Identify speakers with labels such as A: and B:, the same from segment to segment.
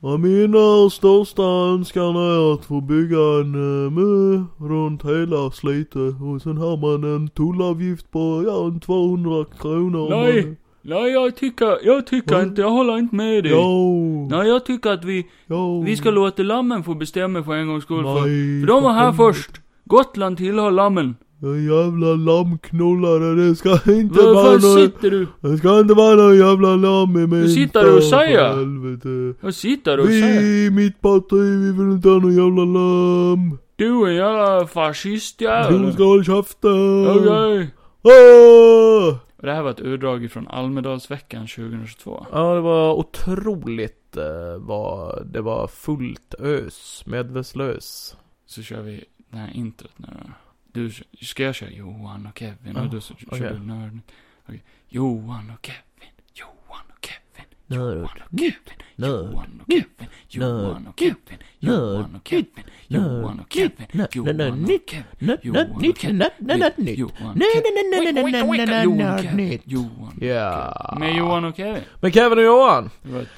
A: Ja, mina största önskan är att få bygga en eh, mö runt hela Slite och sen har man en tullavgift på, ja, en 200 kronor. om
B: Nej,
A: man-
B: nej jag tycker, jag tycker
A: Va?
B: inte, jag håller inte med dig.
A: Jo,
B: Nej, jag tycker att vi,
A: jo.
B: vi ska låta lammen få bestämma för en gångs skull. För,
A: Nej,
B: för de var här
A: fan.
B: först. Gotland tillhör lammen.
A: Den jävla lammknullare, det ska inte vara
B: Varför
A: någon,
B: sitter du,
A: det ska inte vara någon jävla lamm i min
B: sitter du och
A: stad, för
B: säger?
A: helvete.
B: vad sitter du och säger?
A: Vi, mitt parti, vi vill inte ha någon jävla lamm.
B: Du är en jävla
A: Du
B: fascistjävel.
A: ska hålla käften.
B: Okej.
A: Ah!
B: Och Det här var ett utdrag från Almedalsveckan 2022.
C: Ja, det var otroligt eh, vad det var fullt ös, medvetslös.
B: Så kör vi det här introt nu då. Du, ska jag köra Johan och Kevin?
C: Ja,
B: och du så kör
C: okej.
B: du nörden. Okej. Johan och Kevin. Johan och Kevin.
C: Nörd.
B: Johan och Kevin.
C: Nörd.
B: Johan och Kevin. Johan och Kevin. Johan och Kevin. Johan och Kevin.
C: Nörd.
B: Johan
C: Nörd.
B: och
C: Nytt.
B: Kevin.
C: Nörd,
B: Jo,
C: nörd, nytt,
B: okej.
C: nörd, nörd, nörd, nytt.
B: Johan
C: Nej,
B: Kevin.
C: nej, nej, nej, nej, nej, nej, nej,
B: Johan
C: nörd,
B: Kevin.
C: nytt.
B: Johan.
C: Ja.
B: Med Johan och Kevin.
C: Men Kevin och Johan.
B: Det var ett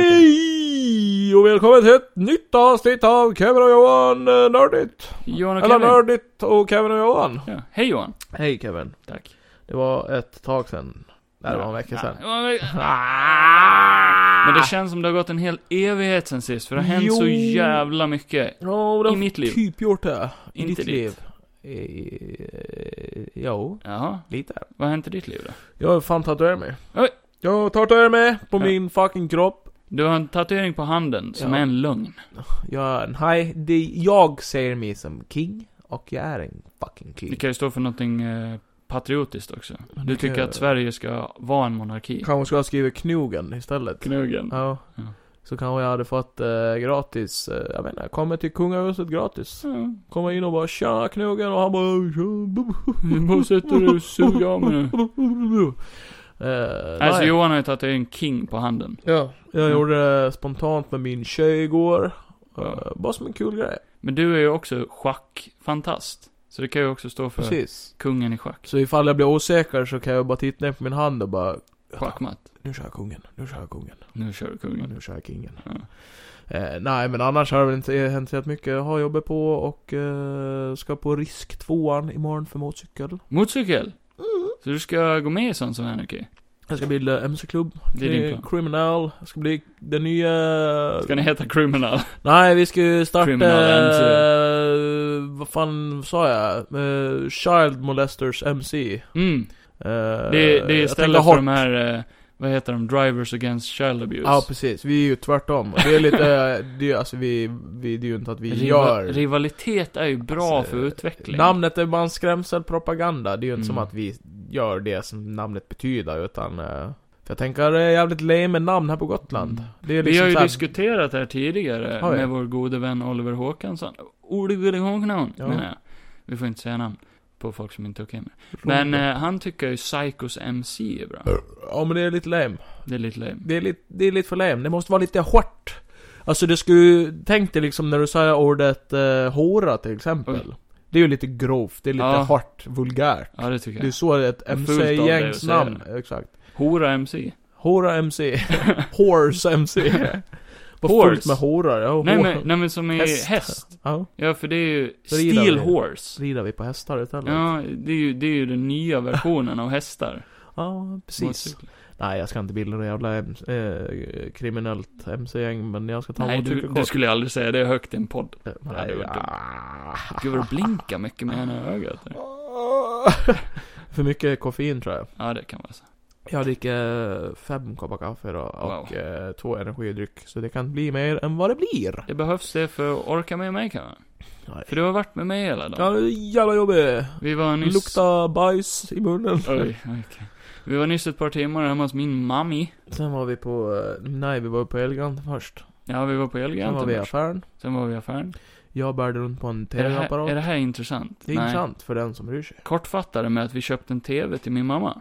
C: Hej! Och välkommen till ett nytt avsnitt av Kevin och Johan eh, Nördigt.
B: Johan och
C: Eller
B: Kevin.
C: Nördigt och Kevin och Johan.
B: Ja. Hej Johan.
C: Hej Kevin.
B: Tack.
C: Det var ett tag sedan. Nej, det var en vecka sedan.
B: Men det känns som det har gått en hel evighet sen sist, för det har hänt så
C: Jo.
B: jävla mycket.
C: Ja, och det
B: I
C: har
B: mitt liv.
C: typ gjort det. I
B: Inte
C: ditt
B: ditt.
C: liv. Eh, Jo,
B: Jaha,
C: lite.
B: vad har hänt i ditt liv då?
C: Jag har fan tatuerat mig.
B: Oj.
C: Jag har tatuerat mig på
B: Ja.
C: min fucking kropp.
B: Du har en tatuering på handen som
C: Ja.
B: är en lögn.
C: Jag är en haj. Det, jag ser mig som king. Och jag är en fucking
B: Det
C: king.
B: kan ju stå för någonting eh, patriotiskt också. Du
C: det kan
B: tycker
C: jag-
B: att Sverige ska vara en monarki.
C: Kanske ska jag skriva knogen istället.
B: Knugen.
C: Ja.
B: Ja.
C: Så kanske jag hade fått eh, gratis, eh, jag menar, komma till kungahuset gratis.
B: Ja.
C: Komma in och bara 'Tjena knogen' och han bara 'Tja'
B: Vad sätter du och suger av mig nu?
C: Eh,
B: Alltså
C: nej.
B: Johan har ju tatuering king på handen.
C: Ja, jag
B: Mm.
C: gjorde det spontant med min tjej igår. Eh,
B: Ja.
C: Bara som en kul grej.
B: Men du är ju också schackfantast. Så det kan ju också stå för
C: Precis.
B: kungen i schack.
C: Så ifall jag blir osäker så kan jag bara titta ner på min hand och bara
B: Schackmatt.
C: Nu kör jag kungen, nu kör jag kungen,
B: Nu kör du
C: ja,
B: kungen.
C: nu kör jag kingen.
B: Mm. Ja.
C: Eh, nej men annars har det väl inte hänt så mycket. Jag har jobbet på och eh, ska på risk tvåan imorgon för motorcykel.
B: Motorcykel?
C: Mm.
B: Så du ska gå med i Sons of Anarchy?
C: Jag ska bilda MC-klubb.
B: Det är din plan.
C: Criminal. Jag ska bli den nya...
B: Ska ni heta Criminal?
C: Nej, vi ska ju starta...
B: Criminal MC.
C: eh, vad fan sa jag? Eh, Child Molesters MC.
B: Mm.
C: Eh,
B: Det, det
C: jag
B: är
C: tänker
B: istället för
C: hårt.
B: de här, eh, vad heter de, Drivers Against Child Abuse?
C: Ja, precis. Vi är ju tvärtom. Det är lite... eh, det, är, alltså, vi, vi, det är ju inte att vi
B: Riva-
C: gör...
B: Rivalitet är ju bra
C: Alltså,
B: för utveckling.
C: Namnet är bara en skrämselpropaganda. Det är ju inte som
B: Mm.
C: att vi gör det som namnet betyder, utan... eh, för jag tänker, det är jävligt lame med namn här på Gotland.
B: Mm.
C: Det är liksom
B: Vi har ju
C: så här-
B: diskuterat det här tidigare
C: Har vi?
B: med vår gode vän Oliver Håkansson. Oliver Håkansson,
C: Ja.
B: menar jag. Vi får inte säga namn på folk som inte är okej med det. Men eh, han tycker ju Psychos MC är bra.
C: Ja, men det är lite lame.
B: Det är lite lame.
C: Det är lite, det är lite för lame. Det måste vara lite hårt. Alltså det skulle, tänk dig liksom när du säger ordet eh, håra till exempel.
B: Oj.
C: Det är ju lite grovt, det är lite
B: Ja.
C: hårt, vulgärt.
B: Ja, det tycker
C: Det är
B: jag.
C: så ett
B: är fult av dig att
C: MC-gängs
B: säga
C: namn, exakt.
B: Hora MC.
C: Hora MC. Horse MC. Vad
B: Horse.
C: fullt med horar. Ja,
B: Nej
C: hår-
B: men, nej men som är
C: Häst.
B: häst.
C: Ja,
B: Ja, för det är ju
C: Så rider
B: Steel
C: vi. så
B: Horse.
C: rider vi på hästar istället.
B: Ja, det är ju, det är ju den nya versionen av hästar.
C: Ja, precis.
B: Motorcyklar.
C: Nej, jag ska inte bilda något jävla eh, kriminellt MC-gäng, men jag ska ta
B: Nej, du,
C: motorcykelkort.
B: du skulle aldrig säga det högt i en podd.
C: Nej,
B: Ja, det var dumt.
C: ah.
B: Gud vad du blinkar mycket med ena ögat. där.
C: För mycket koffein tror jag.
B: Ja, det kan vara så.
C: Jag dricker fem koppar kaffe idag och
B: Wow.
C: eh, två energidryck. Så det kan bli mer än vad det blir.
B: Det behövs det för att orka med mig kanske.
C: Nej.
B: För du har varit med mig hela
C: Ja,
B: dagen.
C: det är jävla jobbigt.
B: Vi var nyss...
C: Lukta bajs i munnen.
B: Oj, okej. Vi var nyss ett par timmar hemma hos min mami.
C: Sen var vi på, eh, nej vi var på Elgant först.
B: Ja, vi var på
C: Sen var
B: Elgiganten
C: vi i
B: först.
C: affären.
B: Sen var vi i affären.
C: Jag bärde runt på en
B: Är det, här,
C: TV-apparat.
B: är det här intressant?
C: Det är intressant för den som bryr sig.
B: Kortfattade med att vi köpte en TV till min mamma.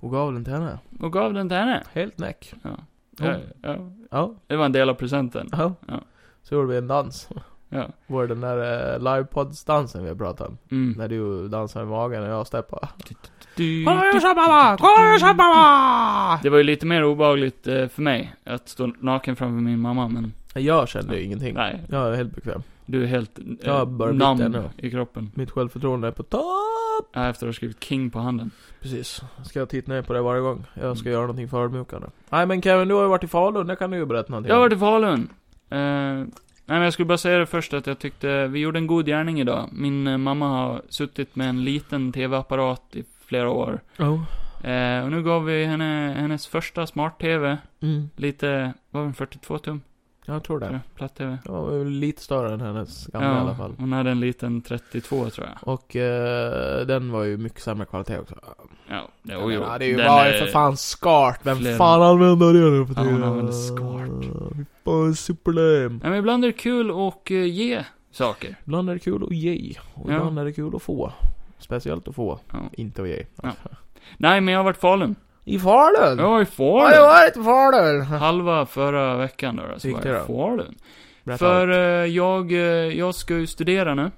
C: Och gav den till henne.
B: Och gav den till henne.
C: Helt näck.
B: Ja.
C: Ja.
B: Ja, ja.
C: Ja.
B: Det var en del av presenten.
C: ja.
B: Ja.
C: Så gjorde vi en dans.
B: Ja.
C: Var det den där eh, livepods-dansen vi pratade om?
B: Mm.
C: När du dansar i magen och jag steppar.
B: Du,
C: Kolla vad jag
B: du,
C: gör mamma! Kolla vad jag gör mamma!
B: Det var ju lite mer obehagligt eh, för mig att stå naken framför min mamma, men
C: Jag kände ju ingenting.
B: nej.
C: Jag är helt bekväm.
B: Du är helt eh,
C: Jag börjar bli lite
B: nam
C: nu.
B: i kroppen.
C: Mitt självförtroende är på topp!
B: Ja, Efter att ha skrivit King på handen.
C: Precis. Ska jag titta ner på det varje gång? Jag ska
B: Mm.
C: göra någonting förödmjukande. Nej men Kevin, du har ju varit i Falun, där kan du ju berätta någonting.
B: Jag har varit i Falun. Eh, nej, men jag skulle bara säga det först att jag tyckte, vi gjorde en god gärning idag. Min eh, mamma har suttit med en liten TV-apparat i flera år.
C: Oh.
B: Eh, och nu gav vi henne hennes första smart-TV.
C: Mm.
B: Lite, var den 42 tum?
C: Jag tror
B: tror
C: det.
B: jag, Platt-TV.
C: Jag var väl lite större än hennes gamla i alla fall.
B: hon hade en liten 32 tror jag.
C: Och eh, den var ju mycket sämre kvalitet också.
B: Ja, det,
C: Jag
B: oj,
C: menar,
B: oj.
C: det är ju
B: Den
C: bara
B: är-
C: för fan skart. Vem
B: flera-
C: fan använder det nu för
B: Ja, hon
C: tiden?
B: använder skart.
C: Fy fan, superlame.
B: Nej, men ibland är det kul att eh, ge saker.
C: Ibland är det kul att ge. Och
B: Ja.
C: ibland är det kul att få. Speciellt att få.
B: Ja.
C: Inte att ge.
B: Ja. Nej, men jag har varit i Falun.
C: I Falun!
B: Jag var i
C: Har jag
B: Falun!
C: varit i Falun?
B: Halva förra veckan då, då, så
C: Hur
B: var
C: gick
B: jag
C: det
B: i
C: då?
B: Falun.
C: Berätta
B: För
C: allt.
B: eh, jag, eh, jag ska ju studera nu.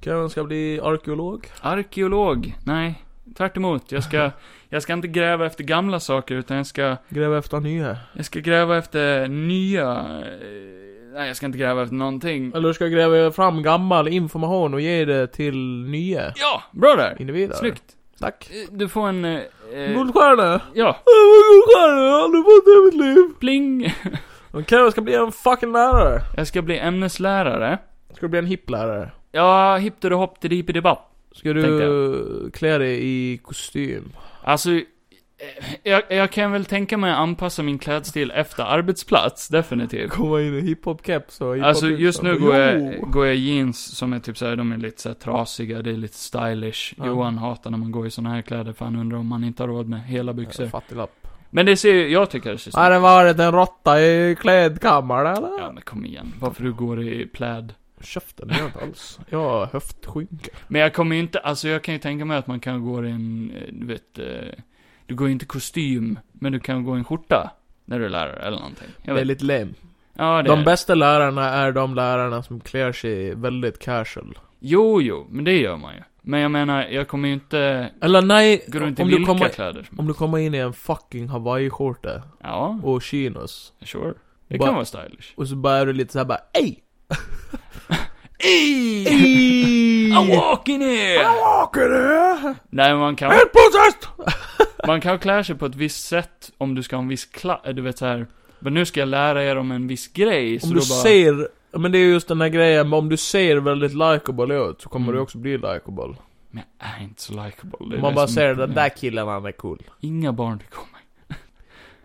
C: Kevin ska bli arkeolog.
B: Arkeolog. Nej, tvärt emot. Jag ska, jag ska inte gräva efter gamla saker, utan jag ska,
C: Gräva efter nya.
B: jag ska gräva efter nya... eh, Nej, jag ska inte gräva efter någonting.
C: Eller du ska gräva fram gammal information och ge det till nya
B: Ja, bra där!
C: individer.
B: Snyggt.
C: Tack.
B: Eh, Du får en... eh, Eh,
C: Guldstjärna!
B: ja,
C: Jag var guldstjärna, jag har aldrig fått det i mitt liv!
B: pling!
C: Och Kevin ska bli en fucking lärare.
B: Jag ska bli ämneslärare.
C: Ska du bli en hipplärare?
B: Ja, hippter och hopp till dip i debatt.
C: Ska
B: Tänkte
C: du klä dig i kostym?
B: Alltså, eh, jag, jag kan väl tänka mig att anpassa min klädstil efter arbetsplats, definitivt.
C: Komma in i hiphop-keps och hiphop
B: Alltså just nu går jag, går jag i jeans som är typ såhär, de är lite såhär trasiga, det är lite stylish.
C: Ja.
B: Johan hatar när man går i såna här kläder för han undrar om man inte har råd med hela byxor.
C: Fattiglapp.
B: Men det ser ju, jag tycker det ser
C: Har
B: snyggt
C: det varit en råtta i klädkammaren eller?
B: Ja men kom igen, varför du går i pläd?
C: Käften, det gör jag inte alls. Jag har höftskynke.
B: Men jag kommer ju inte, alltså jag kan ju tänka mig att man kan gå i en, eh, du vet, eh, du går ju inte i kostym, men du kan gå i en skjorta. När du är lärare eller någonting. Jag
C: Det är
B: vet.
C: lite lame.
B: Ja, det är
C: De bästa lärarna är de lärarna som klär sig väldigt casual.
B: Jo, jo, men det gör man ju. Men jag menar, jag kommer ju inte...
C: Eller nej,
B: Går du inte i
C: om, du
B: vilka
C: kommer,
B: kläder som
C: om du kommer in i en fucking hawaiiskjorta
B: Ja,
C: och chinos.
B: sure. Det
C: Bara-
B: kan vara stylish.
C: Och så bara är du lite såhär bara ey!
B: Ey!
C: Ey!
B: I'm walking here!
C: Åker du?
B: Nej, men man kan,
C: Helt possessed!
B: man kan klä sig på ett visst sätt om du ska ha en viss kla... Du vet så här. men nu ska jag lära er om en viss grej, så
C: Om du
B: då bara...
C: ser, men det är just den här grejen, om du ser väldigt likeable ut så kommer
B: Mm.
C: du också bli likeable.
B: Men jag är "Ah, inte så likeable. Det är
C: Om man
B: det
C: bara
B: som Mm.
C: ser
B: är
C: den där
B: problemet.
C: killen, han är cool.
B: Inga barn tycker om mig.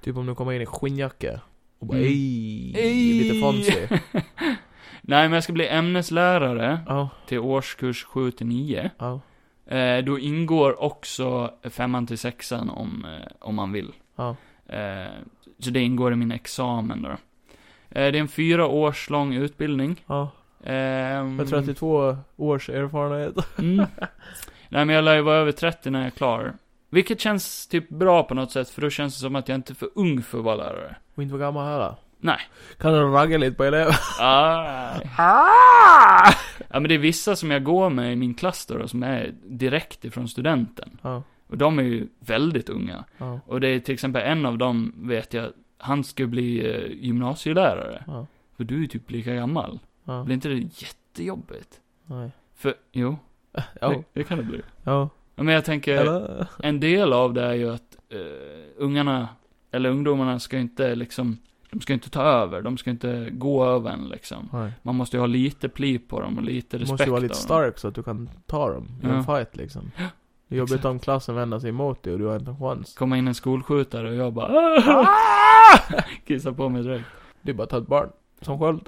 C: Typ om du kommer in i skinnjacka och bara
B: Mm.
C: ey,
B: Ey!
C: lite fancy.
B: Nej, men jag ska bli ämneslärare
C: Ja,
B: till årskurs 7 till 9.
C: ja,
B: Eh, då ingår också femman till sexan om, eh, om man vill.
C: ja.
B: Eh, så det ingår i min examen då. Eh, det är en fyra års lång utbildning.
C: ja.
B: Ehm,
C: Med 32 års erfarenhet.
B: Mm. Nej men jag lär ju vara över 30 när jag är klar. Vilket känns typ bra på något sätt, för då känns det som att jag inte är för ung för att vara lärare.
C: Och inte vara gammal heller.
B: Nej.
C: Kan du ragga lite på elever?
B: Ah.
C: Ah!
B: Ja men det är vissa som jag går med i min klass då, då, som är direkt ifrån studenten.
C: Ja,
B: Och de är ju väldigt unga.
C: ja,
B: Och det är till exempel en av dem, vet jag, han ska bli eh, gymnasielärare.
C: ja,
B: För du är ju typ lika gammal.
C: ja.
B: Blir inte det jättejobbigt?
C: Nej.
B: För, jo,
C: Ja,
B: det, det kan det bli. Eh,
C: ja.
B: Ja, Men jag tänker,
C: Eller?
B: en del av det är ju att eh, ungarna, eller ungdomarna ska ju inte liksom, de ska ju inte ta över, de ska inte gå över en liksom.
C: Nej.
B: Man måste ju ha lite pli på dem och lite
C: Du
B: respekt
C: måste ju vara lite
B: av dem.
C: stark så att du kan ta dem i en
B: Ja.
C: fight liksom. Det är jobbigt om klassen vänder sig emot dig och du har inte en chans.
B: Komma in en skolskjutare och jag bara "Ah!" kissar på mig direkt.
C: Det är bara att ta ett barn. Som sköld.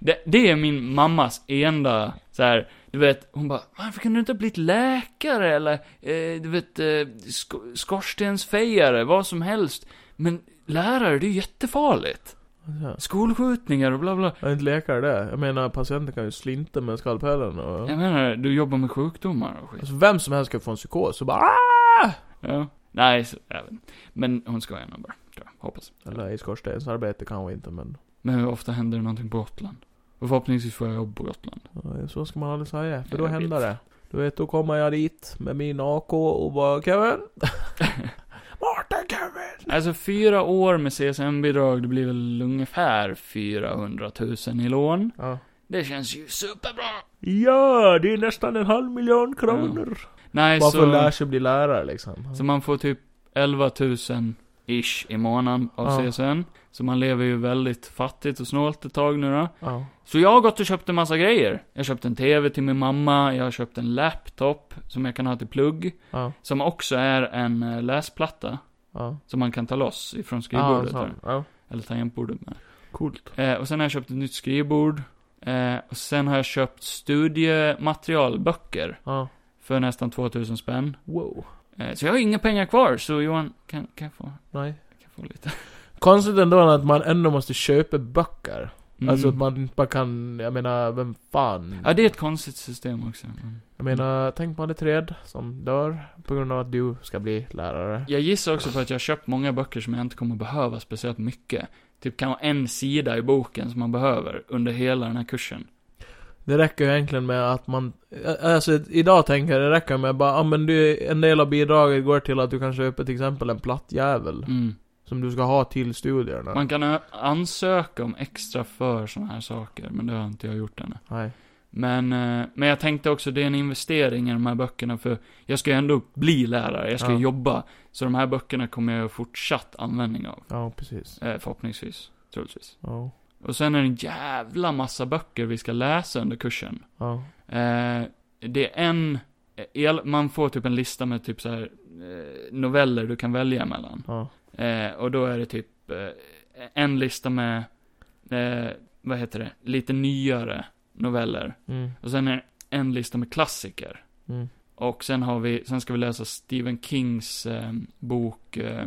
B: Det, det är min mammas enda så här, du vet, hon bara, varför kan du inte ha blivit läkare eller, eh, du vet, eh, sk skorstensfejare, vad som helst. Men lärare, det är ju jättefarligt.
C: Ja.
B: Skolskjutningar och bla bla.
C: Jag är inte läkare det. Jag menar patienten kan ju slinta med skalpellen och...
B: Jag menar, du jobbar med sjukdomar och skit.
C: Alltså vem som helst kan få en psykos och bara "Ah!"
B: Ja. Nej, så, jag vet. inte. Men hon ska gärna bara, tror jag. Hoppas.
C: Eller i skorstensarbete kanske inte men...
B: Men hur ofta händer det någonting på Gotland? Och förhoppningsvis får jag jobb på Gotland.
C: ja, Så ska man aldrig säga, för då
B: Jag vet.
C: händer det. Du vet, då kommer jag dit med min AK och bara Kevin. Martin Kevin!
B: Alltså fyra år med CSN-bidrag, det blir väl ungefär 400 000 i lån.
C: Ja.
B: Det känns ju superbra!
C: ja, det är nästan en halv miljon
B: kronor.
C: kronor.
B: Nej,
C: Bara för att lära
B: så,
C: sig bli lärare liksom.
B: så man får typ 11 000 ish i månaden av
C: Ja.
B: CSN. Så man lever ju väldigt fattigt och snålt ett tag nu då.
C: Ja.
B: Så jag har gått och köpt en massa grejer. Jag köpte en TV till min mamma, jag har köpt en laptop som jag kan ha till plugg.
C: Ja.
B: Som också är en eh, läsplatta.
C: Ja.
B: Som man kan ta loss ifrån
C: Ja,
B: skrivbordet.
C: Ah, så.
B: där.
C: ja.
B: eller tangentbordet med.
C: Coolt.
B: Eh, och sen har jag köpt ett nytt skrivbord. Eh, och sen har jag köpt studiematerialböcker.
C: Ja.
B: För nästan 2000 spänn.
C: Wow.
B: Eh, så jag har inga pengar kvar, så Johan, kan, kan jag få,
C: Nej.
B: kan jag få lite?
C: Konstigt ändå att man ändå måste köpa böcker.
B: Mm.
C: Alltså att man inte bara kan, jag menar, vem fan?
B: Ja, det är ett konstigt system också. men-
C: Jag menar, tänk på alla träd som dör på grund av att du ska bli lärare.
B: Jag gissar också på att jag har köpt många böcker som jag inte kommer behöva speciellt mycket. Typ kan vara en sida i boken som man behöver under hela den här kursen.
C: Det räcker ju egentligen med att man, Ä- alltså idag tänker jag det räcker med bara, ja men du, en del av bidraget går till att du kan köpa till exempel en platt jävel.
B: Mm.
C: Som du ska ha till studierna.
B: Man kan ö- ansöka om extra för sådana här saker, men det har inte jag gjort ännu.
C: Nej.
B: Men, eh, men jag tänkte också, det är en investering i de här böckerna för jag ska ju ändå bli lärare, jag ska ju
C: Ja.
B: jobba. Så de här böckerna kommer jag fortsatt användning av.
C: Ja, precis.
B: Eh, förhoppningsvis, troligtvis.
C: Ja.
B: Och sen är det en jävla massa böcker vi ska läsa under kursen.
C: Ja.
B: Eh, det är en, el, man får typ en lista med typ så här eh, noveller du kan välja mellan.
C: Ja.
B: Eh, och då är det typ eh, en lista med, eh, vad heter det, lite nyare noveller.
C: Mm.
B: Och sen är det en lista med klassiker.
C: Mm.
B: Och sen har vi, sen ska vi läsa Stephen Kings eh, bok, eh,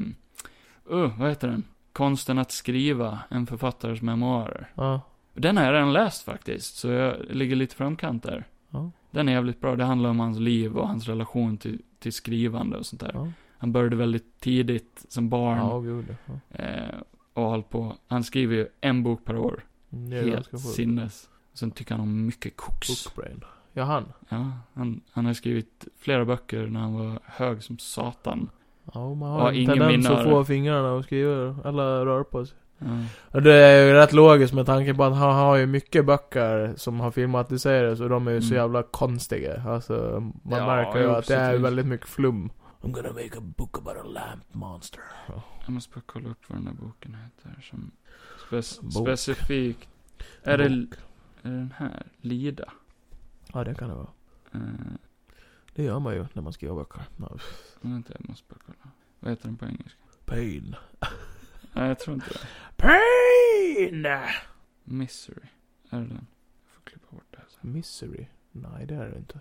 B: uh, vad heter den? Konsten att skriva, en författares memoarer.
C: Ja.
B: Den har jag redan läst faktiskt, så jag ligger lite framkant där.
C: Ja.
B: Den är jävligt bra, det handlar om hans liv och hans relation till, till skrivande och sånt där.
C: Ja.
B: Han började väldigt tidigt som barn
C: Ja, gud. Ja.
B: eh, och har hållit på. Han skriver ju en bok per år,
C: Mm, Det är ganska
B: helt
C: sjukt.
B: sinnes. Sen tycker han om mycket koks.
C: Bookbrain. Ja, han.
B: Ja, han, han har skrivit flera böcker när han var hög som satan.
C: Ja, man
B: Ja,
C: har en
B: ingen
C: tendens
B: vinnare.
C: att få fingrarna och skriva, eller rör på sig.
B: Ja.
C: Och det är ju rätt logiskt med tanke på att han har ju mycket böcker som har filmatiserats och de är ju så
B: Mm.
C: jävla konstiga. Alltså, man
B: Ja,
C: märker ju
B: jo,
C: att det är
B: precis.
C: väldigt mycket flum. I'm gonna make a book about a lamp monster.
B: Jag måste bara kolla upp vad den där boken heter som spe-
C: Bok.
B: specifikt. Är det,
C: Bok.
B: är det den här? Lida?
C: Ja, det kan det vara.
B: Eh,
C: Det gör man ju när man skriver böcker. Ja,
B: vänta, jag måste bara kolla. Vad heter den på engelska?
C: Pain.
B: Nej, jag tror inte det.
C: Pain!
B: Misery. Är det den? Jag får klippa bort det här sen.
C: Misery? Nej, det är det inte.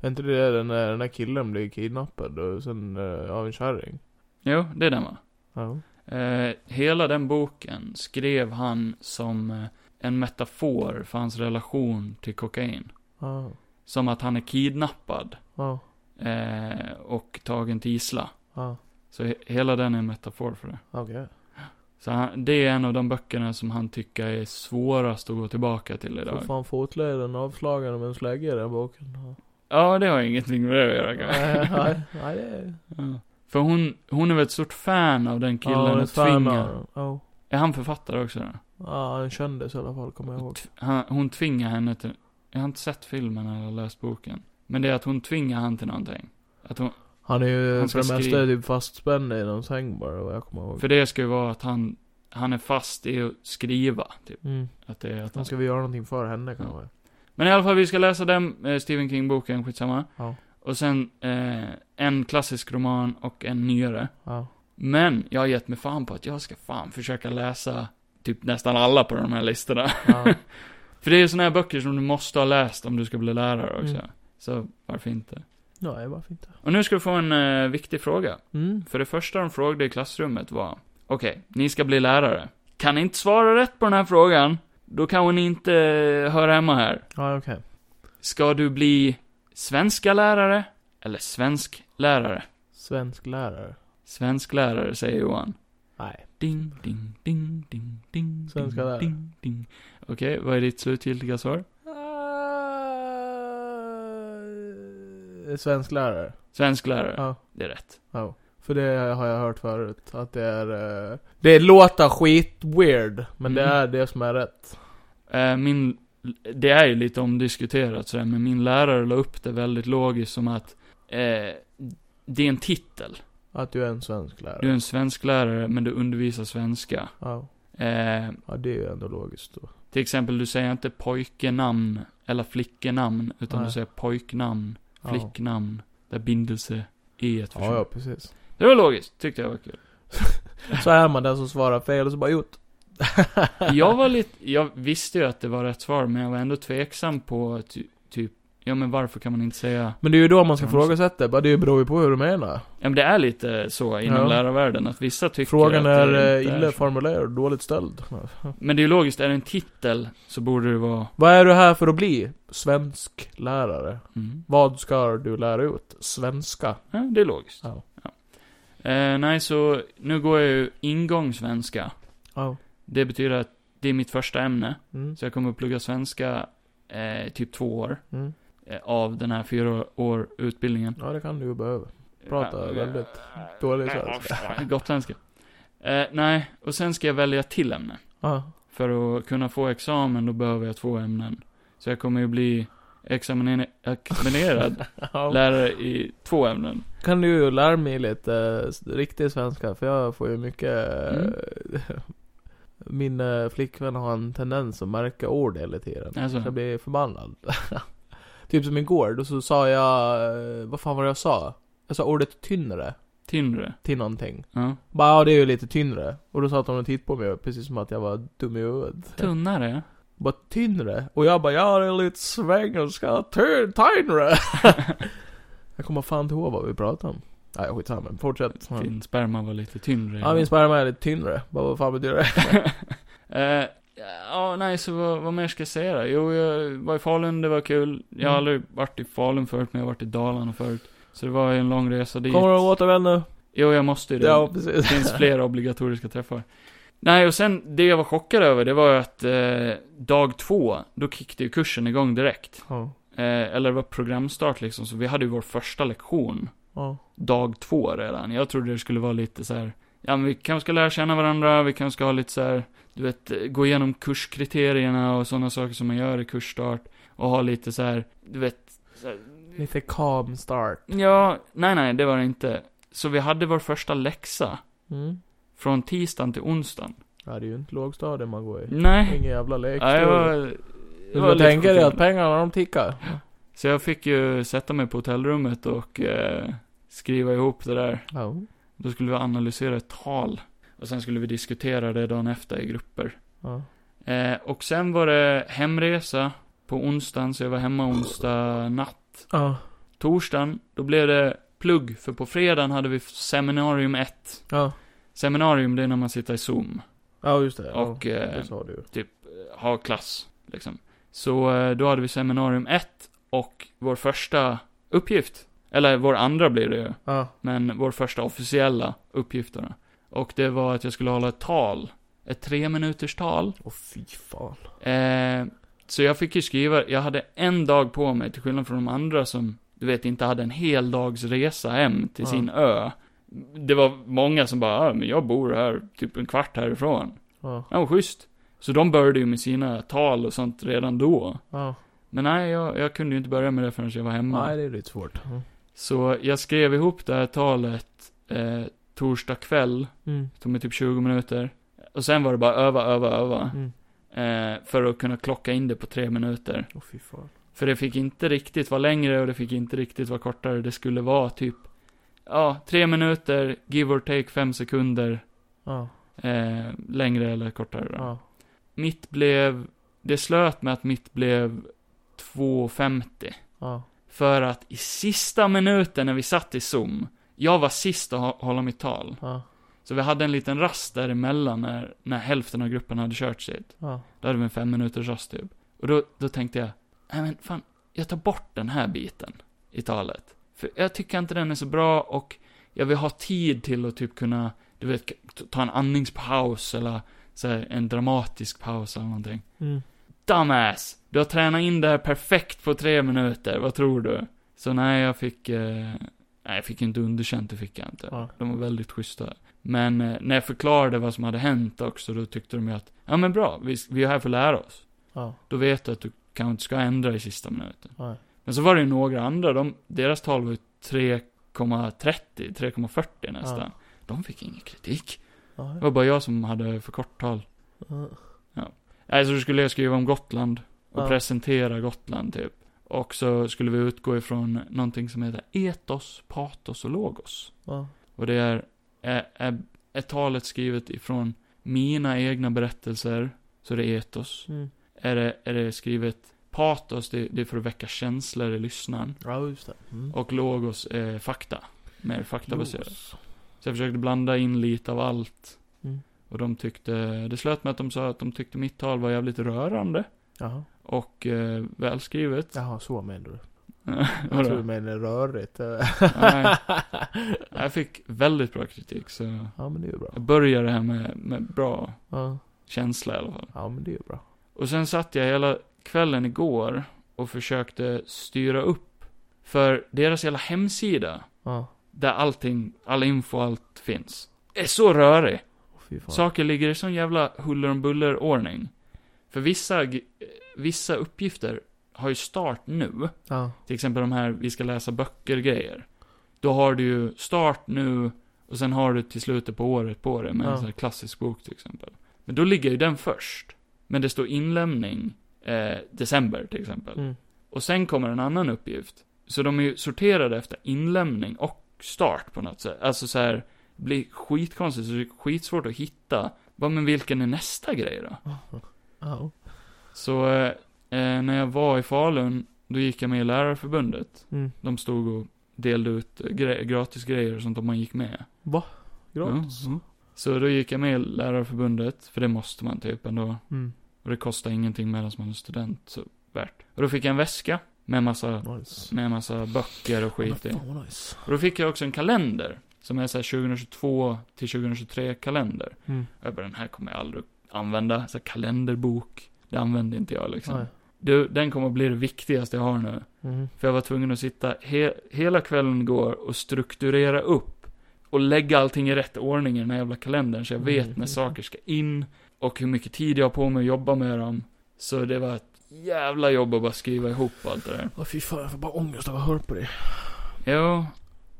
C: Är inte det den där, den där killen blir kidnappad och sen eh, av en kärring?
B: Jo, det är den va?
C: Ja.
B: Eh, hela den boken skrev han som eh, en metafor för hans relation till kokain.
C: Ja.
B: Som att han är kidnappad.
C: Ja.
B: eh, och tagen till gissla.
C: Ja.
B: Så he- hela den är en metafor för det.
C: Okej.
B: Så han, det är en av de böckerna som han tycker är svårast att gå tillbaka till
C: Får
B: idag.
C: fan fotleden avslagen av en slägga i den boken. Ja.
B: Ja, det har ingenting med det att göra
C: Nej, nej,
B: kanske.
C: nej, det är...
B: Ja. För hon, hon är väl ett stort fan av den killen
C: det är
B: och
C: fan
B: tvingar.
C: av- Ja.
B: Är han författare också då?
C: Ja, en kändis i alla fall, kommer jag ihåg.
B: Tv- Han, hon tvingar henne till... Jag har inte sett filmen eller läst boken. Men det är att hon tvingar han till någonting. Att hon,
C: Han är ju
B: Han ska
C: för det mesta
B: skriva-
C: typ fastspänd i någon säng bara, vad jag kommer ihåg.
B: för det ska ju vara att han, han är fast i att skriva, typ.
C: Mm.
B: Att det är att
C: Sen ska vi göra någonting för henne
B: Mm.
C: kanske.
B: Men i alla fall, vi ska läsa den eh, Stephen King-boken, skitsamma.
C: Ja.
B: Och sen eh, en klassisk roman och en nyare.
C: Ja.
B: Men jag har gett mig fan på att jag ska fan försöka läsa typ nästan alla på de här listorna.
C: Ja.
B: För det är ju såna här böcker som du måste ha läst om du ska bli lärare också.
C: Mm.
B: Så varför inte?
C: Nej, varför inte?
B: Och nu ska du få en eh, viktig fråga.
C: Mm.
B: För det första de frågade i klassrummet var, okej, ni ska bli lärare. Kan ni inte svara rätt på den här frågan, då kanske ni inte eh, hör hemma här.
C: Ja, okej.
B: Ska du bli svenska lärare eller svensk lärare?
C: Svensk lärare.
B: Svensk lärare, säger Johan.
C: Nej.
B: Ding, ding, ding, ding, ding.
C: Svenska
B: ding,
C: lärare.
B: Ding, ding. Ah. Okej, vad är ditt slutgiltiga svar?
C: svensk lärare.
B: Svensklärare.
C: Ja.
B: Det är rätt.
C: ja. För det har jag hört förut. Att det är... eh, Det låter skit weird Men det
B: Mm.
C: är det som är rätt.
B: Eh, min, det är ju lite omdiskuterat sådär, men min lärare la upp det väldigt logiskt som att eh, det är en titel.
C: Att du är en svensk lärare.
B: Du är en svensklärare, men du undervisar svenska.
C: Ja.
B: Eh,
C: ja, det är ju ändå logiskt då.
B: till exempel, du säger inte pojkenamn eller flickenamn, utan
C: Nej.
B: du säger pojknamn,
C: Ja.
B: flicknamn, där bindelse e försvinner.
C: Ja, ja, precis.
B: Det var logiskt, tyckte jag var kul.
C: Så är man den som svarar fel och så bara gjort.
B: Jag var lite, jag visste ju att det var rätt svar, men jag var ändå tveksam på ty, typ, ja men varför kan man inte säga
C: Men det är ju då man ska
B: Ja,
C: frågasätta. Bara det beror ju på hur du menar.
B: Ja men det är lite så inom
C: Ja.
B: lärarvärlden, att vissa tycker
C: Frågan
B: att
C: är, eh,
B: det
C: är
B: inte
C: illa
B: är så.
C: formulerad och dåligt ställd.
B: Men det är ju logiskt, är det en titel så borde det vara...
C: Vad är du här för att bli? Svensk lärare.
B: Mm.
C: Vad ska du lära ut? Svenska.
B: Ja, det är logiskt.
C: Ja.
B: Eh, nej, så nu går jag ju ingång svenska.
C: Ja.
B: Det betyder att det är mitt första ämne.
C: Mm.
B: Så jag kommer att plugga svenska eh, typ två år
C: Mm.
B: eh, av den här fyra år utbildningen.
C: Ja, det kan du ju behöva. Prata väldigt dålig svenska.
B: Gotländska. Eh, nej, och sen ska jag välja till ämne.
C: Ja.
B: För att kunna få examen, då behöver jag två ämnen. Så jag kommer ju bli examiner- examinerad
C: ja.
B: lärare i två ämnen.
C: Kan du ju lära mig lite eh, s- riktig svenska? För jag får ju mycket...
B: Mm.
C: Min eh, flickvän har en tendens att märka ord hela tiden.
B: Alltså.
C: Så jag blir förbannad. typ som igår, då så sa jag... eh, Vad fan var det jag sa? Jag sa ordet tynnre
B: Tyngre.
C: till någonting.
B: Ja.
C: Bara, ja det är ju lite tynnre. Och då satt hon och tittade på mig precis som att jag var dum i huvudet.
B: Tunnare.
C: Bara tynnre? Och jag bara, ja det är lite svengelska, tyn- tynnre. jag kommer fan inte ihåg vad vi pratade om. Nej skitsamma, fortsätt.
B: Din sperma var lite tyngre.
C: Ja min sperma är lite tynnre. Bara, vad fan betyder det?
B: Eh, Ja, nej, så vad, vad mer ska jag säga då? Jo, jag var i Falun, det var kul. Jag
C: Mm.
B: har aldrig varit i Falun förut, men jag har varit i Dalarna förut. Så det var ju en lång resa dit.
C: Kommer du att återvända?
B: Jo, jag måste ju det.
C: Ja
B: Det
C: precis.
B: finns flera obligatoriska träffar. Nej, och sen det jag var chockad över, det var ju att eh, dag två, då kickade ju kursen igång direkt.
C: Ja.
B: Eh, eller det var programstart liksom, så vi hade ju vår första lektion
C: Ja.
B: dag två redan. Jag trodde det skulle vara lite så här, ja men vi kanske ska lära känna varandra, vi kanske ska ha lite så här, du vet, eh, gå igenom kurskriterierna och sådana saker som man gör i kursstart. Och ha lite så här, du vet, så här,
C: Lite calm start.
B: ja, nej nej, det var det inte. Så vi hade vår första läxa
C: Mm.
B: från tisdagen till onsdagen.
C: Ja det är ju inte lågstadiet man går i.
B: Nej.
C: Ingen jävla
B: Ja, jag
C: lekstuga.
B: var,
C: Du får
B: jag var
C: tänka dig
B: chockad.
C: att pengarna de tickar.
B: Så jag fick ju sätta mig på hotellrummet och eh, skriva ihop det där.
C: Ja.
B: Då skulle vi analysera ett tal. Och sen skulle vi diskutera det dagen efter i grupper.
C: Ja.
B: Eh, och sen var det hemresa på onsdagen, så jag var hemma onsdag natt.
C: Ja.
B: Torsdagen, då blev det plugg, för på fredagen hade vi seminarium 1.
C: Ja.
B: Seminarium, det är när man sitter i Zoom.
C: Ja just det.
B: Och,
C: ja.
B: eh,
C: Det sa du ju.
B: ha klass, liksom. Så eh, då hade vi seminarium 1 och vår första uppgift, eller vår andra blir det ju,
C: Ja.
B: men vår första officiella uppgift då. Och det var att jag skulle hålla ett tal, ett tre minuters tal.
C: Åh fy fan.
B: Eh, så jag fick ju skriva, jag hade en dag på mig, till skillnad från de andra som, du vet, inte hade en hel dags resa hem till
C: Ja.
B: sin ö. Det var många som bara, "Ah, men jag bor här, typ en kvart härifrån.
C: Ja.
B: Ja, vad schysst. Så de började ju med sina tal och sånt redan då.
C: Ja.
B: Men nej, jag, jag kunde ju inte börja med det förrän jag var hemma.
C: Nej, det är lite svårt.
B: Så jag skrev ihop det här talet eh, torsdag kväll.
C: Mm.
B: Det tog mig typ 20 minuter. Och sen var det bara öva, öva, öva.
C: Mm.
B: Eh, för att kunna klocka in det på tre minuter.
C: Åh fy fan.
B: För det fick inte riktigt vara längre och det fick inte riktigt vara kortare. Det skulle vara typ, ja, tre minuter, give or take fem sekunder.
C: Ja.
B: Eh, längre eller kortare då.
C: Ja.
B: Mitt blev, det slöt med att mitt blev 2.50.
C: Ja.
B: För att i sista minuten när vi satt i Zoom, jag var sist att hå- hålla mitt tal.
C: Ja.
B: Så vi hade en liten rast däremellan när, när hälften av gruppen hade kört sitt.
C: Ja.
B: Då hade vi en fem minuters rast typ. Och då, då tänkte jag, nej men fan, jag tar bort den här biten i talet. För jag tycker inte den är så bra och jag vill ha tid till att typ kunna, du vet, k- ta en andningspaus eller så här, en dramatisk paus eller någonting.
C: Mm.
B: Dumbass! Du har tränat in det här perfekt på tre minuter, vad tror du? Så nej, jag fick, eh, nej jag fick inte underkänt, det fick jag inte.
C: Ja.
B: De var väldigt schyssta. Men eh, när jag förklarade vad som hade hänt också, då tyckte de ju att, ja men bra, vi, vi är här för att lära oss.
C: Ja.
B: Då vet du att du kanske inte ska ändra i sista minuten.
C: Nej.
B: Men så var det ju några andra, de, deras tal var ju 3,30, 3,40 nästan.
C: Ja.
B: De fick ingen kritik.
C: Ja.
B: Det var bara jag som hade för kort tal.
C: Ja.
B: Nej, så Alltså, skulle jag skriva om Gotland och
C: Ja.
B: presentera Gotland typ. Och så skulle vi utgå ifrån någonting som heter etos, patos och logos.
C: Ja.
B: Och det är, är, är, är talet skrivet ifrån mina egna berättelser, så det är etos.
C: Mm.
B: Är det, är det skrivet patos, det, det är för att väcka känslor i lyssnaren.
C: ja, just det. Mm.
B: Och logos är fakta. Mer faktabaserat.
C: Los.
B: Så jag försökte blanda in lite av allt.
C: Mm.
B: Och de tyckte, det slöt med att de sa att de tyckte mitt tal var jävligt rörande.
C: Jaha.
B: Och eh, välskrivet.
C: Jaha, så menar du. Jag tror du
B: Vadå?
C: menar rörigt.
B: Nej, jag fick väldigt bra kritik så
C: ja, men det är ju bra.
B: jag började här med, med bra
C: Ja.
B: känsla i alla fall.
C: ja, men det är ju bra.
B: Och sen satt jag hela kvällen igår och försökte styra upp för deras hela hemsida
C: Ja.
B: där allting, all info, allt finns. Är så rörig.
C: Åh, Fy fan.
B: Saker ligger i sån jävla huller om buller ordning. För vissa, g- eh, vissa uppgifter har ju start nu.
C: Ja.
B: Till exempel de här, vi ska läsa böcker grejer. Då har du ju start nu och sen har du till slutet på året på det med en
C: Ja.
B: sån här klassisk bok till exempel. Men då ligger ju den först. Men det står inlämning eh, december till exempel.
C: Mm.
B: Och sen kommer en annan uppgift. Så de är ju sorterade efter inlämning och start på något sätt. Alltså så här, det blir skitkonstigt så det är skitsvårt att hitta. Bara, men vilken är nästa grej då?
C: Ja.
B: Så eh, eh, när jag var i Falun, då gick jag med i Lärarförbundet.
C: Mm.
B: De stod och delade ut gre- gratis grejer och sånt om man gick med.
C: Gratis.
B: Ja, ja. Så då gick jag med i Lärarförbundet, för det måste man typ ändå.
C: Mm.
B: Och det kostar ingenting medan man är student, så värt. Och då fick jag en väska med en massa,
C: Nice.
B: med en massa böcker och skit
C: Ja,
B: i.
C: men fan vad nice.
B: Och då fick jag också en kalender, som är så här 2022 till 2023 kalender.
C: Mm.
B: Och jag bara, den här kommer jag aldrig använda. Så här kalenderbok, det använder inte jag liksom.
C: Nej.
B: Du, den kommer att bli det viktigaste jag har nu.
C: Mm.
B: För jag var tvungen att sitta he hela kvällen igår och strukturera upp och lägga allting i rätt ordning i den här jävla kalendern så jag vet
C: Mm.
B: när saker ska in och hur mycket tid jag har på mig att jobba med dem. Så det var ett jävla jobb att bara skriva ihop allt det där.
C: Åh, fy fan, jag får bara ångest av att höra på dig.
B: Jo,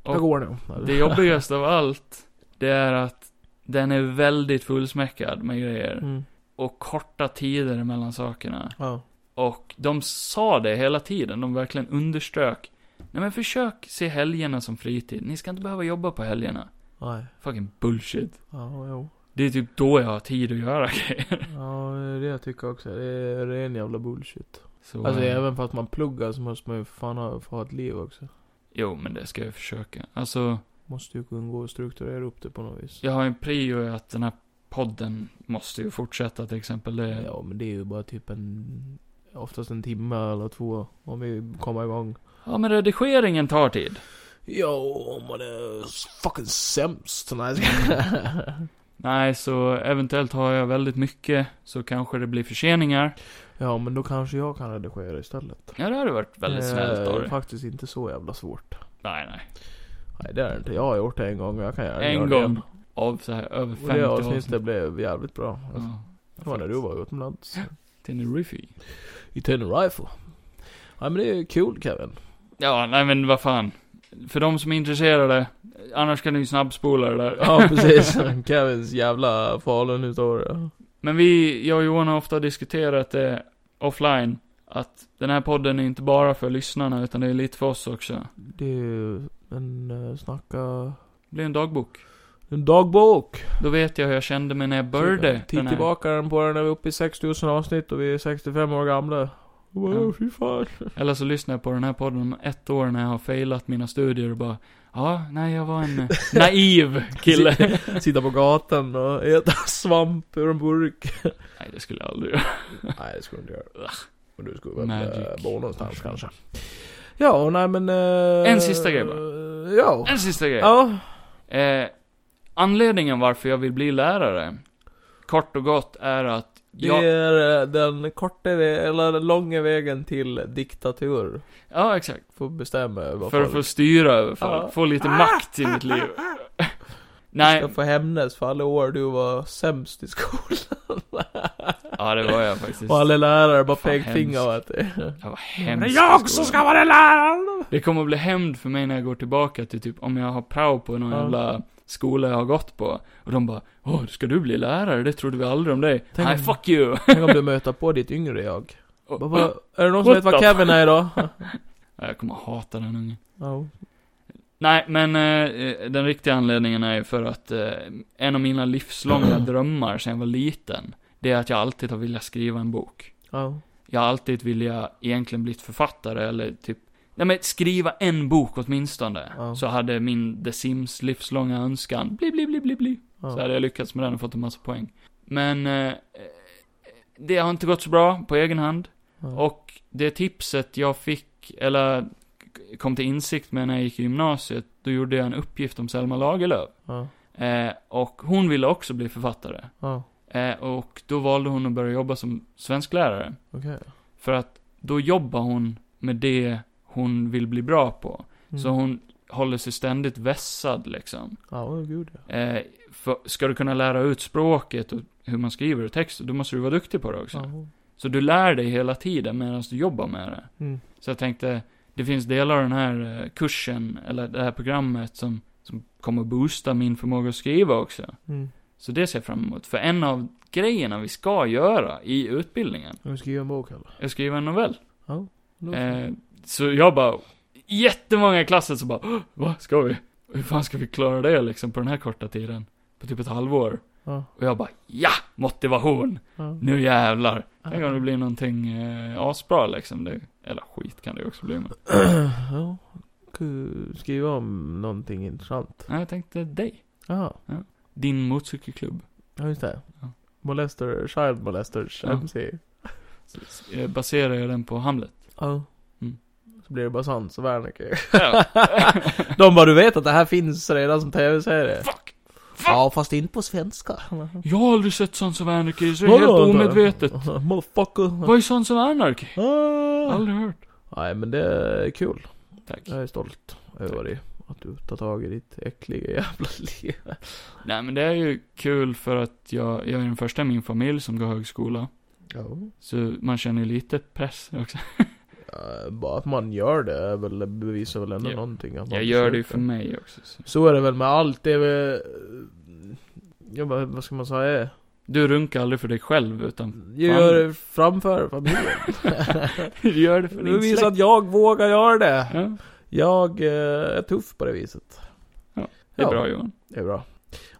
C: Jag
B: Och
C: går nu.
B: det jobbigaste av allt, det är att den är väldigt fullsmäckad med grejer
C: Mm.
B: och korta tider mellan sakerna.
C: Ja.
B: Och de sa det hela tiden, de verkligen underströk. Nej men försök se helgerna som fritid, ni ska inte behöva jobba på helgerna.
C: Nej.
B: Fucking bullshit.
C: Ja, jo.
B: Det är typ då jag har tid att göra grejer.
C: Ja, det är det jag tycker också. Det är ren jävla bullshit.
B: Så,
C: Alltså
B: eh,
C: även fast man pluggar så måste man ju fan ha, få ha ett liv också.
B: Jo men det ska jag försöka. Alltså,
C: Måste ju kunna gå och strukturera upp det på något vis.
B: jag har en prio i att den här podden måste ju fortsätta till exempel. Det,
C: Ja, men det är ju bara typ en... Oftast en timme eller två om vi kommer igång.
B: Ja men redigeringen tar tid.
C: Ja, om man är fucking sämst. Nej,
B: Nej så eventuellt har jag väldigt mycket så kanske det blir förseningar.
C: Ja, men då kanske jag kan redigera istället.
B: Ja det hade varit väldigt
C: Eh,
B: snällt av
C: Det är
B: dig.
C: faktiskt inte så jävla svårt.
B: Nej nej.
C: Nej, det är det inte. Jag har gjort det en gång och jag kan gärna göra
B: En
C: det
B: gång
C: igen.
B: av så här över
C: Och
B: 50
C: det
B: avsnitt.
C: avsnittet blev jävligt bra. Alltså,
B: Ja.
C: det var när du var utomlands.
B: Tenerife.
C: I Tenerife. Ja men det är kul Kevin.
B: Ja, nej men vad fan. För de som är intresserade, annars kan ni ju snabbspola det där.
C: Ja precis. Kevins jävla Falun historia.
B: Men vi, jag och Johan har ofta diskuterat det offline, att den här podden är inte bara för lyssnarna, utan det är lite för oss också.
C: Det är ju en eh, snacka...
B: Det blir en dagbok.
C: En dagbok.
B: Då vet jag hur jag kände mig när jag började
C: Titta
B: den här.
C: tillbaka den på den när vi är uppe i 6000 avsnitt och vi är 65 år gamla. Wow,
B: Ja.
C: fy fan.
B: Eller så lyssnar jag på den här podden om ett år när jag har failat mina studier och bara, ja, nej jag var en eh, naiv kille.
C: Sitta på gatan och äta svamp ur en burk.
B: nej, det skulle jag aldrig göra.
C: nej det skulle du inte göra. Men du skulle väl
B: Magic.
C: eh, bo någonstans kanske. Ja, nej men... eh,
B: En sista grej bara.
C: eh, Ja.
B: En sista grej.
C: Ja.
B: Eh, anledningen varför jag vill bli lärare, kort och gott, är att
C: Det
B: Ja.
C: är eh, den korta, vä- eller den långa vägen till diktatur.
B: Ja, exakt.
C: Får bestämma över
B: För att få styra över folk.
C: Ja.
B: Få lite makt i mitt liv.
C: Nej.
B: Nej,
C: Ska få hämnas för alla år du var sämst i skolan.
B: ja det var jag faktiskt.
C: Och alla lärare bara
B: Fan,
C: pekfingrar åt dig.
B: Jag var hemskt i skolan.
C: vara läraren!
B: Det kommer bli hämnd för mig när jag går tillbaka till typ, om jag har prao på någon
C: Ja.
B: jävla skola jag har gått på. Och de bara, åh, ska du bli lärare? Det trodde vi aldrig om dig.
C: Tänk
B: Nej,
C: om-
B: fuck you!
C: Tänk om du möter på ditt yngre jag.
B: Och,
C: Bara, bara, är det någon som
B: What
C: vet vad
B: the
C: Kevin är idag?
B: Ja, jag kommer hata den ungen.
C: Ja.
B: Nej, men eh, den riktiga anledningen är ju för att eh, en av mina livslånga drömmar sedan jag var liten, det är att jag alltid har velat skriva en bok.
C: Ja.
B: Jag har alltid velat egentligen blivit författare eller typ, nej men skriva en bok åtminstone.
C: Ja.
B: Så hade min The Sims livslånga önskan, bli bli bli bli bli. Så
C: ja.
B: hade jag lyckats med den och fått en massa poäng. Men eh, det har inte gått så bra på egen hand.
C: ja.
B: Och det tipset jag fick, eller kom till insikt med när jag gick i gymnasiet, då gjorde jag en uppgift om Selma Lagerlöf.
C: ja.
B: Eh, och hon ville också bli författare.
C: ja.
B: Eh, och då valde hon att börja jobba som svensklärare.
C: Okej.
B: För att då jobbar hon med det hon vill bli bra på.
C: Mm.
B: Så hon håller sig ständigt vässad liksom.
C: Ja, åh gud ja.
B: Eh, för, ska du kunna lära ut språket och hur man skriver och text, då måste du vara duktig på det också.
C: ja.
B: Så du lär dig hela tiden medan du jobbar med det.
C: Mm.
B: Så jag tänkte, det finns delar av den här eh, kursen, eller det här programmet som, som kommer boosta min förmåga att skriva också.
C: Mm.
B: Så det ser jag fram emot. För en av grejerna vi ska göra i utbildningen,
C: Ska du skriva en bok eller?
B: är att skriva en novell.
C: Ja. Låter-
B: Eh, så jag bara, jättemånga i klassen så bara, "Åh, va, ska vi? Hur fan ska vi klara det liksom på den här korta tiden? På typ ett halvår.
C: Ja.
B: Och jag bara ja! Motivation!
C: Ja.
B: Nu jävlar! Tänk om det blir någonting eh, asbra liksom. Det, eller skit kan det ju också bli men.
C: ja. Ku- Skriva om någonting intressant.
B: Nej, jag tänkte dig.
C: Ja.
B: Din motorcykelklubb.
C: Ja, just det.
B: Ja.
C: Molester, Child Molesters
B: Ja.
C: MC.
B: S- eh, Baserar jag den på Hamlet?
C: Ja.
B: Mm.
C: Så blir det bara Sans och Wernicke.
B: Ja.
C: De bara, du vet att det här finns redan som tv-serie?
B: Fuck!
C: Ja, fast inte på svenska.
B: Jag har aldrig sett Sons of Anarchy, så det är helt omedvetet.
C: Motherfucker.
B: Vad är Sons of Anarchy?
C: Ah.
B: Aldrig hört.
C: Nej, men det är kul.
B: Tack.
C: Jag är stolt över dig. Att du tar tag i ditt äckliga jävla liv.
B: Nej men det är ju kul för att jag, jag är den första i min familj som går högskola.
C: Ja.
B: Så man känner ju lite press också.
C: Eh, Bara att man gör det är väl, bevisar väl ändå
B: Ja.
C: någonting. Att man
B: Jag gör det ju
C: försöker.
B: för mig också. Så.
C: Så är det väl med allt. Det är väl... Ja, vad vad ska man säga?
B: Du runkar aldrig för dig själv, utan
C: Jag
B: Fan.
C: gör det framför familjen.
B: du gör det för
C: Det
B: din släkt.
C: visar att jag vågar göra det.
B: Ja,
C: Jag eh, är tuff på det viset.
B: Ja, det är bra Johan.
C: Det är bra.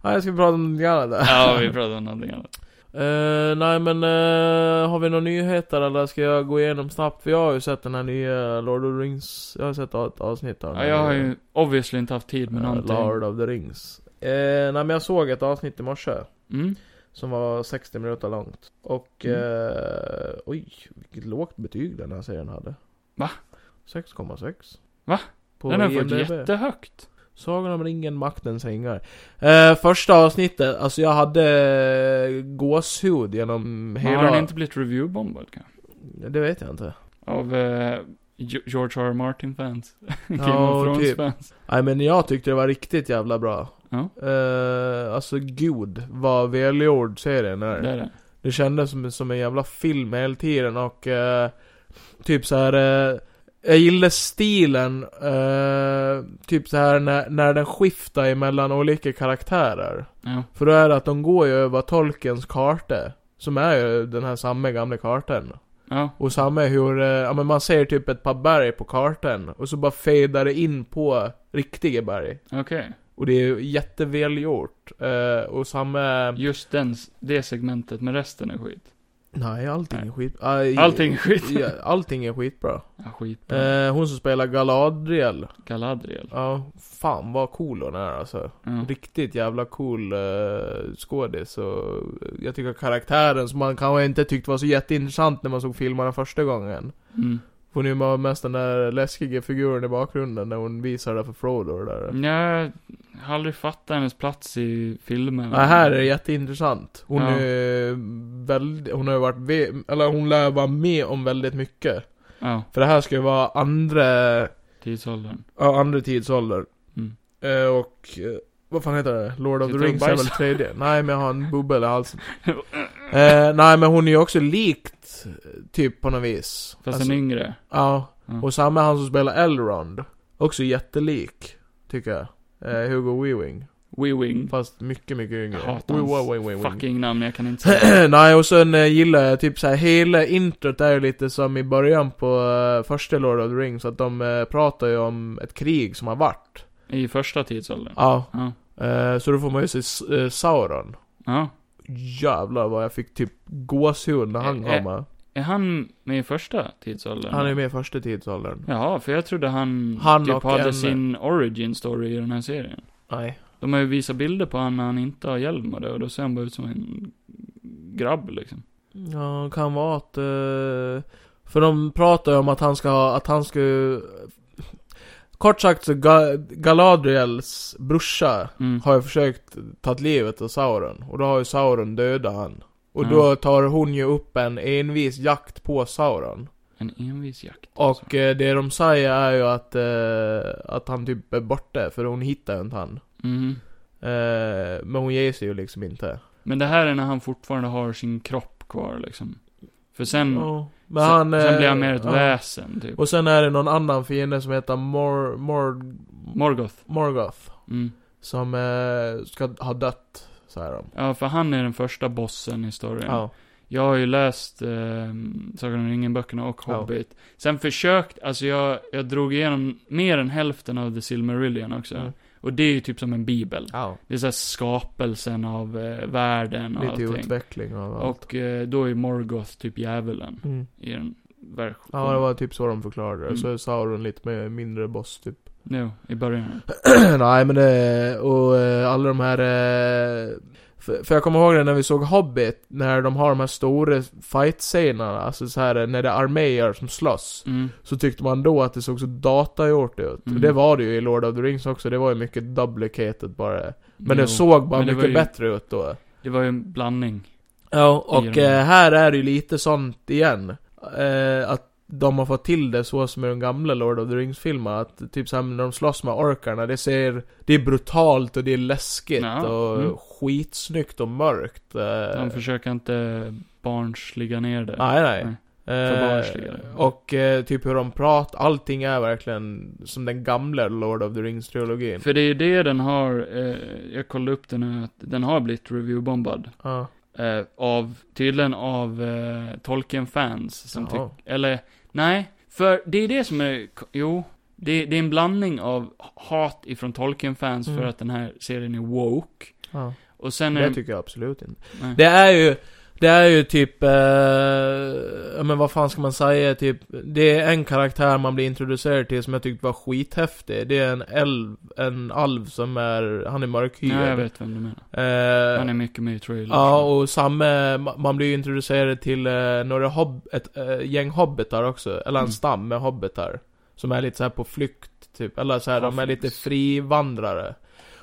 C: Ja, jag ska prata om någonting annat där.
B: Ja, vi pratar om någonting annat.
C: Eh, nej men, eh, har vi några nyheter eller ska jag gå igenom snabbt? För jag har ju sett den här nya Lord of the Rings, jag har sett ett avsnitt av den
B: Ja,
C: här
B: jag har
C: nya,
B: ju obviously inte haft tid med
C: eh,
B: någonting.
C: Lord of the Rings. Eh, nej men jag såg ett avsnitt i morse.
B: Mm.
C: Som var 60 minuter långt. Och,
B: Mm.
C: eh, oj, vilket lågt betyg den här serien hade.
B: Va?
C: 6,6.
B: Va?
C: På
B: Den har fått
C: IMDb.
B: jättehögt.
C: Sagan om ringen, maktens ringar. Eh, första avsnittet, alltså jag hade eh, gåshud genom
B: Men
C: hela...
B: Har den inte blivit reviewbombad kanske?
C: Det vet jag inte.
B: Av eh, Jo- George R. R. Martin-fans? Game
C: Ja,
B: of
C: typ.
B: Thrones-fans?
C: Nej men jag tyckte det var riktigt jävla bra.
B: Ja.
C: Eh, alltså gud vad välgjord serien är.
B: Det är det.
C: Det kändes som, som en jävla film hela tiden och eh, typ så här. Eh, jag gillar stilen, eh, typ så här när, när den skiftar emellan olika karaktärer.
B: Ja.
C: För då är det att de går ju över Tolkiens karta. Som är ju den här samma gamla kartan.
B: Ja.
C: Och samma hur, eh, ja men man ser typ ett par berg på kartan. Och så bara fejdar det in på riktiga berg.
B: Okej.
C: Och det är ju jättevälgjort. Eh, och samma...
B: Just den, s- det segmentet, men resten är skit.
C: Nej, allting är
B: Nej.
C: skit... Aj,
B: Allting är skit.
C: Ja, allting är skitbra.
B: Ja, skit.
C: Eh, hon som spelar Galadriel.
B: Galadriel.
C: Ja, fan vad cool hon är alltså.
B: Ja.
C: Riktigt jävla cool eh, skådis och eh, jag tycker karaktären som man kanske inte tyckte var så jätteintressant när man såg filmerna första gången.
B: Mm.
C: Hon har mest den där läskiga figuren i bakgrunden när hon visar det för Frodo och det
B: Mm.
C: där.
B: Jag har aldrig fattat hennes plats i filmen.
C: Ja, här är det jätteintressant. Hon
B: Ja.
C: är väldigt, hon har ju varit, ve- eller hon lär vara med om väldigt mycket.
B: Ja,
C: För det här ska ju vara andra,
B: tidsåldern.
C: ja, andra tidsålder.
B: Mm.
C: Eh, och, eh, vad fan heter det? Lord of the
B: Sitter du och
C: Rings är väl
B: bajsar?
C: tredje? Nej men jag har en bubbel i halsen. Eh, nej men hon är ju också likt, typ på något vis.
B: Fast
C: Alltså,
B: en yngre.
C: Ja.
B: Ja.
C: Och samma han som spelar Elrond. Också jättelik, tycker jag. Eh, Hugo Weaving.
B: Wee-wing.
C: Fast mycket, mycket yngre.
B: Mm. Jag hatar hans
C: Wee- wee- wee- wee- wee.
B: Fucking namn, jag kan inte säga.
C: Nej, och sen eh, gillar jag typ såhär, hela introt är ju lite som i början på eh, första Lord of the Rings, att de eh, pratar ju om ett krig som har varit.
B: I första tidsåldern.
C: Ja.
B: Ja.
C: eh, så då får man ju se S- eh, Sauron.
B: ja.
C: Jävlar vad jag fick typ gåshud när han
B: Eh, eh.
C: kom här.
B: Är han med i första tidsåldern?
C: Han är med i första tidsåldern.
B: Jaha, för jag trodde han,
C: Han
B: typ
C: och
B: hade
C: en-
B: sin origin story i den här serien.
C: Nej.
B: De har ju visat bilder på han när han inte har hjälm och det, och då ser han bara ut som en grabb liksom.
C: Ja, kan vara att... eh, för de pratar ju om att han ska ha, att han ska... Kort sagt så Ga- Galadriels brorsa
B: Mm.
C: har ju försökt ta livet av Sauron. Och då har ju Sauron dödat han. Och
B: Mm.
C: då tar hon ju upp en envis jakt på Sauron.
B: En envis jakt. alltså.
C: Och eh, det de säger är ju att, eh, att han typ är borta, för hon hittar inte han.
B: Mhm.
C: Eh, men hon ger sig ju liksom inte.
B: Men det här är när han fortfarande har sin kropp kvar liksom. För sen,
C: Ja, men
B: sen,
C: han,
B: sen
C: eh,
B: blir han mer ett
C: ja.
B: väsen typ.
C: Och sen är det någon annan fiende som heter Mor... Mor...
B: Morgoth.
C: Morgoth.
B: Mm.
C: Som eh, ska ha dött, säger de.
B: Ja, för han är den första bossen i storyn.
C: Ja.
B: Jag har ju läst eh, Sagan om ringen-böckerna och
C: Ja.
B: Hobbit. Sen försökt, alltså jag, jag drog igenom mer än hälften av The Silmarillion också.
C: Mm.
B: Och det är ju typ som en bibel.
C: ja.
B: Det är såhär skapelsen av eh, världen och
C: Lite
B: allting.
C: utveckling och allt.
B: Och eh, då är Morgoth typ djävulen
C: Mm.
B: i den versionen.
C: Ja, det var typ så de förklarade det.
B: Mm.
C: Så är Sauron lite mer, mindre boss typ.
B: Jo, i början.
C: Nej men det, och eh, alla de här... eh, För, för jag kommer ihåg det när vi såg Hobbit, när de har de här stora fight-scenerna, alltså så här eh, när det är arméer som slåss.
B: Mm.
C: Så tyckte man då att det såg så datagjort ut.
B: Mm.
C: Och det var det ju i Lord of the Rings också, det var ju mycket duplicated bara. Men
B: Jo.
C: det såg bara
B: men det var
C: mycket
B: ju-
C: bättre ut då.
B: Det var ju en blandning.
C: Ja, och
B: I den.
C: eh, här är det ju lite sånt igen. Eh, att de har fått till det så som i de gamla Lord of the Rings-filmerna. Att typ såhär när de slåss med orkarna, det ser... Det är brutalt och det är läskigt
B: Ja,
C: och
B: mm.
C: skitsnyggt och mörkt. Eh,
B: De försöker inte barnsliga ner det.
C: Nej, nej.
B: Förbarnsliga det.
C: Eh, och eh, typ hur de pratar, allting är verkligen som den gamla Lord of the Rings-trilogin.
B: För det är ju det den har, eh, jag kollade upp den här, att den har blivit reviewbombad.
C: Ja.
B: Eh, av, tydligen av eh, Tolkien-fans som
C: Jaha.
B: tycker, eller nej, för det är det som är, jo, det, det är en blandning av hat ifrån Tolkien-fans
C: Mm.
B: för att den här serien är woke.
C: ja.
B: Och sen är
C: Det tycker jag absolut inte.
B: nej.
C: Det är ju, det är ju typ, eh, ja, men vad fan ska man säga, typ, det är en karaktär man blir introducerad till som jag tyckte var skithäftig. Det är en älv, en alv som är, han är mörkhyad.
B: Ja, jag vet vem du menar.
C: Eh,
B: Han är mycket med i trailers.
C: Ja, och samma, ma- man blir ju introducerad till eh, några hob, ett eh, gäng hobbitar också, eller en
B: Mm.
C: stam med hobbitar. Som är lite så här på flykt, typ, eller så här, de är
B: Halflings.
C: lite frivandrare.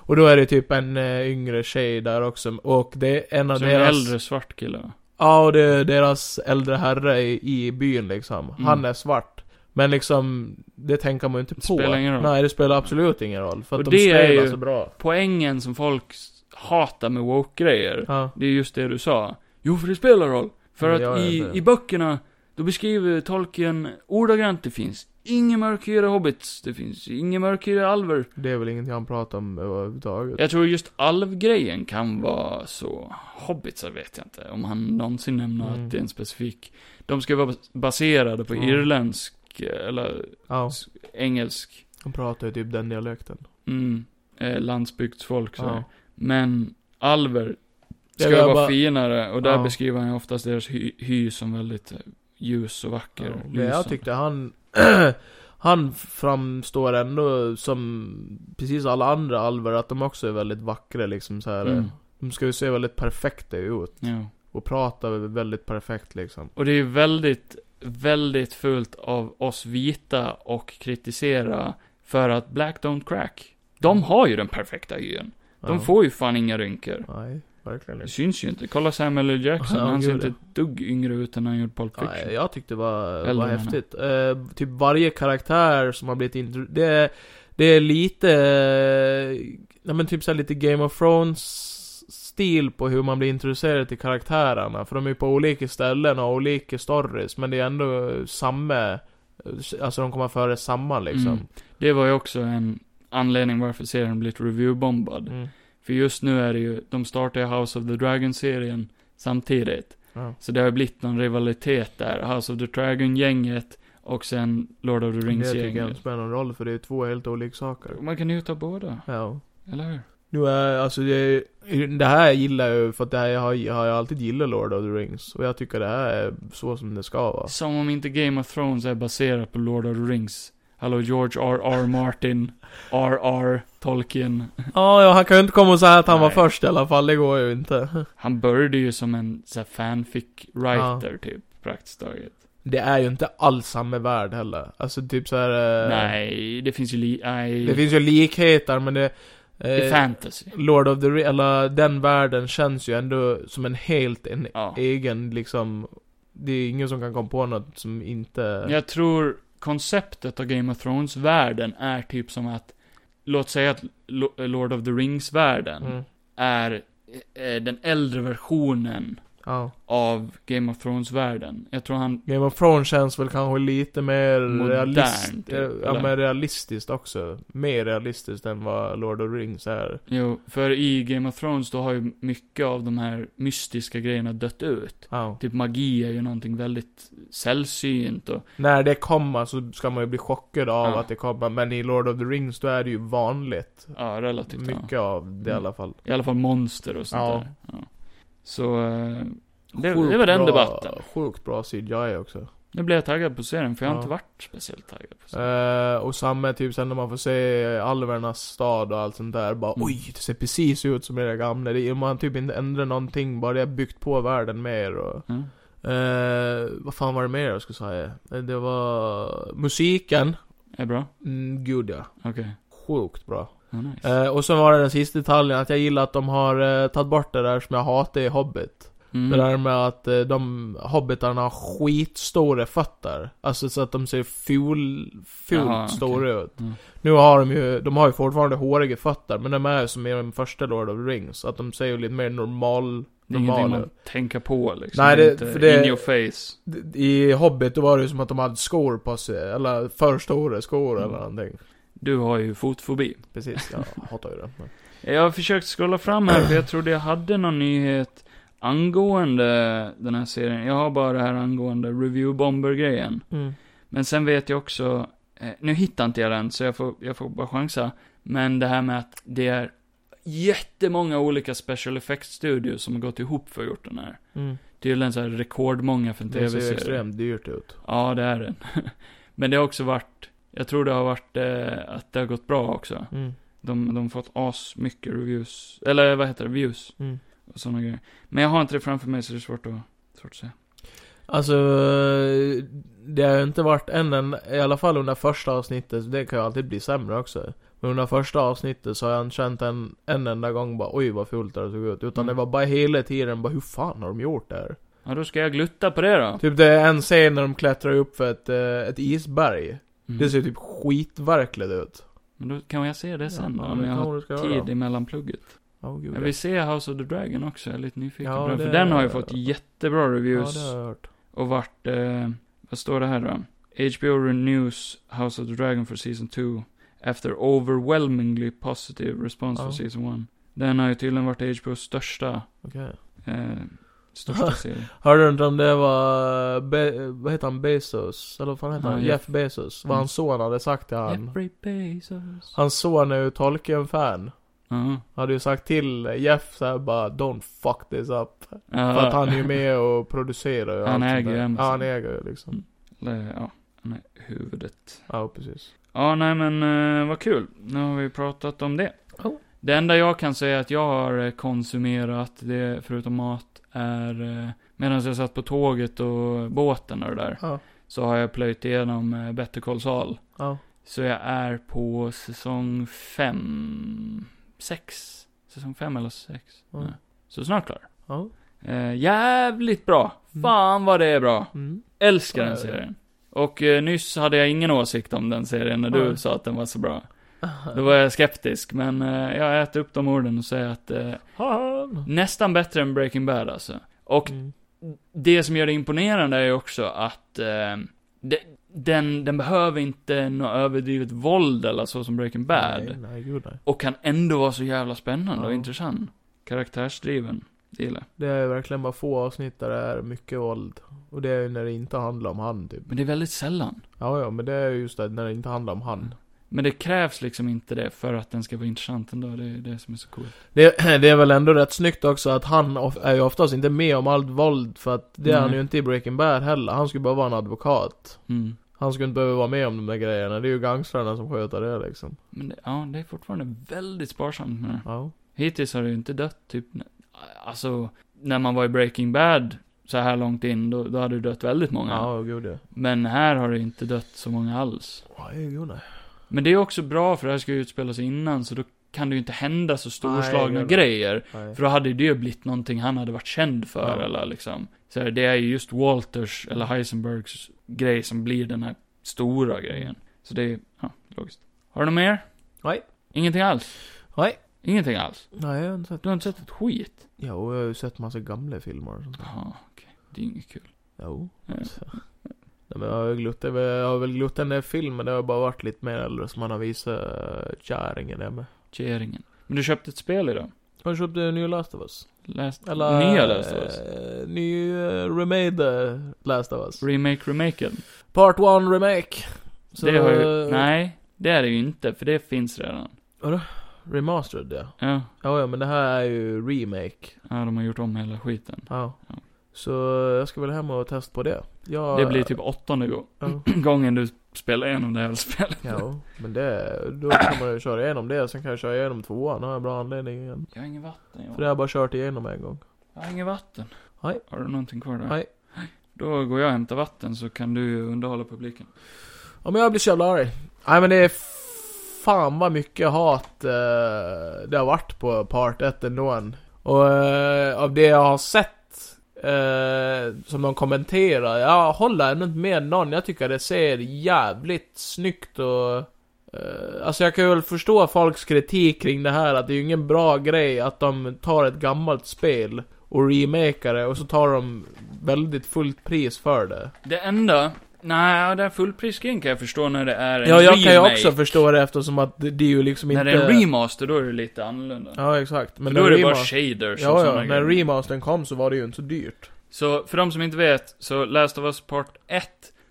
C: Och då är det typ en eh, yngre tjej där också, och det är en av
B: Som en
C: deras...
B: äldre svart kille va?
C: Ja, och det är deras äldre herre i, i byn liksom.
B: Mm.
C: Han är svart. Men liksom, det tänker man ju inte på.
B: Det spelar ingen roll.
C: Nej, det spelar absolut ingen roll. För att
B: Och
C: de
B: det är
C: spelar
B: ju-
C: så bra.
B: Poängen som folk s- hatar med woke-grejer,
C: Ja.
B: det är just det du sa. Jo, för det spelar roll. För
C: Mm,
B: att
C: ja, ja,
B: i,
C: det.
B: i böckerna, då beskriver Tolkien ordagrant det finns inga mörkhyade hobbits, det finns inga mörkhyade alver.
C: Det är väl ingenting han pratar om överhuvudtaget.
B: Jag tror just alvgrejen kan vara så. Hobbitsar vet jag inte, om han någonsin nämner
C: Mm.
B: att det är en specifik. De ska vara bas- baserade på
C: Ja.
B: irländsk, eh, eller
C: Ja,
B: s- engelsk
C: han pratar ju typ den dialekten.
B: Mm, eh, landsbygdsfolk så.
C: Ja.
B: Men alver ska
C: Jag
B: vara
C: bara-
B: finare och där
C: Ja.
B: beskriver han ju oftast deras hy, hy som väldigt eh, ljus och vacker.
C: Ja, men
B: lysande.
C: jag tyckte han... han framstår ändå som, precis alla andra alver, att de också är väldigt vackra liksom så här.
B: Mm,
C: De ska ju se väldigt perfekta ut.
B: ja.
C: Och prata väldigt perfekt liksom.
B: Och det är ju väldigt väldigt fult av oss vita och kritisera för att Black Don't Crack. De har ju den perfekta hyn. De
C: Mm. Ja.
B: får ju fan inga rynkor.
C: Nej, verkligen
B: Det
C: inte.
B: syns ju inte. Kolla Samuel L. Jackson,
C: Ja,
B: han ser
C: gud,
B: inte
C: ja.
B: ett dugg yngre ut än han gjorde Pulp Fiction.
C: Nej, jag tyckte det var,
B: Eller
C: var
B: menar.
C: häftigt. Eh, typ varje karaktär som har blivit intro... Det, är- det är lite... eh, Nej men typ såhär lite Game of Thrones-stil på hur man blir introducerad till karaktärerna. För de är ju på olika ställen och olika stories. Men det är ändå eh, samma... eh, Alltså de kommer före samma liksom.
B: Det var ju också en anledning varför serien blivit reviewbombad.
C: Mm.
B: För just nu är det ju, de startar ju House of the Dragon-serien samtidigt.
C: Ja.
B: Så det har ju blivit någon rivalitet där. House of the Dragon-gänget och sen Lord of
C: Det
B: the
C: tycker jag inte
B: Rings-gänget.
C: spelar någon roll för det är två helt olika saker.
B: Man kan ju ta båda,
C: Ja.
B: eller hur?
C: Nu är, alltså det, det här gillar jag ju för att det här har, har jag alltid gillat Lord of the Rings. Och jag tycker det här är så som det ska vara.
B: Som om inte Game of Thrones är baserat på Lord of the Rings. Hallå George R.R. Martin, R.R. Tolkien.
C: Ja, ja, han kan ju inte komma och säga att han
B: Nej.
C: var först i alla fall, det går ju inte.
B: Han började ju som en så här, fanfic writer typ, praktiskt taget.
C: Det är ju inte alls samma värld heller. Alltså typ så här. eh,
B: Nej, det finns ju li... Nej.
C: Det finns ju likheter men det...
B: det är
C: Eh,
B: fantasy.
C: Lord of the Rings, eller den världen känns ju ändå som en helt en
B: Ja.
C: egen liksom... Det är ingen som kan komma på något som inte...
B: Jag tror konceptet av Game of Thrones-världen är typ som att, låt säga att Lo- Lord of the Rings-världen
C: Mm.
B: är eh, den äldre versionen
C: Ja.
B: av Game of Thrones-världen. Jag tror han,
C: Game of Thrones känns väl kanske lite mer
B: Modern,
C: realist, eh,
B: typ, eller?
C: ja, men realistiskt också. Mer realistiskt än vad Lord of the Rings är.
B: jo, för i Game of Thrones då har ju mycket av de här mystiska grejerna dött ut.
C: Ja.
B: Typ magi är ju någonting väldigt sällsynt och,
C: När det kommer så ska man ju bli chockad av
B: Ja.
C: att det kommer. Men i Lord of the Rings då är det ju vanligt.
B: ja, relativt ja.
C: Mycket av det i alla fall.
B: I alla fall monster och sånt
C: Ja.
B: där. Ja. Så, eh, det, det var den debatten.
C: Sjukt bra CGI också.
B: Nu blev jag taggad på serien, för jag har
C: Ja.
B: inte varit speciellt taggad på serien.
C: Eh, och samma typ sen när man får se alvernas stad och allt sånt där. Bara
B: Mm.
C: oj, det ser precis ut som i det gamla. Det, man har typ inte ändrat någonting. Bara det har byggt på världen mer och...
B: Mm.
C: Eh, vad fan var det mer jag skulle säga? Eh, Det var musiken.
B: Är bra?
C: Mm, gud ja.
B: Okej.
C: Sjukt bra.
B: Ja, nice.
C: Eh, och sen var det den sista detaljen, att jag gillar att de har eh, tagit bort det där som jag hatar i Hobbit.
B: Mm.
C: Det där med att eh, de hobbitarna har skitstora fötter. Alltså så att de ser ful, fult
B: Jaha, okej.
C: stora ut.
B: Mm.
C: Nu har de ju, de har ju fortfarande håriga fötter, men de är ju som i den första Lord of the Rings. Att de ser ju lite mer normal
B: Det är ingenting
C: normala.
B: man tänker på liksom.
C: Nej,
B: det, är
C: det-
B: inte
C: för det-
B: in your face.
C: I Hobbit då var det ju som att de hade skor på sig, eller för stora skor eller någonting.
B: Du har ju fotfobi.
C: Precis, jag hatar ju det. Men...
B: Jag har försökt scrolla fram här, för jag trodde jag hade någon nyhet angående den här serien. Jag har bara det här angående Review Bomber-grejen.
C: Mm,
B: Men sen vet jag också, eh, nu hittar inte jag den, så jag får, jag får bara chansa. Men det här med att det är jättemånga olika special effects-studios som har gått ihop för att gjort den här. Tydligen så här rekordmånga för en
C: mm. Det ser ju
B: tv-serie.
C: extremt dyrt ut.
B: Ja, det är den. Men det har också varit, jag tror det har varit eh, att det har gått bra också.
C: Mm,
B: De, de har fått as mycket reviews, eller vad heter det, views
C: mm.
B: och sådana grejer. Men jag har inte det framför mig så det är svårt att, svårt att säga.
C: Alltså, det har ju inte varit än en, i alla fall under första avsnittet, det kan ju alltid bli sämre också. Men under första avsnittet så har jag inte känt en, en enda gång bara oj vad fult det här såg ut. Utan
B: Mm.
C: det var bara hela tiden bara hur fan har de gjort det här?
B: Ja, då ska jag glutta på det då.
C: Typ det är en scen när de klättrar upp för ett, eh, ett isberg.
B: Mm.
C: Det ser typ skitverkligt ut.
B: Men då kan jag se det sen då,
C: Ja,
B: om
C: det
B: jag har
C: kanske du ska
B: tid
C: göra.
B: emellan plugget.
C: Ja, gud,
B: Jag vill se House of the Dragon också, jag är lite nyfiken
C: Ja,
B: på den. För
C: det-
B: den har ju fått jättebra
C: ja,
B: reviews.
C: det har jag hört.
B: Och vart, eh, vad står det här då? HBO renews House of the Dragon for Season 2 after overwhelmingly positive response for
C: Ja.
B: Season 1. Den har ju tydligen varit HBO's största,
C: Okej.
B: eh, största serie.
C: Hörde du inte om det var, Be- vad heter han, Bezos? Eller vad fan heter
B: Ja,
C: han?
B: Jeff.
C: Jeff, Bezos. Vad
B: Mm.
C: hans son hade sagt till han.
B: Jeffrey Bezos.
C: Hans son är ju Tolkien-fan.
B: Ja.
C: Hade ju sagt till Jeff såhär bara 'Don't fuck this up'
B: Ja.
C: För att han är ju med och producerar och
B: Han
C: allt sånt
B: äger ju
C: där.
B: Amazon. Mm.
C: Ja, han äger ju liksom.
B: Eller, Ja, han är huvudet.
C: Ja, precis.
B: Ja, nej men eh, vad kul. Nu har vi pratat om det.
C: Ja.
B: Det enda jag kan säga att jag har eh, konsumerat, det, förutom mat, är eh, Medan jag satt på tåget och båten och det där.
C: Ja.
B: Så har jag plöjt igenom eh, Better Call Saul.
C: Ja.
B: Så jag är på säsong fem, sex. Säsong fem eller sex.
C: Ja.
B: Nej. Så snart klar.
C: Ja.
B: Eh, jävligt bra.
C: Mm.
B: Fan vad det är bra.
C: Mm.
B: Älskar
C: Ja,
B: den
C: ja, ja.
B: serien. Och eh, nyss hade jag ingen åsikt om den serien när du
C: Nej.
B: sa att den var så bra. Då var jag skeptisk, men eh, jag äter upp de orden och säger att eh,
C: Han.
B: nästan bättre än Breaking Bad alltså. Och
C: Mm.
B: det som gör det imponerande är ju också att eh, de, den, den behöver inte något överdrivet våld eller så som Breaking Bad.
C: Nej, nej, gud nej.
B: Och kan ändå vara så jävla spännande och
C: Ja.
B: intressant. Karaktärsdriven. Det gillar jag.
C: Det är verkligen bara få avsnitt där det är mycket våld. Och det är ju när det inte handlar om han typ.
B: Men det är väldigt sällan.
C: Ja, ja, men det är ju just det, när det inte handlar om han.
B: Men det krävs liksom inte det för att den ska vara intressant ändå. Det är det som är så coolt.
C: Det, det är väl ändå rätt snyggt också att han of, är ju oftast inte med om allt våld, för att det är han
B: Nej.
C: ju inte i Breaking Bad heller. Han skulle bara vara en advokat.
B: Mm.
C: Han skulle inte behöva vara med om de där grejerna. Det är ju gangstrarna som sköter det liksom.
B: Men det, ja, det är fortfarande väldigt sparsamt med det.
C: Ja.
B: Hittills har det ju inte dött typ, n- alltså, när man var i Breaking Bad så här långt in, då, då hade det dött väldigt många.
C: Ja, gud ja.
B: Men här har det inte dött så många alls.
C: Nej, gud nej.
B: Men det är också bra för det här ska ju utspela sig innan, så då kan det ju inte hända så storslagna
C: gud.
B: grejer.
C: nej.
B: För då hade det ju blivit någonting han hade varit känd för,
C: Ja.
B: eller liksom. Så här, det är ju just Walters, eller Heisenbergs grej som blir den här stora grejen. Så det är, ja, logiskt. Har du något mer?
C: Nej.
B: Ingenting alls?
C: Nej.
B: Ingenting alls?
C: Nej, jag har inte sett.
B: Du har inte sett ett skit?
C: Ja, och jag har ju sett massa gamla filmer och sånt.
B: Jaha, okej. Det är inget kul.
C: Jo.
B: Ja.
C: Nej, men jag har ju glott, jag har väl glott den där filmen, det har bara varit lite mer äldre som man har visat eh, kärringen där med.
B: Keringen. Men du köpte ett spel idag?
C: Har du köpt en ny Last of Us?
B: Läst,
C: Eller?
B: nya Last of Us?
C: eh, ny eh, remade eh, Last of Us.
B: Remake, remaken?
C: Part 1 remake. Så,
B: det har ju,
C: eh,
B: nej, det är det ju inte, för det finns redan.
C: eh, Remastered ja.
B: Ja,
C: Ja, ja, men det här är ju remake.
B: ja de har gjort om hela skiten.
C: Ja.
B: Ja.
C: Så eh, jag ska väl hem och testa på det. Jag,
B: Det blir typ åttonde gå-
C: Ja.
B: gången du spelar igenom det här spelet.
C: eh, Ja, men det, då kan man ju köra igenom det, sen kan jag köra igenom tvåan, har jag bra anledning igen.
B: Jag har inget vatten,
C: För det har
B: jag.
C: jag bara kört igenom en gång.
B: Jag har inget vatten.
C: Nej.
B: Har du någonting kvar där?
C: Nej.
B: Då går jag och hämtar vatten så kan du underhålla publiken.
C: Ja men jag blir så jävla arg. Nej men det är fan vad mycket hat eh, det har varit på part 1 ändå. än. Och eh, av det jag har sett eh, som de kommenterar, jag håller ändå inte med någon. Jag tycker det ser jävligt snyggt och... Eh, alltså jag kan väl förstå folks kritik kring det här att det är ju ingen bra grej att de tar ett gammalt spel och remakar det och så tar de väldigt fullt pris för det.
B: Det enda, nej, det här fullprisgrejen kan jag förstå när det är en
C: Ja, jag
B: remake.
C: kan ju också förstå det eftersom att det, det är ju liksom
B: När
C: inte...
B: det är en remaster, då är det lite annorlunda.
C: Ja, exakt. Men
B: Men då
C: när
B: är det bara
C: rema-
B: shaders och
C: Ja,
B: såna
C: ja. När
B: grejer.
C: remastern kom så var det ju inte så dyrt.
B: Så för de som inte vet, så Last of Us Part 1,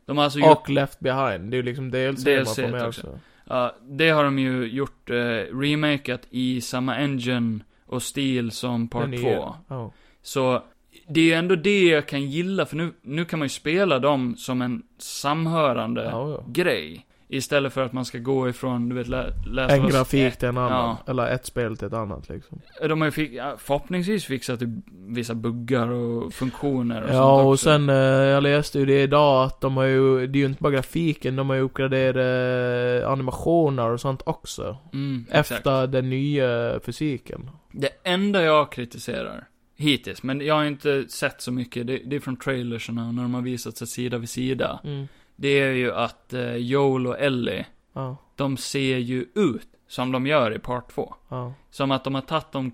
B: de har alltså gjort,
C: Och Left Behind, det är ju liksom DLC, man
B: DLC
C: får med
B: också.
C: också.
B: ja, det har de ju gjort, eh, remakat i samma engine och stil som
C: Den
B: Part
C: är
B: 2.
C: ju- Ja.
B: Så det är ju ändå det jag kan gilla, för nu, nu kan man ju spela dem som en samhörande
C: Ja, ja.
B: grej. Istället för att man ska gå ifrån, du vet, Lä- Last of
C: En
B: Us
C: grafik till en annan.
B: Ja.
C: Eller ett spel till ett annat liksom.
B: De har ju fi- ja, förhoppningsvis fixat typ vissa buggar och funktioner och sånt
C: Ja, och
B: också.
C: sen, eh, jag läste ju det idag att de har ju, det är ju inte bara grafiken, de har ju uppgraderat eh, animationer och sånt också.
B: Mm, exakt.
C: Efter den nya fysiken.
B: Det enda jag kritiserar, hittills, men jag har inte sett så mycket, det, det är från trailerserna och när de har visat sig sida vid sida.
C: Mm.
B: Det är ju att eh, Joel och Ellie,
C: Ja,
B: de ser ju ut som de gör i Part 2.
C: ja.
B: Som att de har tagit de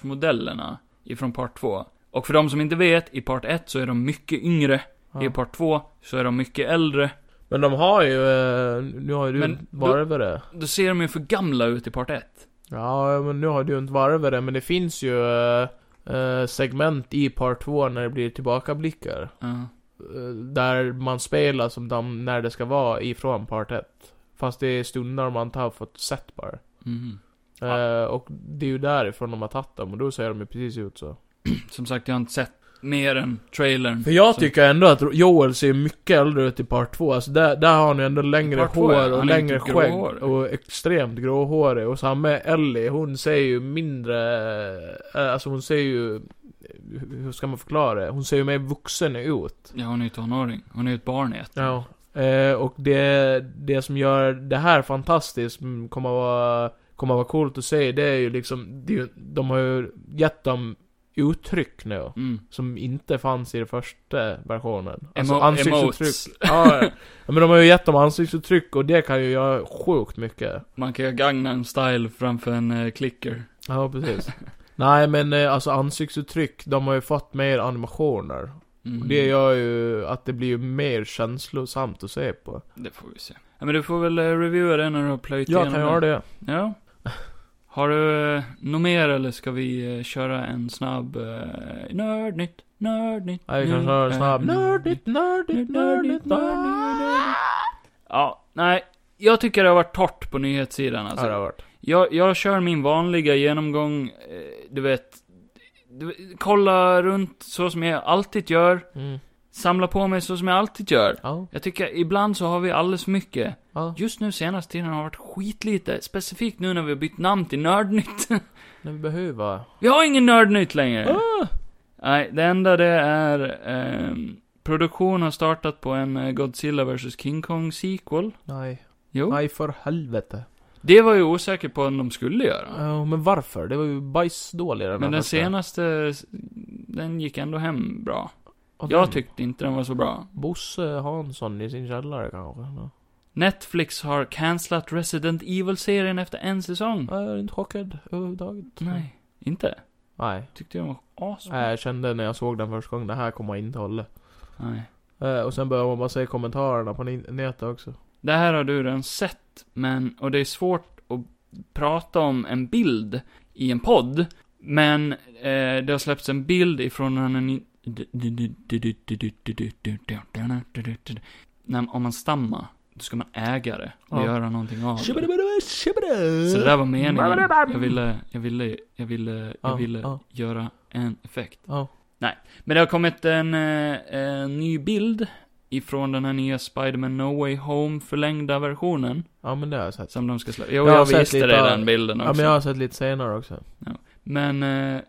B: karaktärsmodellerna ifrån Part 2. Och för de som inte vet, i Part 1 så är de mycket yngre,
C: ja.
B: i Part 2 så är de mycket äldre.
C: Men de har ju, eh, nu har ju du
B: Men
C: inte
B: då-
C: varvat det.
B: Då ser de ju för gamla ut i Part 1.
C: Ja, men nu har du ju inte varvat det, men det finns ju eh, eh, segment i part 2 när det blir tillbakablickar.
B: Ja.
C: Eh, där man spelar som de, när det ska vara ifrån part 1. Fast det är stunder man inte har fått sett bara.
B: Mhm.
C: Eh, och det är ju därifrån de har tagit dem, och då ser de ju precis ut så.
B: Som sagt, jag har inte sett mer än trailern.
C: För jag
B: Så-
C: tycker ändå att Joel ser mycket äldre ut i part 2. Alltså där, där har han ju ändå längre
B: Part två, ja.
C: hår och
B: Han är ju
C: längre
B: typ
C: skägg.
B: gråhårig.
C: Och extremt gråhårig. Och samma med Ellie, hon ser ju mindre... eh, Alltså hon ser ju hur ska man förklara det? Hon ser ju mer vuxen ut.
B: Ja, hon är ju tonåring. Hon är ju ett barn i ett.
C: Ja. Eh, och det, det som gör det här fantastiskt, mm, kommer att vara, kommer att vara coolt att se, det är ju liksom, det är ju, de har ju gett dem uttryck nu.
B: Mm.
C: Som inte fanns i den första versionen. Alltså,
B: Emo- emotes.
C: Ja, ja. Ja, men de har ju gett dem ansiktsuttryck och det kan ju göra sjukt mycket.
B: Man kan göra Gangnam style framför en eh, clicker.
C: Ja, precis. Nej, men eh, alltså ansiktsuttryck, de har ju fått mer animationer.
B: Mm.
C: Och det gör ju att det blir ju mer känslosamt att se på.
B: Det får vi se. Ja, men du får väl eh, reviewa den när du har plöjt
C: Jag
B: igenom
C: kan
B: den.
C: göra det.
B: Ja. Har du eh, något mer eller ska vi eh, köra en snabb eh, nördnytt, nördnytt?
C: Nej, vi kan köra en
B: Mm.
C: snabb.
B: nördnytt.
C: Nördigt, nördigt, nördigt, nördigt.
B: Ja, nej. Jag tycker det har varit torrt på nyhetssidan
C: Ja, det har
B: alltså.
C: varit.
B: Jag, jag kör min vanliga genomgång, eh, du vet. Du, vet, kolla runt så som jag alltid gör.
C: Mm.
B: Samla på mig så som jag alltid gör.
C: Ja,
B: Jag tycker ibland så har vi alldeles för mycket.
C: ja.
B: Just nu senaste tiden har det varit skitlite. Specifikt nu när vi har bytt namn till Nördnytt.
C: När vi behöver.
B: Vi har ingen Nördnytt längre.
C: Ah!
B: Nej, det enda det är... ehm, produktion har startat på en eh, Godzilla vs King Kong sequel.
C: Nej.
B: Jo.
C: Nej, för helvete.
B: Det var ju osäker på om de skulle göra.
C: Ja, men varför? Det var ju bajsdålig den
B: Men
C: här
B: den
C: första.
B: senaste, den gick ändå hem bra.
C: Och
B: Jag
C: den-
B: tyckte inte den var så bra.
C: Bosse Hansson i sin källare kanske?
B: Mm.
C: Ja.
B: Netflix har cancelat Resident Evil-serien efter en säsong.
C: Jag är inte chockad överhuvudtaget.
B: Nej, inte?
C: Nej.
B: Tyckte jag var asbra.
C: Nej, Jag kände när jag såg den första gången, det här kommer jag inte hålla.
B: Nej.
C: Eh, Och sen började man bara se kommentarerna på ni- nätet också.
B: Det här har du redan sett, men, och det är svårt att prata om en bild i en podd, men eh, det har släppts en bild ifrån en... När, om man stammar, då ska man äga det och
C: Ja.
B: göra någonting av det. Så det
C: Sådär.
B: där var meningen. Jag ville, jag ville, jag ville, jag
C: Ja,
B: ville
C: ja.
B: göra en effekt.
C: Ja.
B: Men det har kommit en, eh, en ny bild ifrån den här nya Spider-Man No Way Home förlängda versionen.
C: ja, men det har jag sett.
B: Som de ska släppa.
C: Jag
B: Jo,
C: har
B: jag,
C: sett
B: visste
C: lite
B: det,
C: av-
B: den bilden
C: Ja,
B: också.
C: men jag har sett lite senare också.
B: men, eh,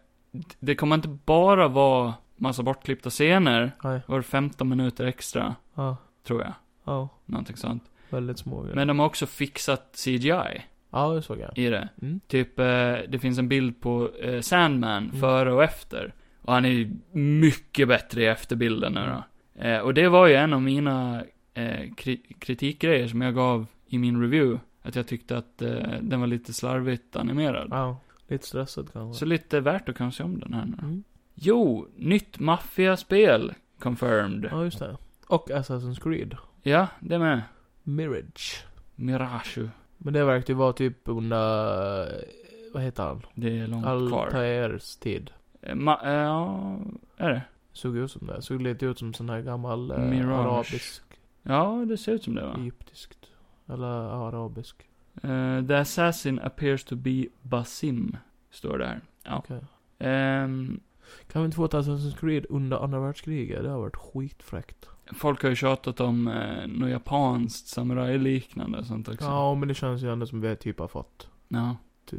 B: det kommer inte bara vara massa bortklippta scener.
C: Nej.
B: Var 15 minuter extra,
C: Ja,
B: tror jag.
C: ja.
B: Någonting sånt.
C: Väldigt små grejer.
B: Men de har också fixat CGI
C: Ja, det såg jag.
B: i det.
C: Mm.
B: Typ, eh, det finns en bild på eh, Sandman,
C: Mm.
B: före och efter. Och han är ju mycket bättre i efterbilden nu då. Eh, och det var ju en av mina eh, kri- kritikgrejer som jag gav i min review. Att jag tyckte att eh, den var lite slarvigt animerad.
C: Ja. Lite stressad kanske.
B: Så lite värt att kunna se om den här nu.
C: Mm.
B: Jo, nytt maffiaspel confirmed.
C: Ja, just det. Och Assassin's Creed.
B: Ja, det med.
C: Mirage.
B: Mirage.
C: Men det verkar ju vara typ under... Vad heter han?
B: Det är långt kvar.
C: Altairs tid.
B: Eh, Ma- eh, ja, är det?
C: Såg ut som det. Såg lite ut som sån här gammal eh,
B: Mirage.
C: arabisk,
B: Ja, det ser ut som det va?
C: egyptiskt. Eller arabisk.
B: Eh, the assassin appears to be Basim, står det här. Ja.
C: Okej.
B: Ehm,
C: Kan vi inte få ett Assassin's Creed under andra världskriget? Det har varit skitfräckt.
B: folk har ju tjatat om uh, något japanskt samurajliknande och sånt också.
C: Ja, men det känns ju ändå som vi typ har fått.
B: Ja.
C: eh,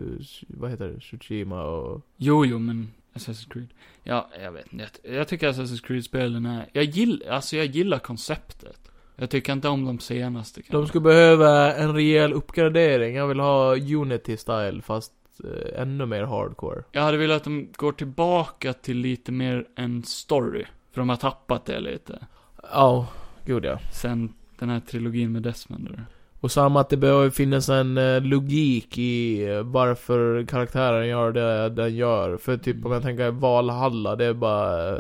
C: Vad heter det? Tsushima och...
B: Jo, jo, men Assassin's Creed. Ja, jag vet inte. Jag- Jag tycker Assassin's Creed-spelen är... Jag gillar, alltså jag gillar konceptet. Jag tycker inte om de senaste kanske.
C: De skulle behöva en rejäl uppgradering. Jag vill ha Unity-style fast eh, ännu mer hardcore.
B: Jag hade velat att de går tillbaka till lite mer en story. För de har tappat det lite.
C: Ja, gud ja.
B: Sen den här trilogin med Desmond. eller?
C: Och samma att det behöver finnas en eh, logik i eh, varför karaktären gör det den gör. För typ om jag tänker Valhalla, det är bara... eh,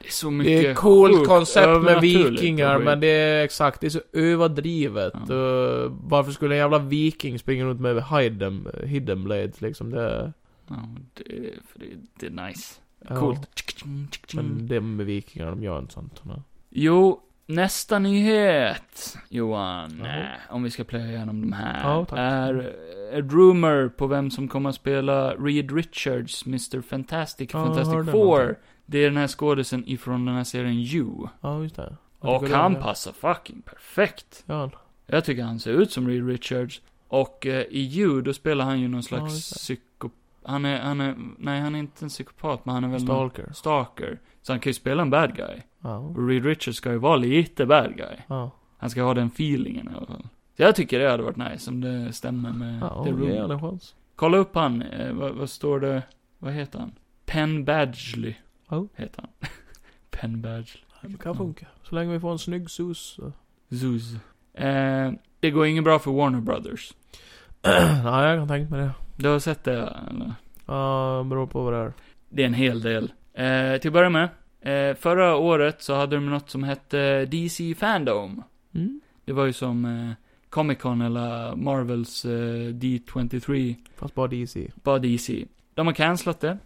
B: Det är så mycket
C: Det är coolt
B: sjukt
C: koncept med
B: övernaturligt och
C: vikingar,
B: skit.
C: men det är exakt, det är så överdrivet.
B: Ja.
C: Eh, varför skulle en jävla viking springa runt med hidden, hidden blades liksom? Det...
B: Ja, det, för det, det är nice.
C: ja. Mm.
B: Coolt. Mm.
C: Men det med vikingar, de gör inte sånt. Nej.
B: Jo, nästa nyhet, Johan.
C: Jaha.
B: Om vi ska plöja igenom de här.
C: Ja, tack.
B: Är en rumor på vem som kommer att spela Reed Richards, Mr. Fantastic, i
C: Ja, jag hörde
B: Fantastic Four.
C: någonting.
B: Det är den här skådisen ifrån den här serien You.
C: Ja, just det. Vad
B: Och
C: tycker du om
B: han
C: det?
B: passar fucking perfekt.
C: Ja,
B: Jag tycker han ser ut som Reed Richards. Och eh, i You, då spelar han ju någon
C: Ja,
B: slags
C: just det.
B: psykopat Han är, han är, nej han är inte en psykopat, men han är väl någon
C: Stalker.
B: stalker. Så han kan ju spela en bad guy.
C: Ja.
B: Och Reed Richards ska ju vara lite bad guy.
C: Ja.
B: Han ska ha den feelingen i alla fall. Så jag tycker det hade varit nice om det stämmer med
C: Ja,
B: The
C: det
B: Room.
C: är en chans.
B: Kolla upp han, eh, vad, vad står det, vad heter han? Penn Badgley.
C: Ja.
B: Heter han. Penn Badgley.
C: Det kan funka. Så länge vi får en snygg sus. så-
B: Zeus. Eh, det går inget bra för Warner Brothers.
C: Nej, jag kan tänka mig det.
B: Du har sett det, eller?
C: Ja, det beror på vad det är.
B: Det är en hel del. Eh, till att börja med, eh, förra året så hade de något som hette DC Fandom.
C: Mm.
B: Det var ju som eh, Comic Con eller Marvels eh, D23,
C: Fast bara DC.
B: bara DC. De har cancelat det.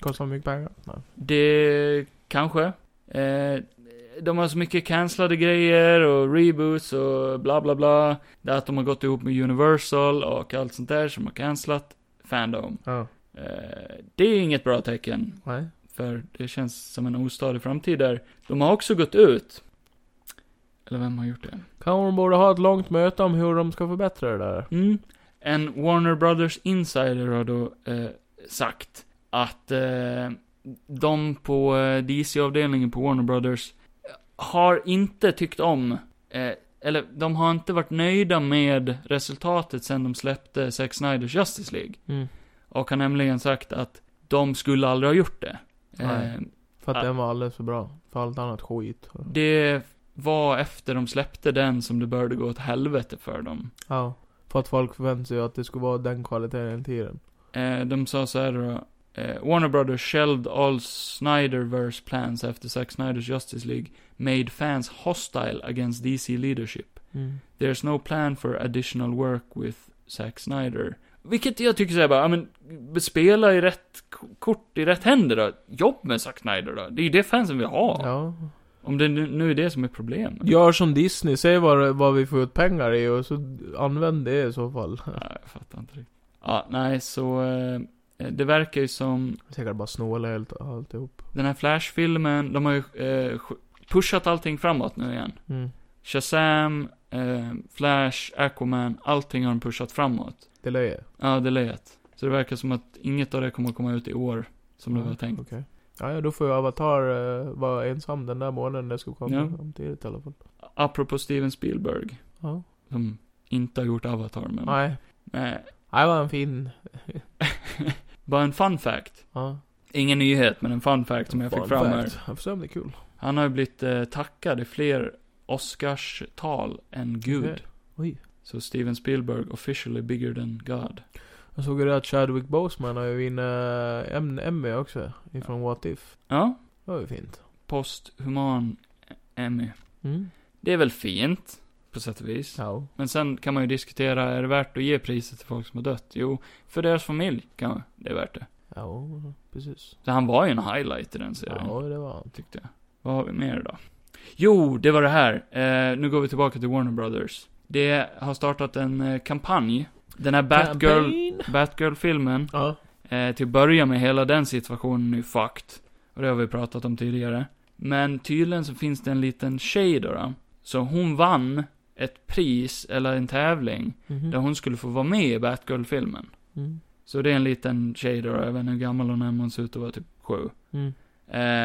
C: Kostar mycket pengar. Nej.
B: Det kanske. Eh, de har så mycket cancellade grejer och reboots och bla bla bla. Det är att de har gått ihop med Universal och allt sånt där som har cancellat Fandom.
C: Ja.
B: Eh, det är inget bra tecken,
C: Nej.
B: för det känns som en ostadig framtid där. De har också gått ut. Eller vem har gjort det?
C: Kan de borde ha ett långt möte om hur de ska förbättra det där.
B: Mm. En Warner Brothers insider har då eh, sagt att eh, de på eh, DC-avdelningen på Warner Brothers eh, har inte tyckt om, eh, eller de har inte varit nöjda med resultatet sen de släppte Zack Snyders Justice League.
C: Mm.
B: Och har nämligen sagt att de skulle aldrig ha gjort det.
C: Nej.
B: Eh,
C: För att
B: Ja.
C: den var alldeles för bra. För allt annat skit.
B: det var efter de släppte den som det började gå åt helvete för dem.
C: Ja. För att folk förväntade sig att det skulle vara den kvaliteten hela tiden.
B: Eh, de sa så här då. Eh, Warner Brothers shelved all Snyderverse plans after Zack Snyder's Justice League made fans hostile against DC leadership.
C: Mm.
B: There's no plan for additional work with Zack Snyder. Vilket jag tycker såhär bara, ja men, spela i rätt k- kort, i rätt händer då. Jobb med Zack Snyder då. Det är ju det fansen vill ha.
C: Ja.
B: Om det nu nu är det som är problemet.
C: Gör som Disney, säg vad, vad vi får ut pengar i och så använd det i så fall.
B: Nej, jag fattar inte riktigt. Ja, nej, så eh, det verkar ju som
C: Säkert bara snåla helt alltihop.
B: Den här Flash-filmen, de har ju eh, sk- pushat allting framåt nu igen.
C: Mm.
B: Shazam, eh, Flash, Aquaman, allting har de pushat framåt.
C: Det löjer.
B: Ja, det lät. Så det verkar som att inget av det kommer att komma ut i år, som det var
C: Mm,
B: tänkt.
C: Okej. Ja, ja, då får ju Avatar eh, vara ensam den där månaden det skulle komma.
B: Ja.
C: Samtidigt i alla fall.
B: Apropå Steven Spielberg,
C: Ja.
B: som inte har gjort Avatar, men...
C: Nej.
B: Nej.
C: Nej, var en fin...
B: Bara en fun fact.
C: Ja.
B: Ingen nyhet, men en fun fact som jag fick
C: Fun
B: fram
C: fact.
B: här.
C: Jag får se om det är kul.
B: Han har ju blivit eh, tackad i fler Oscars-tal än Gud.
C: Okej. Oj.
B: Så Steven Spielberg officially bigger than God.
C: Jag såg ju det att Chadwick Boseman har ju vunnit eh, en Emmy också. Ifrån What If.
B: Ja,
C: Det var ju fint.
B: posthuman Emmy.
C: Mm.
B: Det är väl fint, på sätt och vis.
C: Ja.
B: Men sen kan man ju diskutera, är det värt att ge priset till folk som har dött? Jo, för deras familj kan det är värt det.
C: Ja, precis.
B: Så han var ju en highlight i den serien,
C: Ja, det var han.
B: tyckte jag. Vad har vi mer då? Jo, det var det här. Eh, nu går vi tillbaka till Warner Brothers. Det har startat en eh, kampanj. Den här Batgirl,
C: Campaign.
B: Batgirl-filmen,
C: Ja.
B: Eh, till att börja med, hela den situationen är ju fucked. Och det har vi pratat om tidigare. Men tydligen så finns det en liten tjej då, då Så hon vann ett pris, eller en tävling,
C: Mhm.
B: där hon skulle få vara med i Batgirl-filmen.
C: Mm.
B: Så det är en liten tjej då, jag vet inte hur gammal hon är, men hon ser ut att vara typ sju.
C: Mm.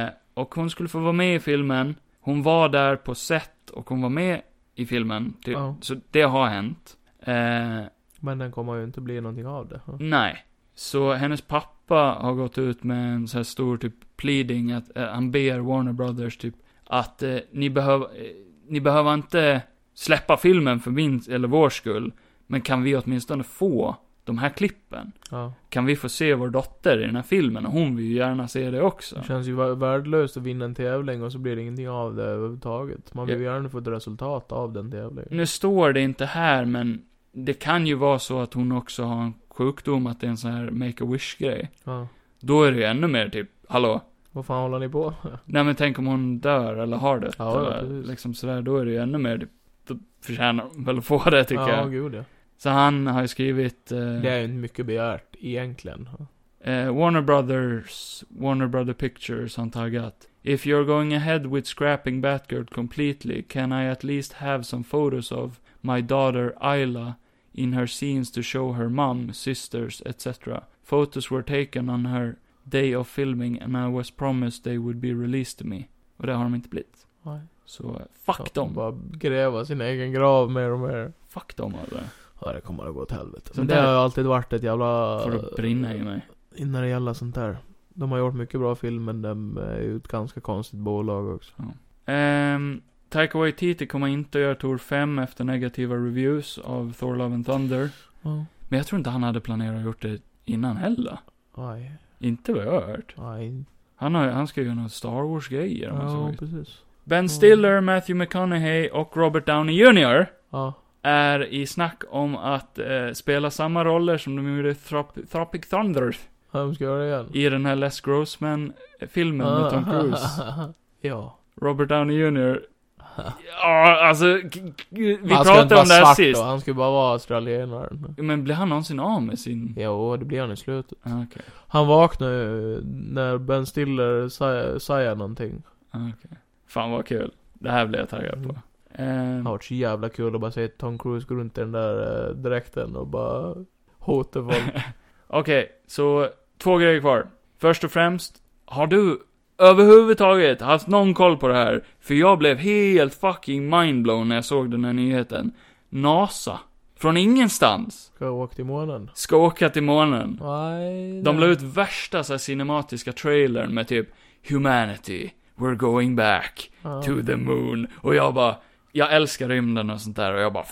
B: Eh, och hon skulle få vara med i filmen. Hon var där på set och hon var med i filmen. Det,
C: Ja.
B: Så det har hänt. Eh,
C: Men den kommer ju inte bli någonting av det. Ja.
B: Nej. Så hennes pappa har gått ut med en så här stor typ pleading att eh, han ber Warner Brothers typ att eh, ni behöver, eh, ni behöver inte släppa filmen för min eller vår skull. Men kan vi åtminstone få de här klippen?
C: ja.
B: Kan vi få se vår dotter i den här filmen? Och hon vill ju gärna se det också.
C: Det känns ju vär- värdelöst att vinna en tävling och så blir det ingenting av det överhuvudtaget. Man vill ju gärna få ett resultat av den tävlingen.
B: Nu står det inte här, men det kan ju vara så att hon också har en sjukdom, att det är en sån här make-a-wish-grej.
C: Ja.
B: Då är det ju ännu mer typ, hallå,
C: Vad fan håller ni på?
B: Nej men tänk om hon dör eller har det.
C: Ja, ja,
B: eller,
C: precis.
B: liksom sådär, då är det ju ännu mer, då förtjänar hon väl att få det tycker
C: ja,
B: jag.
C: gud ja.
B: Så han har ju skrivit, eh,
C: Det är ju inte mycket begärt, egentligen.
B: eh, Warner Brothers, Warner Brother Pictures har han taggat. If you're going ahead with scrapping Batgirl completely, can I at least have some photos of my daughter Isla in her scenes to show her mom, sisters, etc. Photos were taken on her day of filming and I was promised they would be released to me. Och det har de inte blivit.
C: Nej.
B: Så eh,
C: De
B: fuck dem.
C: bara gräva sin egen grav mer och mer.
B: Fuck dem alltså.
C: Ja, det kommer att gå åt helvete.
B: Sånt
C: Men det
B: där-
C: har ju alltid varit ett jävla...
B: Får det brinna i mig.
C: När det gäller sånt där. De har gjort mycket bra filmer, men de är ju ett ganska konstigt bolag också.
B: Um, Taika Waititi kommer inte att göra Tor 5 efter negativa reviews av Thor Love and Thunder.
C: Ja.
B: Men jag tror inte han hade planerat att gjort det innan heller.
C: Aj,
B: Inte vad jag har hört.
C: aj.
B: Han, har, han ska göra några Star Wars-grejer. om jag såg
C: Ja,
B: rätt.
C: precis.
B: ben Stiller, Matthew McConaughey och Robert Downey Jr.
C: Ja.
B: är i snack om att eh, spela samma roller som de gjorde i Trop- Tropic Thunder
C: Vem ska göra det igen?
B: i den här Les Grossman-filmen med Tom Cruise.
C: Ah. ja.
B: Robert Downey Jr. Ja, alltså, k- k- vi
C: han ska inte
B: pratade
C: vara
B: om det här
C: svart
B: sist. Mm.
C: Då. Han ska bara vara australienaren.
B: Men blir han någonsin av med sin...
C: Jo, det blir han i slutet.
B: Ah, Okej,
C: Han vaknar ju eh, när Ben Stiller sa- säger någonting.
B: ah, okej. Fan vad kul. Det här blir jag taggad på.
C: Det
B: Ehm,
C: har varit så jävla kul att bara se Tom Cruise gå runt i den där eh, dräkten och bara hota folk.
B: Okej, så två grejer kvar. Först och främst, har du överhuvudtaget haft någon koll på det här? För jag blev helt fucking mindblown när jag såg den här nyheten. NASA, från ingenstans,
C: Ska jag åka till månen?
B: ska åka till månen.
C: Nej.
B: De
C: nej.
B: la ut värsta så här, cinematiska trailern med typ Humanity, we're going back
C: Ja.
B: to the moon. Och jag bara, jag älskar rymden och sånt där och jag bara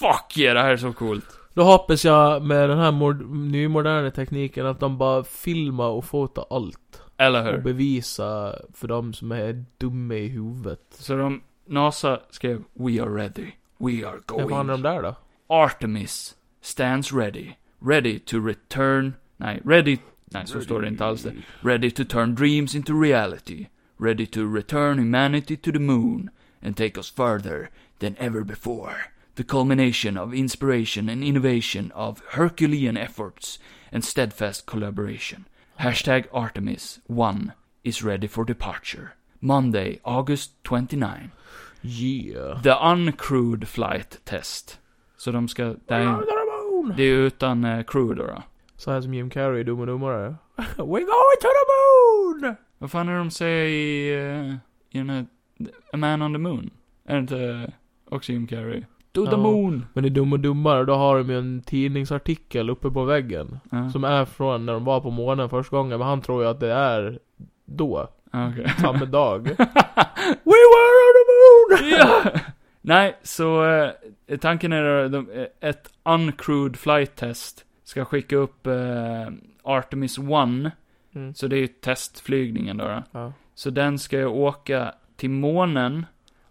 B: Fuck yeah, det här är så coolt.
C: Då hoppas jag med den här mod- nymoderna tekniken att de bara filmar och fotar allt.
B: Eller
C: Och
B: hur?
C: bevisar för de som är dumma i huvudet.
B: Så de, NASA skrev We are ready. We are
C: Vad fan är
B: going.
C: de där då?
B: Artemis stands ready. Ready to return. Nej, ready. Nej, så står det inte alls det. Ready to turn dreams into reality. Ready to return humanity to the moon. And take us further than ever before. The culmination of inspiration and innovation of Herculean efforts and steadfast collaboration. Hashtag Artemis 1 is ready for departure. Monday, August 29.
C: Yeah.
B: The uncrewed flight test. Så de ska... Det är, det är utan eh, crew då, då.
C: Så här som Jim Carrey i Dum och Dummare. We're going to the moon!
B: Vad fan är det de säger i, eh, i den här... A Man on the Moon? Är det inte eh, också Jim Carrey? To the
C: Ja.
B: moon!
C: Men i Dum och Dummare, då har de ju en tidningsartikel uppe på väggen.
B: Ja,
C: Som är från när de var på månen första gången, men han tror ju att det är då.
B: Ah, okej.
C: Samma dag. We were on the moon!
B: ja! Nej, så eh, tanken är att de, eh, ett uncrewed flight test ska skicka upp eh, Artemis 1.
C: Mm.
B: Så det är ju testflygningen då. då.
C: Ja.
B: Så den ska ju åka till månen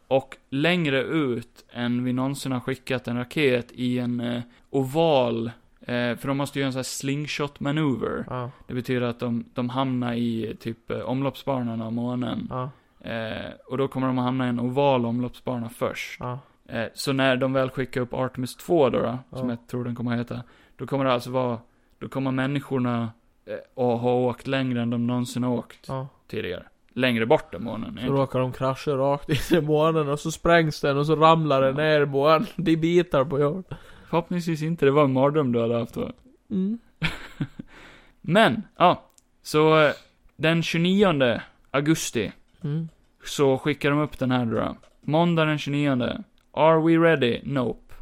B: och längre ut än vi någonsin har skickat en raket i en eh, oval, eh, för de måste göra en sån här slingshot maneuver.
C: Ja.
B: Det betyder att de, de hamnar i eh, typ eh, omloppsbanan av månen.
C: Ja.
B: Eh, och då kommer de att hamna i en oval omloppsbana först.
C: Ja.
B: Eh, så när de väl skickar upp Artemis 2 då, då som
C: Ja.
B: jag tror den kommer att heta, då kommer det alltså vara, då kommer människorna eh, att ha åkt längre än de någonsin har åkt
C: ja.
B: tidigare. Längre bort än månen.
C: Så
B: egentligen.
C: råkar de krascha rakt in i månen och så sprängs den och så ramlar den ner i månen. Det är bitar på jorden.
B: Förhoppningsvis inte, det var en mardröm du hade haft då.
C: Mm.
B: Men, ja. Så eh, den 29 augusti
C: Mm.
B: så skickar de upp den här då. Måndag den 29. Are we ready? Nope.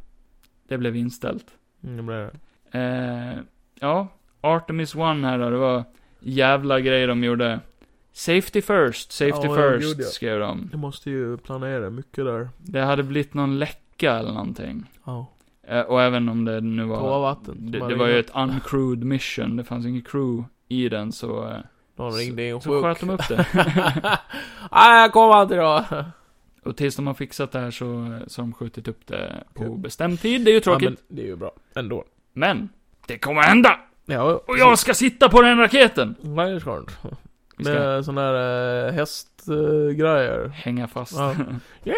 B: Det blev inställt.
C: Mm, det blir det.
B: Eh, ja, Artemis 1 här då, det var jävla grejer de gjorde. Safety first, safety
C: Ja, jag
B: first,
C: gjorde det.
B: skrev de.
C: Jag måste ju planera mycket där.
B: Det hade blivit någon läcka eller någonting.
C: Ja.
B: Eh, och även om det nu var...
C: Prova vatten.
B: Det,
C: Man
B: det var ju
C: ringer.
B: ett uncrewed mission, det fanns ingen crew i den så... eh,
C: Någon ringde in
B: Så sköt de upp det.
C: Nej, jag kommer inte idag.
B: Och tills de har fixat det här så, eh, så har de skjutit upp det på bestämd tid, det är ju
C: Ja,
B: tråkigt.
C: men det är ju bra. Ändå.
B: men... det kommer hända!
C: Ja,
B: Och jag ska sitta på den raketen!
C: Nej, det ska du inte.
B: Vi ska
C: Med sån här eh, hästgrejer.
B: hänga fast.
C: Ja.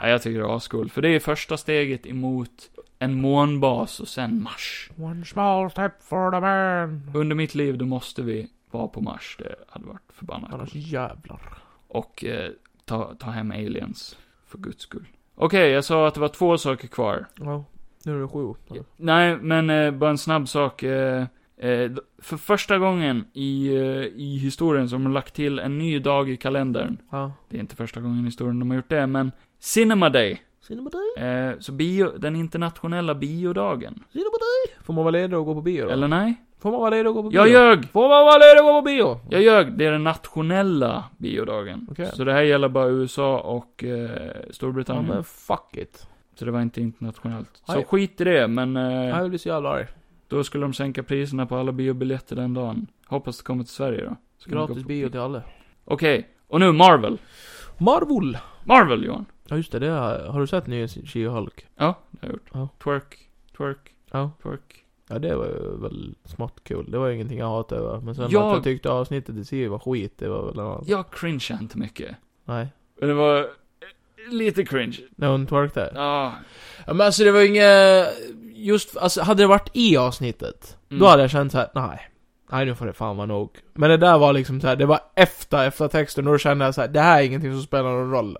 B: ja, jag tycker det är ascoolt, för det är första steget emot en månbas och sen Mars.
C: One small step for the man.
B: Under mitt liv, då måste vi vara på Mars, det hade varit förbannat coolt.
C: Annars jävlar.
B: Och eh, ta, ta hem aliens, för guds skull. Okej, jag sa att det var två saker kvar.
C: Ja. Nu är det sju. Ja.
B: Nej, men eh, bara en snabb sak. Eh, eh, för första gången i, eh, i historien som de har lagt till en ny dag i kalendern.
C: ja.
B: Det är inte första gången i historien de har gjort det, men Cinema Day.
C: Cinema Day?
B: Eh, så bio, den internationella biodagen.
C: Cinema Day! Får man vara ledig och gå på bio då?
B: Eller nej?
C: Får man vara ledig och gå på bio?
B: Jag ljög!
C: Får man vara ledig och gå på bio?
B: Jag ljög! Det är den nationella biodagen.
C: Okej.
B: Så det här gäller bara USA och eh,
C: Ja
B: Storbritannien.
C: men fuck it.
B: Så det var inte internationellt. Så
C: Nej.
B: skit i det, men... Eh,
C: Jag blir så jävla arg.
B: Då skulle de sänka priserna på alla biobiljetter den dagen. Hoppas det kommer till Sverige då. Så kan vi gå
C: Gratis
B: på
C: bio till alla.
B: Okej, och nu Marvel.
C: Marvel!
B: Marvel Johan.
C: Ja just det, det har, har du sett nya She-Hulk?
B: Ja, det har jag gjort.
C: Ja.
B: Twerk, twerk,
C: Ja.
B: twerk.
C: Ja det var ju väl smått kul. Det var ju ingenting jag hatade va? Men sen
B: Jag-
C: att jag tyckte avsnittet i sig var skit, det var väl något annat.
B: Jag cringeade inte mycket.
C: Nej.
B: Men det var eh, lite cringe.
C: När hon twerkade?
B: Ja.
C: Ja, men alltså det var ju inget... Just, alltså hade det varit i avsnittet,
B: Mm.
C: då hade jag känt såhär, nej. Nej nu får det fan vara nog. Men det där var liksom såhär, det var efter, efter texten, och då kände jag såhär, det här är ingenting som spelar någon roll.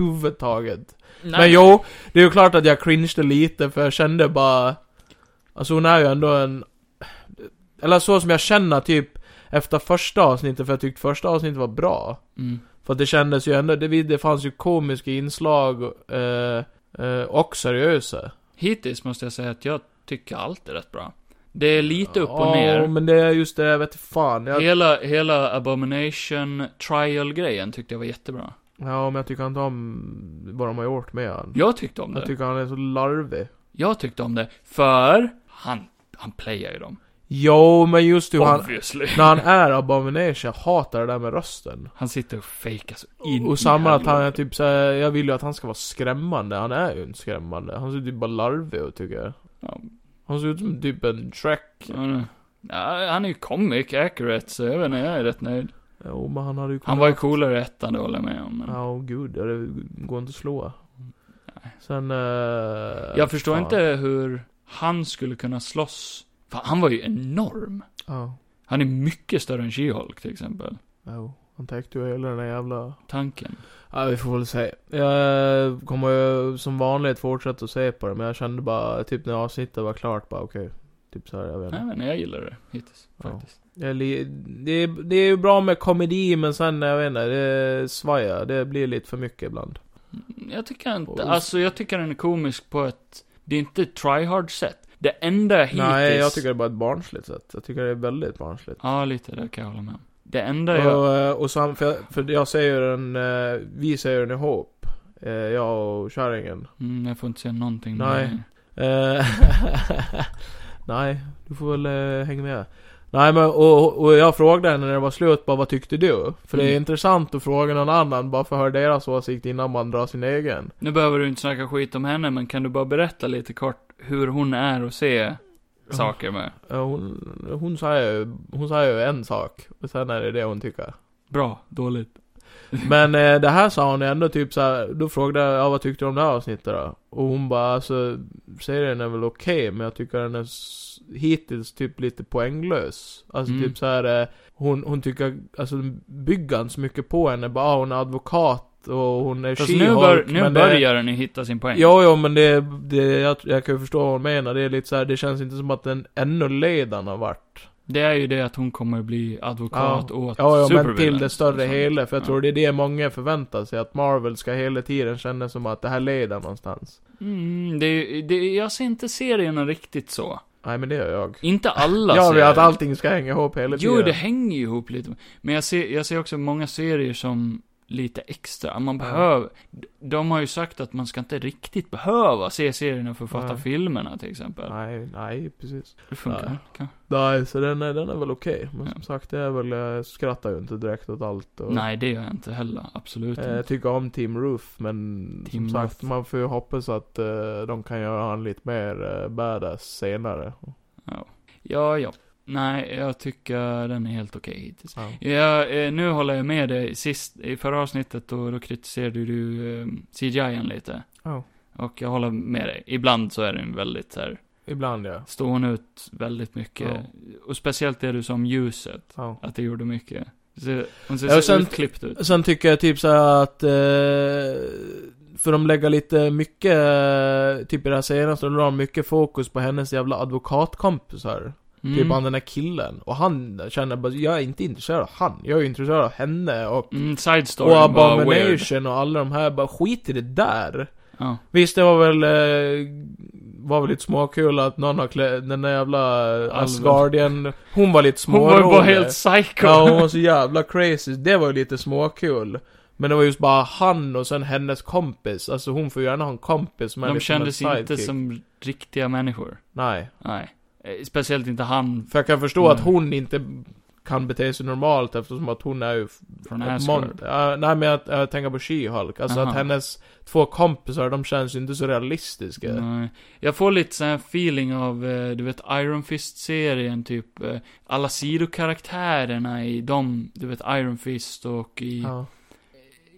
C: Överhuvudtaget.
B: Nej.
C: Men jo, det är ju klart att jag cringeade lite för jag kände bara... Alltså hon är ju ändå en... Eller så som jag känner typ efter första avsnittet, för jag tyckte första avsnittet var bra.
B: Mm.
C: För att det kändes ju ändå, det, det fanns ju komiska inslag eh, eh, och seriösa.
B: Hittills måste jag säga att jag tycker allt är rätt bra. Det är lite upp och
C: Ja,
B: ner.
C: men det är just det, jag vet fan. Jag,
B: Hela, hela Abomination Trial-grejen tyckte jag var jättebra.
C: ja, men jag tycker inte om vad de har gjort med han.
B: Jag tyckte om
C: Jag
B: det.
C: tycker han är så larvig.
B: Jag tyckte om det, för han, han playar ju dem.
C: Jo, men just hur han...
B: Obviously.
C: När han är Abomination, jag hatar det där med rösten.
B: Han sitter och fejkar så in i
C: och samma att han är
B: helvete.
C: typ såhär, jag vill ju att han ska vara skrämmande, han är ju inte skrämmande. Han ser typ bara larvig ut tycker jag.
B: Ja.
C: Han ser ut som typ en Shrek.
B: Ja, nu. Ja, han är ju comic accurate, så jag vet inte, jag är rätt nöjd.
C: Jo men han hade ju
B: Han var ju coolare i ettan, det håller jag med om. Men...
C: Ja oh, gud, ja, det går inte att slå. Sen... eh,
B: jag förstår
C: fan.
B: inte hur han skulle kunna slåss. För han var ju enorm.
C: Ja.
B: Han är mycket större än She-Hulk till exempel.
C: Jo. Han täckte ju hela den där jävla...
B: Tanken.
C: Ja vi får väl se. Jag kommer ju som vanligt fortsätta att se på det, men jag kände bara typ när avsnittet var klart bara okej. Typ såhär, jag vet inte.
B: Nej, men jag gillar det hittills,
C: Ja.
B: faktiskt.
C: Det är, li- det, är, det är ju bra med komedi men sen, jag vet inte, det svajar. Det blir lite för mycket ibland.
B: Mm, Jag tycker inte,
C: Och-
B: alltså jag tycker den är komisk på ett, det är inte ett try-hard sätt. Det enda hittills...
C: Nej, jag tycker det är bara ett barnsligt sätt. Jag tycker det är väldigt barnsligt.
B: Ja, lite, det kan jag hålla med om. Det enda jag...
C: Och, eh, och så, för, jag, för jag ser ju den, eh, vi ser ju den ihop. eh, Jag och kärringen.
B: Mm, jag får inte säga någonting.
C: Nej.
B: men-
C: Eh, Nej, du får väl eh, hänga med. Nej men och, och jag frågade henne när det var slut bara vad tyckte du? För det är
B: Mm.
C: intressant att fråga någon annan bara för att höra deras åsikt innan man drar sin egen.
B: Nu behöver du inte snacka skit om henne, men kan du bara berätta lite kort hur hon är och se saker med?
C: Ja, Eh, Hon, hon, säger ju, hon säger ju en sak, och sen är det det hon tycker.
B: Bra, dåligt.
C: Men eh, det här sa hon ändå typ så här. då frågade jag ja, vad tyckte du om det här avsnittet då? Och hon bara alltså, serien är väl okej, men jag tycker den är s- hittills typ lite poänglös. Alltså
B: Mm.
C: typ så här. Eh, hon, hon tycker, alltså den bygger inte så mycket på henne, bara ah, hon är advokat och hon är
B: Fast nu, bör,
C: She-Hulk,
B: nu
C: men det-
B: börjar den ju hitta sin poäng.
C: Jo, jo, men det, det jag, jag kan ju förstå vad hon menar. Det är lite så här, det känns inte som att den ännu ledan har varit.
B: Det är ju det att hon kommer bli advokat åt
C: Ja, ja men
B: supervillains
C: till det
B: och
C: större
B: sånt.
C: hela, för jag
B: Ja.
C: tror det är det många förväntar sig, att Marvel ska hela tiden känna som att det här leder någonstans.
B: Mm, det, är ju- det, jag ser inte serierna riktigt så.
C: Nej men det gör jag.
B: Inte alla
C: Jag vill
B: serier.
C: att allting ska hänga ihop hela tiden.
B: Jo, det hänger ju ihop lite. Men jag ser, jag ser också många serier som lite extra. Man
C: Ja.
B: behöver... De har ju sagt att man ska inte riktigt behöva se serierna för att fatta
C: Nej.
B: filmerna till exempel.
C: Nej, nej precis.
B: Det funkar.
C: Nej.
B: kan-
C: Nej, så den är, den är väl okej. Men
B: Ja.
C: som sagt, det är väl, jag skrattar ju inte direkt åt allt. Och,
B: Nej, det gör jag inte heller. Absolut
C: Eh, Jag
B: inte.
C: tycker om Team Roof, men
B: Team
C: som sagt,
B: Roof.
C: man får ju hoppas att eh, de kan göra han lite mer eh, badass senare.
B: Ja, ja. Nej, jag tycker den är helt okej hittills.
C: Ja.
B: Ja, eh, nu håller jag med dig. Sist, i förra avsnittet, då, då kritiserade du eh, CGI lite.
C: Ja.
B: Och jag håller med dig. Ibland så är den väldigt så här,
C: Ibland ja.
B: står hon ut väldigt mycket. Och speciellt det du sa om ljuset.
C: ja.
B: Att det gjorde mycket. Så, hon ser
C: Ja, och
B: så
C: sen- typ
B: utklippt ut.
C: Sen tycker jag typ så här att eh, För de lägger lite mycket, eh, typ i det här senaste, då la de mycket fokus på hennes jävla advokatkompisar.
B: Mm.
C: Typ han den där killen. Och han känner bara, jag är inte intresserad av han. Jag är intresserad av henne och,
B: Mm, side story
C: och
B: och bara weird.
C: Abomination och alla de här. Bara skit i det där.
B: Ja.
C: Visst, det var väl... Eh, var väl lite småkul att någon har klä, den där jävla eh,
B: Alven.
C: Asgardian, hon var lite
B: Hon var
C: smårolig.
B: ju bara helt psycho.
C: Ja, hon var så jävla crazy. Det var ju lite småkul. Men det var just bara han och sen hennes kompis. Alltså hon får gärna ha en kompis som är
B: De
C: lite som en
B: kändes inte
C: sidekick.
B: som riktiga människor.
C: Nej.
B: Nej. Eh, Speciellt inte han
C: För jag kan förstå att
B: Mm.
C: hon inte kan bete sig normalt eftersom att hon är ju... f-
B: från
C: ett
B: Asgard.
C: mon- Ja, nej men jag, jag tänker på She-Hulk. Alltså
B: Aha.
C: att hennes två kompisar, de känns ju inte så realistiska.
B: Nej. Jag får lite sån här feeling av, eh, du vet, Iron Fist-serien, typ. eh, Alla sidokaraktärerna i dem, du vet, Iron Fist och i...
C: Ja.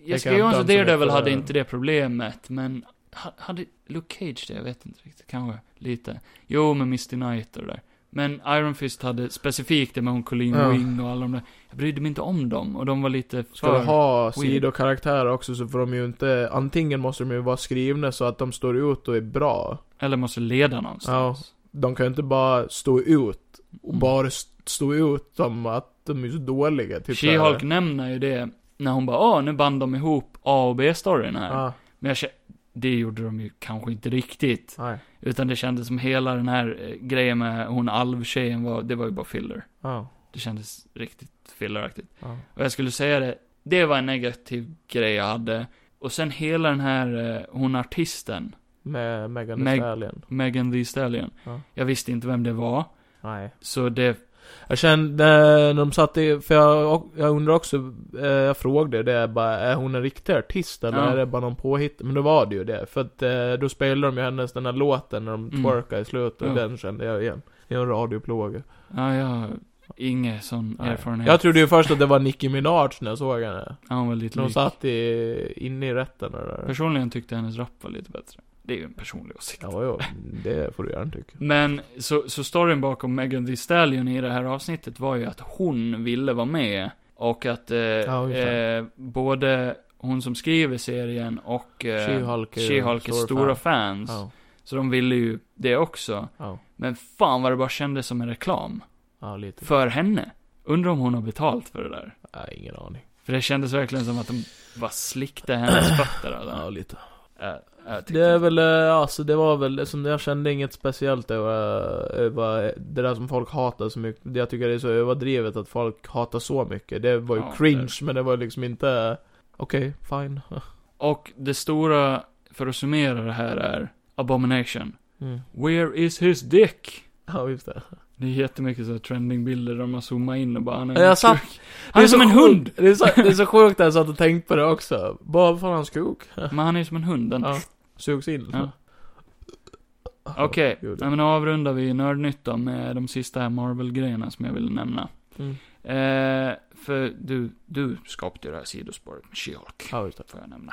B: Jessica
C: Likadant
B: Jones och
C: som
B: Daredevil
C: heter-
B: hade inte det problemet, men ha- hade Luke Cage det? Jag vet inte riktigt, kanske lite. Jo, med Misty Knight och det där. Men Iron Fist hade specifikt det med hon Colleen
C: Ja.
B: Wing och alla de där. Jag brydde mig inte om dem, och de var lite för...
C: Ska du ha
B: Weird.
C: sidokaraktärer också så får de ju inte, antingen måste de ju vara skrivna så att de står ut och är bra.
B: Eller måste leda någonstans.
C: De kan ju inte bara stå ut, och
B: Mm.
C: bara st- stå ut som att de är så dåliga. Typ
B: She-Hulk
C: såhär.
B: nämner ju det när hon bara ah nu band de ihop A och B-storyn här.
C: Ja,
B: Men jag kä- det gjorde de ju kanske inte riktigt.
C: nej.
B: Utan det kändes som hela den här eh, grejen med hon alvtjejen var, det var ju bara filler.
C: Ja,
B: Det kändes riktigt filleraktigt.
C: ja.
B: Och jag skulle säga det, det var en negativ grej jag hade. Och sen hela den här, eh, hon artisten,
C: Med Megan
B: Meg-
C: Thee Stallion.
B: Megan Thee Stallion.
C: Ja.
B: Jag visste inte vem det var.
C: Nej.
B: Så det,
C: Jag kände, eh, när de satt i, för jag, jag undrar också, eh, jag frågade det, är bara, är hon en riktig artist eller
B: Ja.
C: är det bara någon påhitt? Men då var det ju det, för att eh, då spelade de ju hennes, den här låten när de
B: Mm.
C: twerkade i slutet, och
B: Ja.
C: den kände jag igen. Det är en radioplåga.
B: ja jag har ingen sån
C: Nej.
B: erfarenhet.
C: Jag trodde ju först att det var Nicki Minaj när jag såg henne.
B: ja, hon var lite
C: När hon
B: lik.
C: satt i, inne i rätten och det där.
B: Personligen tyckte jag hennes rap var lite bättre. Det är ju en personlig åsikt.
C: Ja, jo, det får du gärna tycka.
B: Men, så, så storyn bakom Megan Thee Stallion i det här avsnittet var ju att hon ville vara med. Och att eh,
C: ungefär.
B: eh, både hon som skriver serien och eh,
C: She-Hulk är ju
B: She-Hulk är
C: stor
B: stora
C: fan.
B: fans.
C: Ja,
B: Så de ville ju det också.
C: ja,
B: Men fan vad det bara kändes som en reklam.
C: ja, lite.
B: För henne. Undrar om hon har betalt för det där.
C: Nej, ingen aning.
B: För det kändes verkligen som att de bara slickade hennes fötter.
C: Ja,
B: Alltså.
C: lite.
B: jag tyckte
C: Det är väl, eh, alltså det var väl, som jag kände inget speciellt över, över det där som folk hatar så mycket. Det jag tycker det är så överdrivet att folk hatar så mycket. Det var ju
B: Ja,
C: cringe, men det var liksom inte, okej, fine.
B: Och det stora, för att summera det här, är Abomination.
C: Mm.
B: Where is his dick?
C: Ja, just det.
B: Det är jättemycket så här trendingbilder där man zoomar in och bara han är,
C: Jag satt,
B: han Mm. är,
C: så
B: som en
C: sjukt-
B: hund!
C: Det är, så, det är så sjukt att jag satt och tänkte på det också. Bara för hans kuk.
B: Men han är som en hund. Den.
C: Ja, sugs in.
B: Ja. Okej,
C: Gud.
B: ja, men då avrundar vi Nördnytt då med de sista här Marvel-grejerna som jag ville nämna.
C: Mm.
B: Eh, för du, du skapade ju det här sidospåret med She-Hulk,
C: Ja, just det.
B: får jag nämna.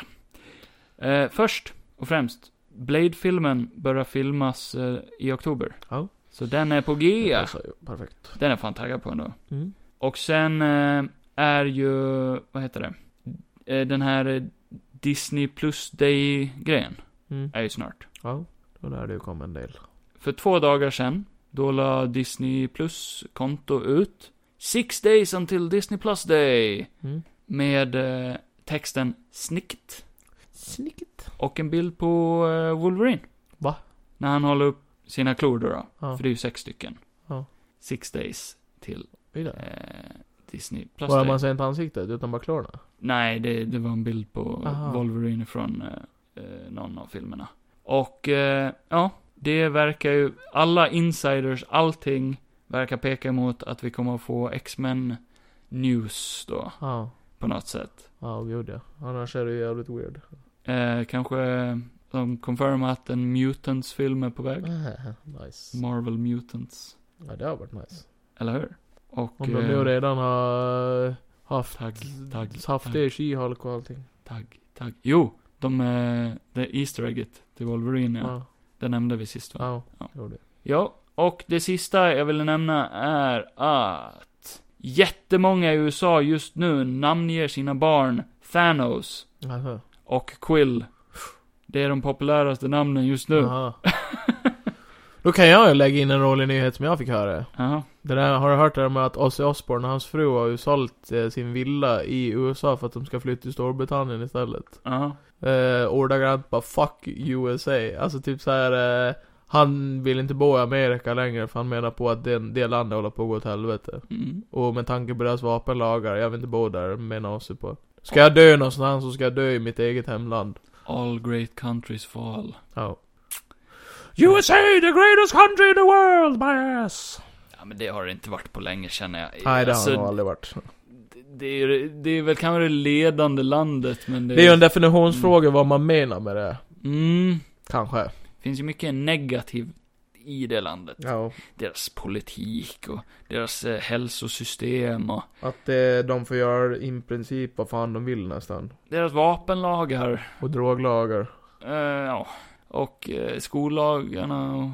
B: Eh, först och främst, Blade-filmen börjar filmas eh, i oktober.
C: Ja.
B: Så den är på G.
C: Det passar ju Perfekt.
B: Den är jag fan taggad på ändå.
C: Mm.
B: Och sen eh, är ju, vad heter det? Eh, den här eh, Disney plus Day-grejen
C: Mm.
B: är ju snart.
C: Ja, då lär det ju komma en del.
B: För två dagar sedan, då la Disney plus konto ut Six days until Disney plus day
C: Mm.
B: med eh, texten snicket
C: Snicket.
B: och en bild på eh, Wolverine.
C: Va?
B: När han håller upp sina klor då, då
C: Ja.
B: för det är ju sex stycken.
C: Ja.
B: Six days till
C: Vidare.
B: eh, Disney plus
C: Bara
B: day.
C: man ser inte ansiktet, utan bara klorna.
B: Nej, det, det var en bild på
C: Aha.
B: Wolverine från eh, eh, någon av filmerna. Och, eh, ja, det verkar ju, alla insiders, allting verkar peka mot att vi kommer att få X-Men news då,
C: Ja.
B: på något sätt.
C: Ja, gud ja. Annars är det ju jävligt weird.
B: Eh, kanske de confirmar att en Mutants-film är på väg.
C: nice.
B: Marvel Mutants,
C: Ja, det har varit nice.
B: eller hur? Och,
C: Om de nu
B: eh,
C: redan har eh, haft,
B: Tagg, tagg,
C: haft
B: tagg.
C: det i She-Hulk och allting.
B: tagg, tagg. Jo, de, eh, det Easter egget till Wolverine, ja.
C: Ja.
B: Det nämnde vi sist va?
C: Ja.
B: Ja.
C: Jo, det.
B: Ja, och det sista jag ville nämna är att jättemånga i USA just nu namnger sina barn Thanos
C: Jaha.
B: och Quill Det är de populäraste namnen just nu.
C: Aha. Då kan jag ju lägga in en rolig nyhet som jag fick höra.
B: Jaha.
C: Det där, har du hört det där med att Ozzy Osbourne och hans fru har sålt eh, sin villa i USA för att de ska flytta till Storbritannien istället?
B: Jaha.
C: Eh, ordagrant bara 'fuck USA' Alltså typ så här. Eh, han vill inte bo i Amerika längre för han menar på att det, det landet håller på att gå åt helvete.
B: Mm.
C: Och med tanke på deras vapenlagar, jag vill inte bo där, menar Ozzy på. Ska jag dö någonstans så ska jag dö i mitt eget hemland.
B: All great countries fall.
C: Ja. USA, the greatest country in the world, my ass!
B: Ja, men det har det inte varit på länge känner jag.
C: Nej, det har
B: Alltså,
C: han nog aldrig varit.
B: det, det, är, det är väl kanske det ledande landet, men det...
C: Det är ju en definitionsfråga vad man menar med det,
B: Mm.
C: kanske.
B: finns ju mycket negativt i det landet.
C: Ja.
B: Deras politik och deras eh, hälsosystem och
C: Att eh, de får göra i princip vad fan de vill nästan.
B: deras vapenlagar.
C: Och droglagar.
B: Eh, ja. Och eh, skollagarna och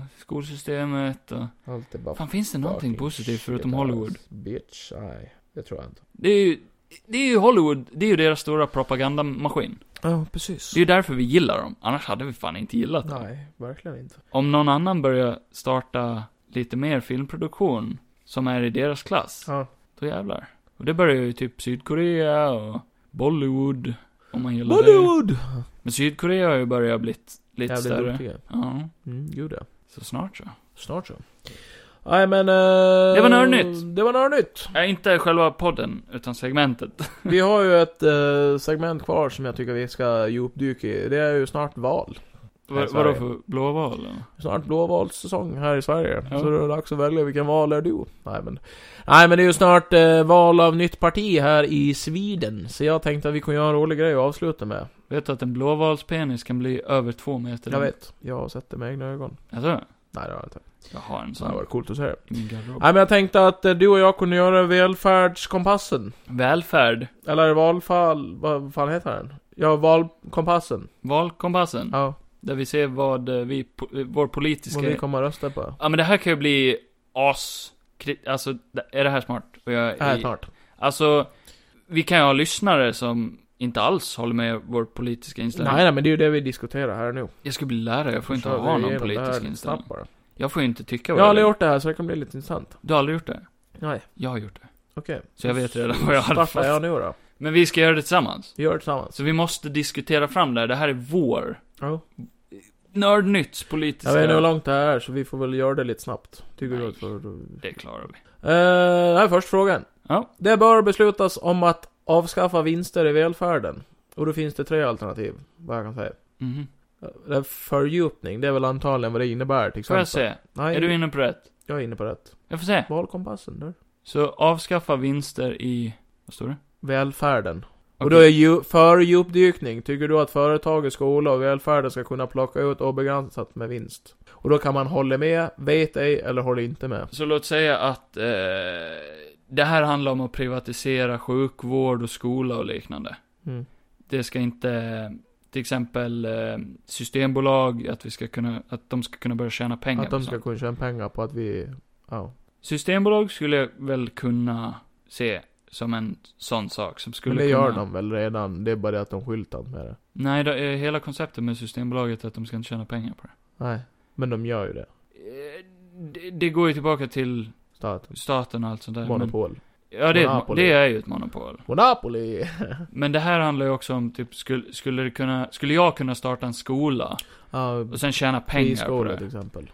B: skolsystemet och...
C: Allt är bara
B: Fan, finns det någonting
C: fucking
B: positivt
C: shit alltså.
B: förutom Hollywood?
C: ass. Bitch, nej. Det tror jag inte.
B: Det är ju... Det är ju Hollywood, det är ju deras stora propagandamaskin.
C: Ja, precis.
B: Det är ju därför vi gillar dem, annars hade vi fan inte gillat dem.
C: Nej, verkligen inte.
B: Om någon annan börjar starta lite mer filmproduktion, som är i deras klass,
C: Ja.
B: då jävlar. Och det börjar ju typ Sydkorea och Bollywood, om man gillar det.
C: Bollywood!
B: Men Sydkorea har ju börjat bli lite
C: Jävligt
B: större.
C: duktiga.
B: Ja,
C: Mm, gud ja.
B: så snart så.
C: Snart så. Nej men... eh,
B: Det var nördnytt.
C: Det var nördnytt.
B: Äh, inte själva podden, utan segmentet.
C: Vi har ju ett eh, segment kvar som jag tycker vi ska djupdyka i. Det är ju snart val.
B: Vad-
C: sorry.
B: Vadå för blåval? eller?
C: Snart blåvalssäsong här i Sverige.
B: Ja.
C: Så det är dags att välja vilken val är du? Nej men, nej, men det är ju snart eh, val av nytt parti här i Sweden. Så jag tänkte att vi kunde göra en rolig grej att avsluta med.
B: Vet du att en blåvalspenis kan bli över två meter
C: Jag
B: lång?
C: vet, jag har sett det med egna ögon.
B: Alltså,
C: Nej det har jag inte.
B: jag har en
C: Det hade
B: sån
C: varit coolt att se det.
B: i min garderob.
C: Nej men jag tänkte att eh, du och jag kunde göra välfärdskompassen.
B: Välfärd.
C: Eller valfall, vad fan heter den? Ja, valkompassen.
B: Valkompassen.
C: Ja,
B: Där vi ser vad eh, vi, po- eh, vår
C: vad
B: politiska...
C: vi kommer att rösta på.
B: Ja men det här kan ju bli as... kri- Alltså, d- är det här smart? Och jag,
C: Här
B: i-
C: snart.
B: Alltså, vi kan ju ha lyssnare som inte alls håller med vår politiska inställning.
C: Nej, nej men det är ju det vi diskuterar här nu.
B: Jag ska bli lärare, jag får inte
C: Så
B: ha
C: vi
B: någon
C: igenom det här
B: politisk
C: snabbt
B: inställning.
C: bara.
B: Jag får ju inte tycka
C: Jag
B: vad
C: har
B: jag,
C: aldrig
B: vill.
C: gjort det här så det kan bli lite intressant.
B: Du har aldrig gjort det?
C: Nej,
B: Jag har gjort det.
C: okej.
B: Så jag vet redan vad jag hade
C: Startar jag
B: fått.
C: nu då?
B: Men vi ska göra det tillsammans.
C: Vi gör det tillsammans.
B: Så vi måste diskutera fram det här. Det här är vår.
C: Ja.
B: Nördnytts politiska...
C: Jag vet inte hur långt det här är så vi får väl göra det lite snabbt. Tycker
B: Nej.
C: jag. För...
B: Det klarar vi.
C: Eh, här är först frågan.
B: Ja.
C: Det bör beslutas om att avskaffa vinster i välfärden. Och då finns det tre alternativ, vad jag kan säga.
B: Mhm.
C: Det är fördjupning, det är väl antagligen vad det innebär till
B: Får
C: exempel.
B: jag se?
C: Nej,
B: Är du inne på rätt?
C: jag är inne på rätt.
B: Jag får se.
C: Valkompassen, där.
B: Så avskaffa vinster i... Vad står det?
C: Välfärden. Och
B: Okej.
C: då är ju fördjupdykning. Tycker du att företaget, skola och välfärden ska kunna plocka ut obegränsat med vinst? Och då kan man hålla med, vet ej eller håller inte med.
B: Så låt säga att eh, det här handlar om att privatisera sjukvård och skola och liknande.
C: Mm.
B: Det ska inte, till exempel eh, systembolag, att, vi ska kunna, att de ska kunna börja tjäna pengar.
C: Att de
B: på
C: ska
B: sånt.
C: kunna tjäna pengar på att vi... Ja.
B: Systembolag skulle jag väl kunna se som en sån sak som skulle
C: Men det gör
B: kunna...
C: de väl redan. Det är bara det att de skyltar med det.
B: Nej, det är hela konceptet med Systembolaget är att de ska inte tjäna pengar på det.
C: Nej. Men de gör ju det.
B: Eh, Det, det går ju tillbaka till
C: Staten.
B: staten och allt sånt där. Men,
C: Monopol.
B: ja, det är, ett, mo-
C: Monopoly.
B: det är ju ett monopol.
C: Monopoly!
B: Men det här handlar ju också om typ, skulle, skulle, det kunna, skulle jag kunna starta en skola
C: Ja,
B: och sen tjäna pengar på
C: friskolor typ. till
B: det?
C: exempel.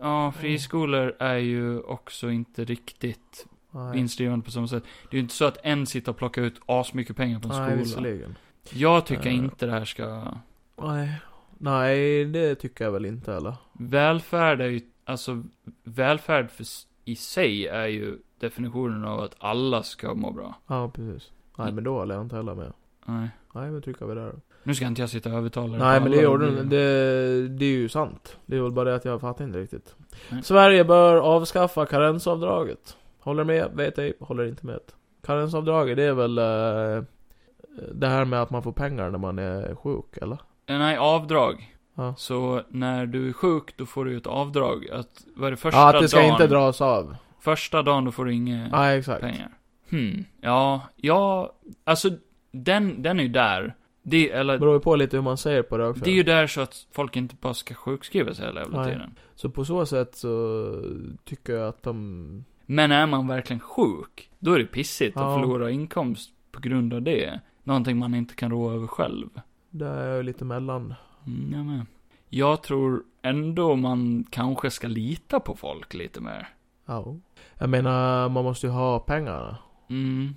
B: Ja, friskolor är ju också inte riktigt
C: Nej,
B: vinstdrivande på samma sätt. Det är ju inte så att en sitter och plockar ut asmycket pengar på en
C: Nej
B: skola.
C: visserligen.
B: Jag tycker
C: Eh.
B: inte det här ska...
C: Nej. Nej, det tycker jag väl inte eller?
B: Välfärd är ju, alltså välfärd för, s- i sig är ju definitionen av att alla ska må bra.
C: Ja, precis.
B: Mm.
C: Nej, men då håller jag inte heller med.
B: Nej.
C: Nej, men tycker vi där då.
B: Nu ska inte jag sitta och övertala
C: Nej
B: på
C: men
B: alla
C: det gjorde
B: blir-
C: den. Det, det är ju sant. Det är väl bara det att jag fattar inte riktigt.
B: Nej.
C: Sverige bör avskaffa karensavdraget. Håller med, vet ej, håller inte med. Karensavdraget, det är väl eh, det här med att man får pengar när man är sjuk, eller?
B: Eh, Nej, avdrag.
C: Ja.
B: Så när du är sjuk, då får du ju ett avdrag. Att, vad är det första
C: Ja, att det ska
B: dagen? Mm.
C: inte dras av.
B: Första dagen, då får du inga
C: Nej, exakt.
B: pengar. Hmm, ja, ja, alltså den, den är ju där. Det, eller,
C: Beror ju på lite hur man ser på det också.
B: det är ju där så att folk inte bara ska sjukskriva sig hela jävla
C: Nej.
B: tiden.
C: Så på så sätt så tycker jag att de...
B: Men är man verkligen sjuk, då är det pissigt
C: Ja.
B: att förlora inkomst på grund av det. Någonting man inte kan rå över själv.
C: Där är jag ju lite mellan.
B: Mm, jag med. Jag tror ändå man kanske ska lita på folk lite mer.
C: Ja. Jag menar, man måste ju ha pengarna.
B: Mm.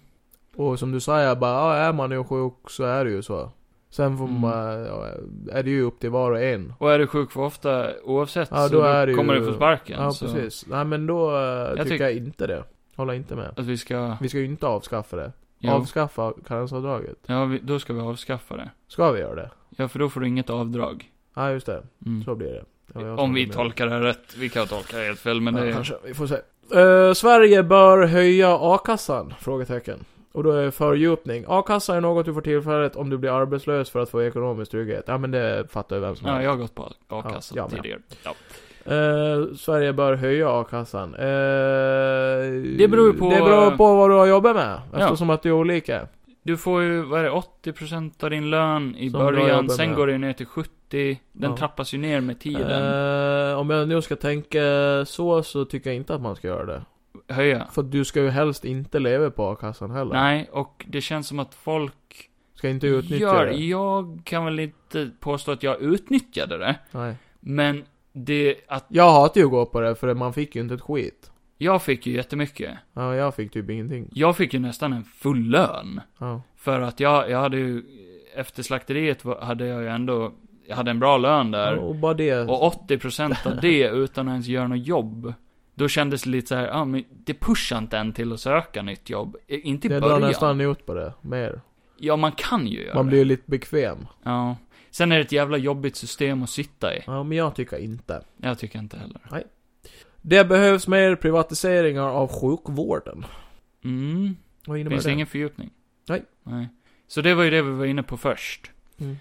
C: Och som du sa, jag bara, ja, är man ju sjuk så är det ju så. Sen får
B: Mm.
C: man, ja, är det ju upp till var och en.
B: Och är du sjuk för ofta, oavsett,
C: Ja,
B: så
C: då är det ju-
B: kommer du få sparken.
C: Ja,
B: så
C: precis. Nej men då eh, tycker
B: tyck-
C: jag inte det. Håller inte med.
B: Att vi ska...
C: Vi ska ju inte avskaffa det.
B: Jo,
C: Avskaffa karensavdraget.
B: ja, vi, då ska vi avskaffa det.
C: Ska vi göra det?
B: Ja, för då får du inget avdrag.
C: Ja, just det.
B: Mm.
C: Så blir det. Ja, jag
B: Om
C: håller
B: vi
C: med.
B: tolkar det rätt. Vi kan tolka det helt fel, men
C: ja,
B: det...
C: kanske. Vi får se. Eh, Sverige bör höja a-kassan? Frågetecken. Och då är det fördjupning. A-kassa är något du får tillfället om du blir arbetslös för att få ekonomisk trygghet. Ja men det fattar ju vem som
B: Ja,
C: helst.
B: jag har gått på a-kassa
C: Ja, jag med.
B: tidigare. Ja.
C: Eh, Sverige bör höja a-kassan. Eh,
B: Det beror ju på- eh,
C: Det beror på vad du har jobbat med. Eftersom att det är olika.
B: Du får ju, vad är det, 80% av din lön i
C: Som du har
B: början,
C: jobbat
B: sen
C: med.
B: går det ner till 70, den
C: Ja.
B: trappas ju ner med tiden.
C: Eh, om jag nu ska tänka så, så tycker jag inte att man ska göra det.
B: Höja.
C: För du ska ju helst inte leva på a-kassan heller.
B: Nej, och det känns som att folk
C: Ska inte utnyttja
B: gör,
C: det.
B: jag kan väl inte påstå att jag utnyttjade det,
C: Nej.
B: men det, att
C: Jag hatar ju att gå på det, för man fick ju inte ett skit.
B: jag fick ju jättemycket.
C: Ja, jag fick typ ingenting.
B: Jag fick ju nästan en full lön.
C: Ja.
B: För att jag, jag hade ju, efter slakteriet var- hade jag ju ändå, jag hade en bra lön där.
C: Och bara det.
B: Och 80% av det utan att ens göra något jobb. Då kändes det lite så här, ja ah, men det pushar inte en till att söka nytt jobb. Eh, Inte i
C: jag drar
B: början.
C: nästan ut på det, mer.
B: Ja, man kan ju göra
C: Man
B: det.
C: blir ju lite bekväm.
B: Ja. Sen är det ett jävla jobbigt system att sitta i.
C: Ja, men jag tycker inte.
B: Jag tycker inte heller.
C: Det behövs mer privatiseringar av sjukvården.
B: Mm.
C: Vad innebär
B: Finns det
C: det?
B: ingen fördjupning?
C: Nej.
B: Nej. Så det var ju det vi var inne på först.
C: Mm.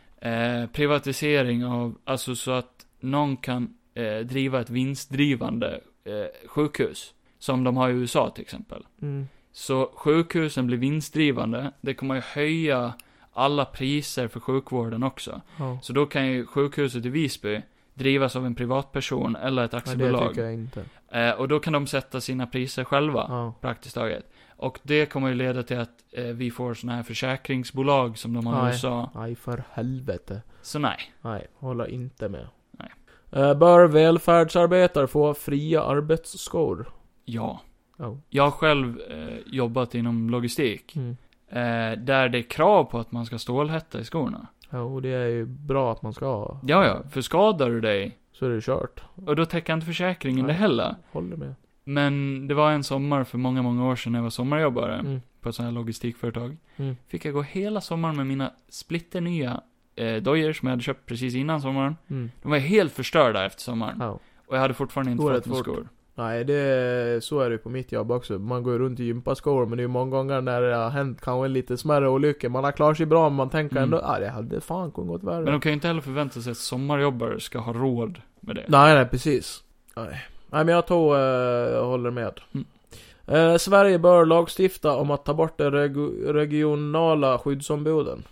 B: Eh, privatisering av, alltså så att någon kan eh, driva ett vinstdrivande eh, sjukhus. Som de har i USA till exempel.
C: Mm.
B: Så sjukhusen blir vinstdrivande. Det kommer ju höja alla priser för sjukvården också.
C: Ja.
B: Så då kan ju sjukhuset i Visby drivas av en privatperson eller ett
C: Nej, det
B: aktiebolag.
C: tycker jag inte.
B: eh, och då kan de sätta sina priser själva,
C: Ja.
B: praktiskt taget. Och det kommer ju leda till att eh, vi får såna här försäkringsbolag som de har i
C: Nej.
B: USA.
C: Nej, för helvete.
B: Så nej.
C: Nej, håller inte med.
B: Nej.
C: Eh, bör välfärdsarbetare få fria arbetsskor?
B: Ja.
C: Ja.
B: Jag har själv eh, jobbat inom logistik.
C: Mm.
B: Eh, där det är krav på att man ska ha stålhätta i skorna.
C: Ja, och det är ju bra att man ska ha.
B: Ja, ja. För skadar du dig
C: Så är det kört.
B: Och då täcker inte försäkringen
C: Nej.
B: det heller.
C: Håller med.
B: Men det var en sommar för många, många år sedan när jag var sommarjobbare
C: Mm.
B: på ett sånt här logistikföretag.
C: Mm.
B: Fick jag gå hela sommaren med mina splitternya eh, dojor som jag hade köpt precis innan sommaren.
C: Mm.
B: De var helt förstörda efter sommaren.
C: Ja.
B: Och jag hade fortfarande inte
C: Går
B: fått
C: rätt
B: några
C: fort.
B: skor.
C: Nej, det, så är det ju på mitt jobb också. Man går ju runt i gympaskor, men det är ju många gånger när det har hänt kanske lite smärre olyckor. Man har klarat sig bra, men man tänker
B: Mm.
C: ändå, ah, det hade fan kunnat gått värre.
B: Men de kan ju inte heller förvänta sig att sommarjobbare ska ha råd med det.
C: Nej, nej, precis. Nej, nej men jag tror, eh, jag håller med.
B: Mm.
C: Eh, Sverige bör lagstifta om att ta bort de reg- regionala skyddsombuden.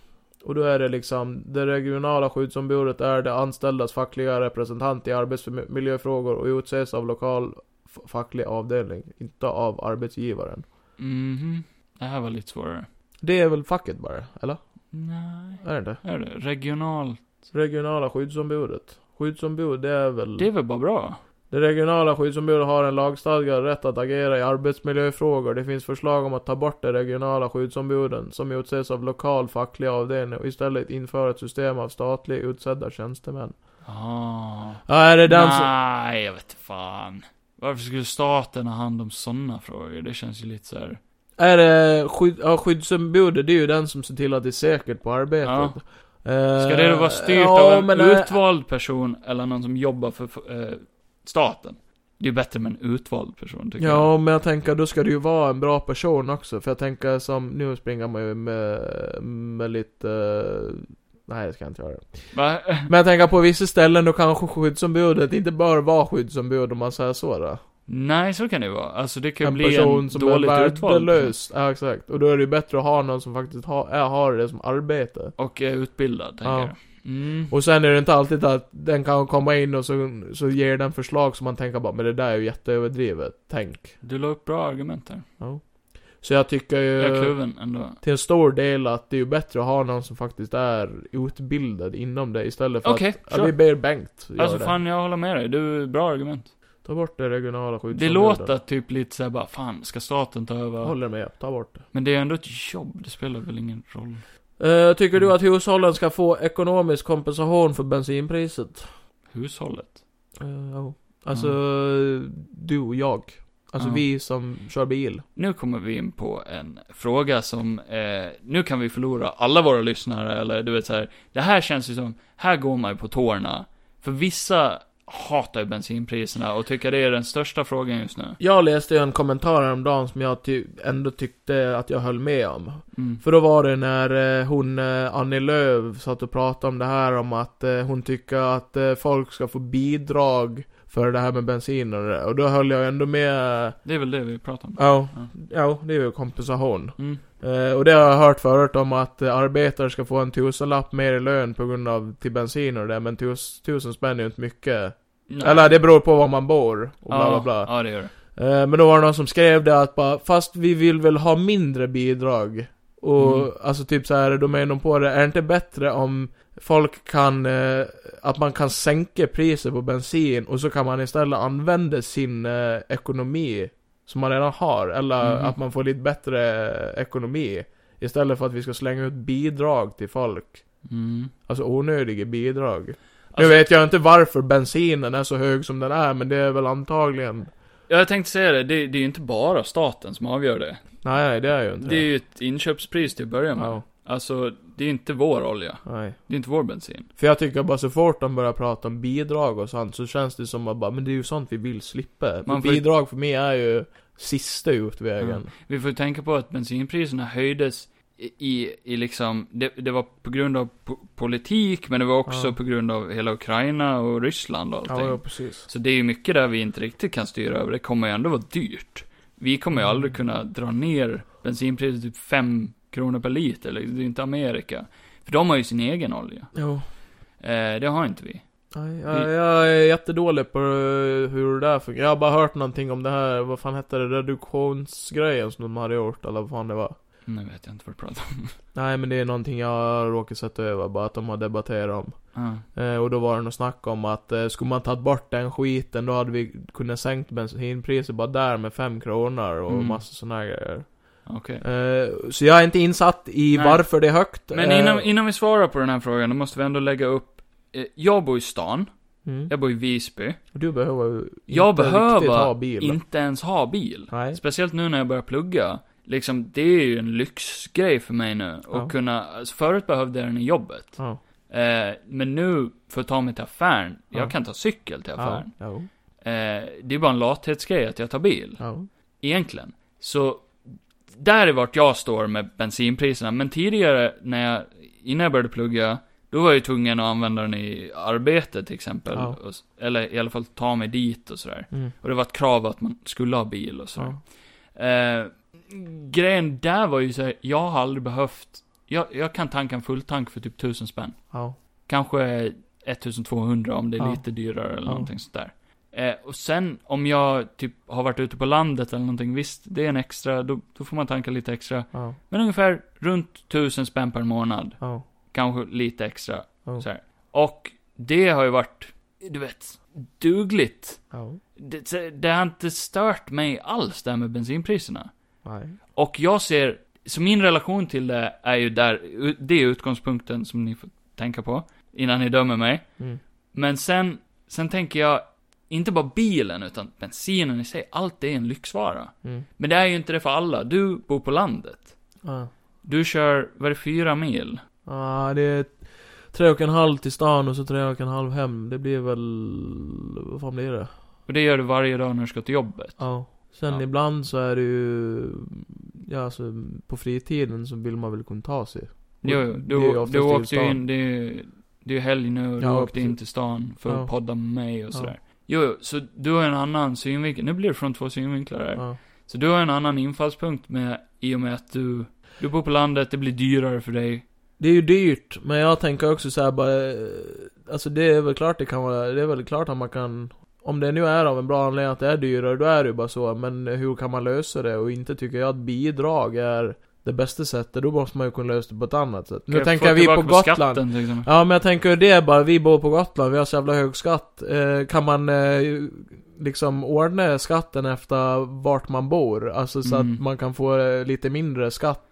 C: Och då är det liksom, det regionala skyddsombudet är de anställdas fackliga representant i arbetsmiljöfrågor och utses av lokal f- facklig avdelning, inte av arbetsgivaren.
B: Mhm. Det här var lite svårare.
C: Det är väl facket bara, eller?
B: Nej.
C: Är det inte?
B: Är det? Regional.
C: Regionala skyddsombudet. Skyddsombud, det är väl...
B: Det är väl bara bra?
C: Det regionala skyddsombudet har en lagstadgad rätt att agera i arbetsmiljöfrågor. Det finns förslag om att ta bort de regionala skyddsombuden som utses av lokal facklig avdelning och istället införa ett system av statligt utsedda tjänstemän.
B: Ah.
C: Ja, är det den som...
B: Nej, jag vet fan. Varför skulle staten ha hand om sådana frågor? Det känns ju lite så här.
C: Är det skydd, ja, skyddsombudet? Det är ju den som ser till att det är säkert på arbetet.
B: Ja.
C: Eh,
B: Ska det då vara styrt
C: ja,
B: av en
C: men, eh,
B: utvald person eller någon som jobbar för, för eh, staten? Det är bättre med en utvald person, tycker jag.
C: Ja, men jag tänker då ska det ju vara en bra person också. För jag tänker som, nu springer man ju med, med lite... eh, Nej, jag ska inte göra det.
B: Va?
C: Men jag tänker på vissa ställen då kanske skyddsombudet inte bör vara skyddsombud om man säger så då.
B: Nej, så kan det ju vara. Alltså det kan ju
C: en
B: bli en
C: person som är
B: dåligt utvald.
C: värdelös. Ja, exakt. Och då är det ju bättre att ha någon som faktiskt har, är, har det som arbete.
B: Och är eh, utbildad, tänker
C: Ja.
B: jag. Mm.
C: Och sen är det inte alltid att den kan komma in och så, så ger den förslag som man tänker bara, men det där är ju jätteöverdrivet. Tänk.
B: Du la upp bra argument där.
C: Så jag tycker ju...
B: Jag är kluven ändå.
C: till en stor del att det är ju bättre att ha någon som faktiskt är utbildad inom det istället för
B: Okej,
C: att... Ja, vi
B: sure.
C: ber Bengt göra
B: Alltså
C: det.
B: fan, jag håller med dig. Du, bra argument.
C: Ta bort det regionala
B: Det
C: skyddsombudet.
B: låter typ lite såhär bara, fan, ska staten ta över?
C: Jag håller med, ta bort det.
B: Men det är ändå ett jobb, det spelar väl ingen roll.
C: Eh, tycker du att hushållen ska få ekonomisk kompensation för bensinpriset?
B: Hushållet.
C: Eh, ja. Alltså, du och jag. Alltså
B: Ja.
C: vi som kör bil.
B: Nu kommer vi in på en fråga som, eh, nu kan vi förlora alla våra lyssnare, eller du vet så här. det här känns ju som, här går man ju på tårna. För vissa hatar ju bensinpriserna och tycker det är den största frågan just nu.
C: Jag läste ju en kommentar häromdagen som jag ty- ändå tyckte att jag höll med om.
B: Mm.
C: För då var det när eh, hon, eh, Annie Lööf, satt och pratade om det här om att eh, hon tycker att eh, folk ska få bidrag för det här med bensin och det där. Och då höll jag ändå med, eh,
B: Det är väl det vi pratar om.
C: ja,
B: Ja.
C: ja, det är ju kompensation.
B: Mm.
C: Eh, och det har jag hört förut om att eh, arbetare ska få en tusenlapp mer i lön på grund av till bensin och det där, men tus, tusen spänn är ju inte mycket.
B: Nej.
C: Eller det beror på var man bor och bla
B: ja,
C: bla bla.
B: Ja, det gör det.
C: Eh, Men då var det någon som skrev det att bara, fast vi vill väl ha mindre bidrag. Och
B: Mm.
C: alltså typ så här, då menar de på det, är det inte bättre om folk kan, eh, att man kan sänka priset på bensin och så kan man istället använda sin eh, ekonomi som man redan har, eller
B: Mhm.
C: att man får lite bättre eh, ekonomi. Istället för att vi ska slänga ut bidrag till folk.
B: Mm.
C: Alltså onödiga bidrag.
B: Alltså-
C: nu vet jag inte varför bensinen är så hög som den är, men det är väl antagligen...
B: Ja, jag tänkte säga det, det, det är ju inte bara staten som avgör det.
C: Nej, det är ju inte
B: Det är ju ett inköpspris till att börja med.
C: Ja,
B: Alltså, det är inte vår olja.
C: nej.
B: Det är inte vår bensin.
C: För jag tycker bara så fort de börjar prata om bidrag och sånt så känns det som att bara, men det är ju sånt vi vill slippa.
B: Man
C: Man
B: får-
C: Bidrag för mig är ju sista utvägen.
B: Vi får ju tänka på att bensinpriserna höjdes i, i, i liksom, det, det var på grund av po- politik, men det var också
C: Ja.
B: på grund av hela Ukraina och Ryssland och allting.
C: Ja, ja, precis.
B: Så det är ju mycket där vi inte riktigt kan styra över. Det kommer ju ändå vara dyrt. Vi kommer
C: Mm.
B: ju aldrig kunna dra ner bensinpriset till typ 5 kronor per liter. Eller, det är inte Amerika. För de har ju sin egen olja.
C: Jo.
B: Eh, det har inte vi.
C: Nej, jag, jag är jättedålig på eh, hur det där fungerar. Jag har bara hört någonting om det här, vad fan hette det, reduktionsgrejen som de hade gjort, eller vad fan det var.
B: Nu vet jag inte vad du pratar om.
C: Nej men det är någonting jag råkar sätta över, bara att de har debatterat om.
B: Ah.
C: Eh, och då var det något snack om att eh, skulle man tagit bort den skiten då hade vi kunnat sänkt bensinpriset bara där med 5 kronor och
B: Mm.
C: massor såna här grejer.
B: Okej.
C: Eh, så jag är inte insatt i
B: Nej.
C: varför det är högt.
B: Men
C: Eh,
B: innan, innan vi svarar på den här frågan, då måste vi ändå lägga upp. Eh, jag bor i stan.
C: Mm.
B: Jag bor i Visby.
C: Du behöver ju inte
B: Jag
C: riktigt
B: behöver
C: ha bil.
B: inte ens ha bil.
C: Nej.
B: Speciellt nu när jag börjar plugga. Liksom, det är ju en lyxgrej för mig nu. Att
C: Ja.
B: kunna, alltså förut behövde jag den i jobbet.
C: Ja.
B: Eh, men nu, för att ta mig till affären, jag
C: Ja.
B: kan ta cykel till
C: Ja.
B: affären.
C: Ja.
B: Eh, det är bara en lathetsgrej att jag tar bil,
C: Ja.
B: egentligen. Så, där är vart jag står med bensinpriserna. Men tidigare, när jag, innan jag började plugga, då var jag ju tvungen att använda den i arbetet till exempel.
C: Ja.
B: Och, s- eller i alla fall ta mig dit och sådär.
C: Mm.
B: Och det var ett krav att man skulle ha bil och sådär.
C: Ja.
B: Eh, grejen där var ju såhär, jag har aldrig behövt, jag, jag kan tanka en fulltank för typ tusen spänn.
C: Ja.
B: Kanske 1200 om det är
C: Ja.
B: lite dyrare eller
C: Ja.
B: någonting sånt där. Eh, och sen om jag typ har varit ute på landet eller någonting, visst, det är en extra, då, då får man tanka lite extra.
C: Ja.
B: Men ungefär runt 1000 spänn per månad,
C: Ja.
B: kanske lite extra.
C: Ja.
B: Så här. Och det har ju varit, du vet, dugligt.
C: Ja.
B: Det, det- det har inte stört mig alls det här med bensinpriserna.
C: Nej.
B: Och jag ser, så min relation till det är ju där, det är utgångspunkten som ni får tänka på innan ni dömer mig.
C: Mm.
B: Men sen, sen tänker jag, inte bara bilen utan bensinen i sig, allt det är en lyxvara.
C: Mm.
B: Men det är ju inte det för alla. Du bor på landet.
C: Ja.
B: Du kör, vad är det, fyra mil?
C: Ja, det är tre och en halv till stan och så tre och en halv hem. Det blir väl... Vad fan blir det?
B: Och det gör du varje dag när du ska till jobbet.
C: Ja. Sen
B: Ja.
C: ibland så är det ju... Ja, alltså på fritiden så vill man väl kunna ta sig.
B: Jo, jo,
C: Det är ju
B: du,
C: oftast
B: du
C: i
B: åkte ju
C: stan.
B: in, det är ju, det är ju helg nu och du
C: Ja,
B: åkte in
C: precis.
B: till stan för att
C: Ja.
B: podda med mig och
C: Ja.
B: sådär. Jo, jo, så du har en annan synvinkel. Nu blir det från två synvinklar här.
C: Ja.
B: Så du har en annan infallspunkt med, i och med att du, du bor på landet, det blir dyrare för dig.
C: Det är ju dyrt, men jag tänker också så här bara, eh, alltså det är väl klart det kan vara, det är väl klart att man kan, om det nu är av en bra anledning att det är dyrare, då är det ju bara så, men hur kan man lösa det? Och inte tycker jag att bidrag är det bästa sättet, då måste man ju kunna lösa det på ett annat sätt. Nu
B: Kan
C: tänker
B: få
C: jag vi på
B: tillbaka
C: Gotland.
B: Skatten, liksom? till exempel.
C: Ja men jag tänker det är bara, vi bor på Gotland, vi har så jävla hög skatt. Eh, kan man eh, liksom ordna skatten efter vart man bor? Alltså så
B: Mm.
C: att man kan få eh, lite mindre skatt.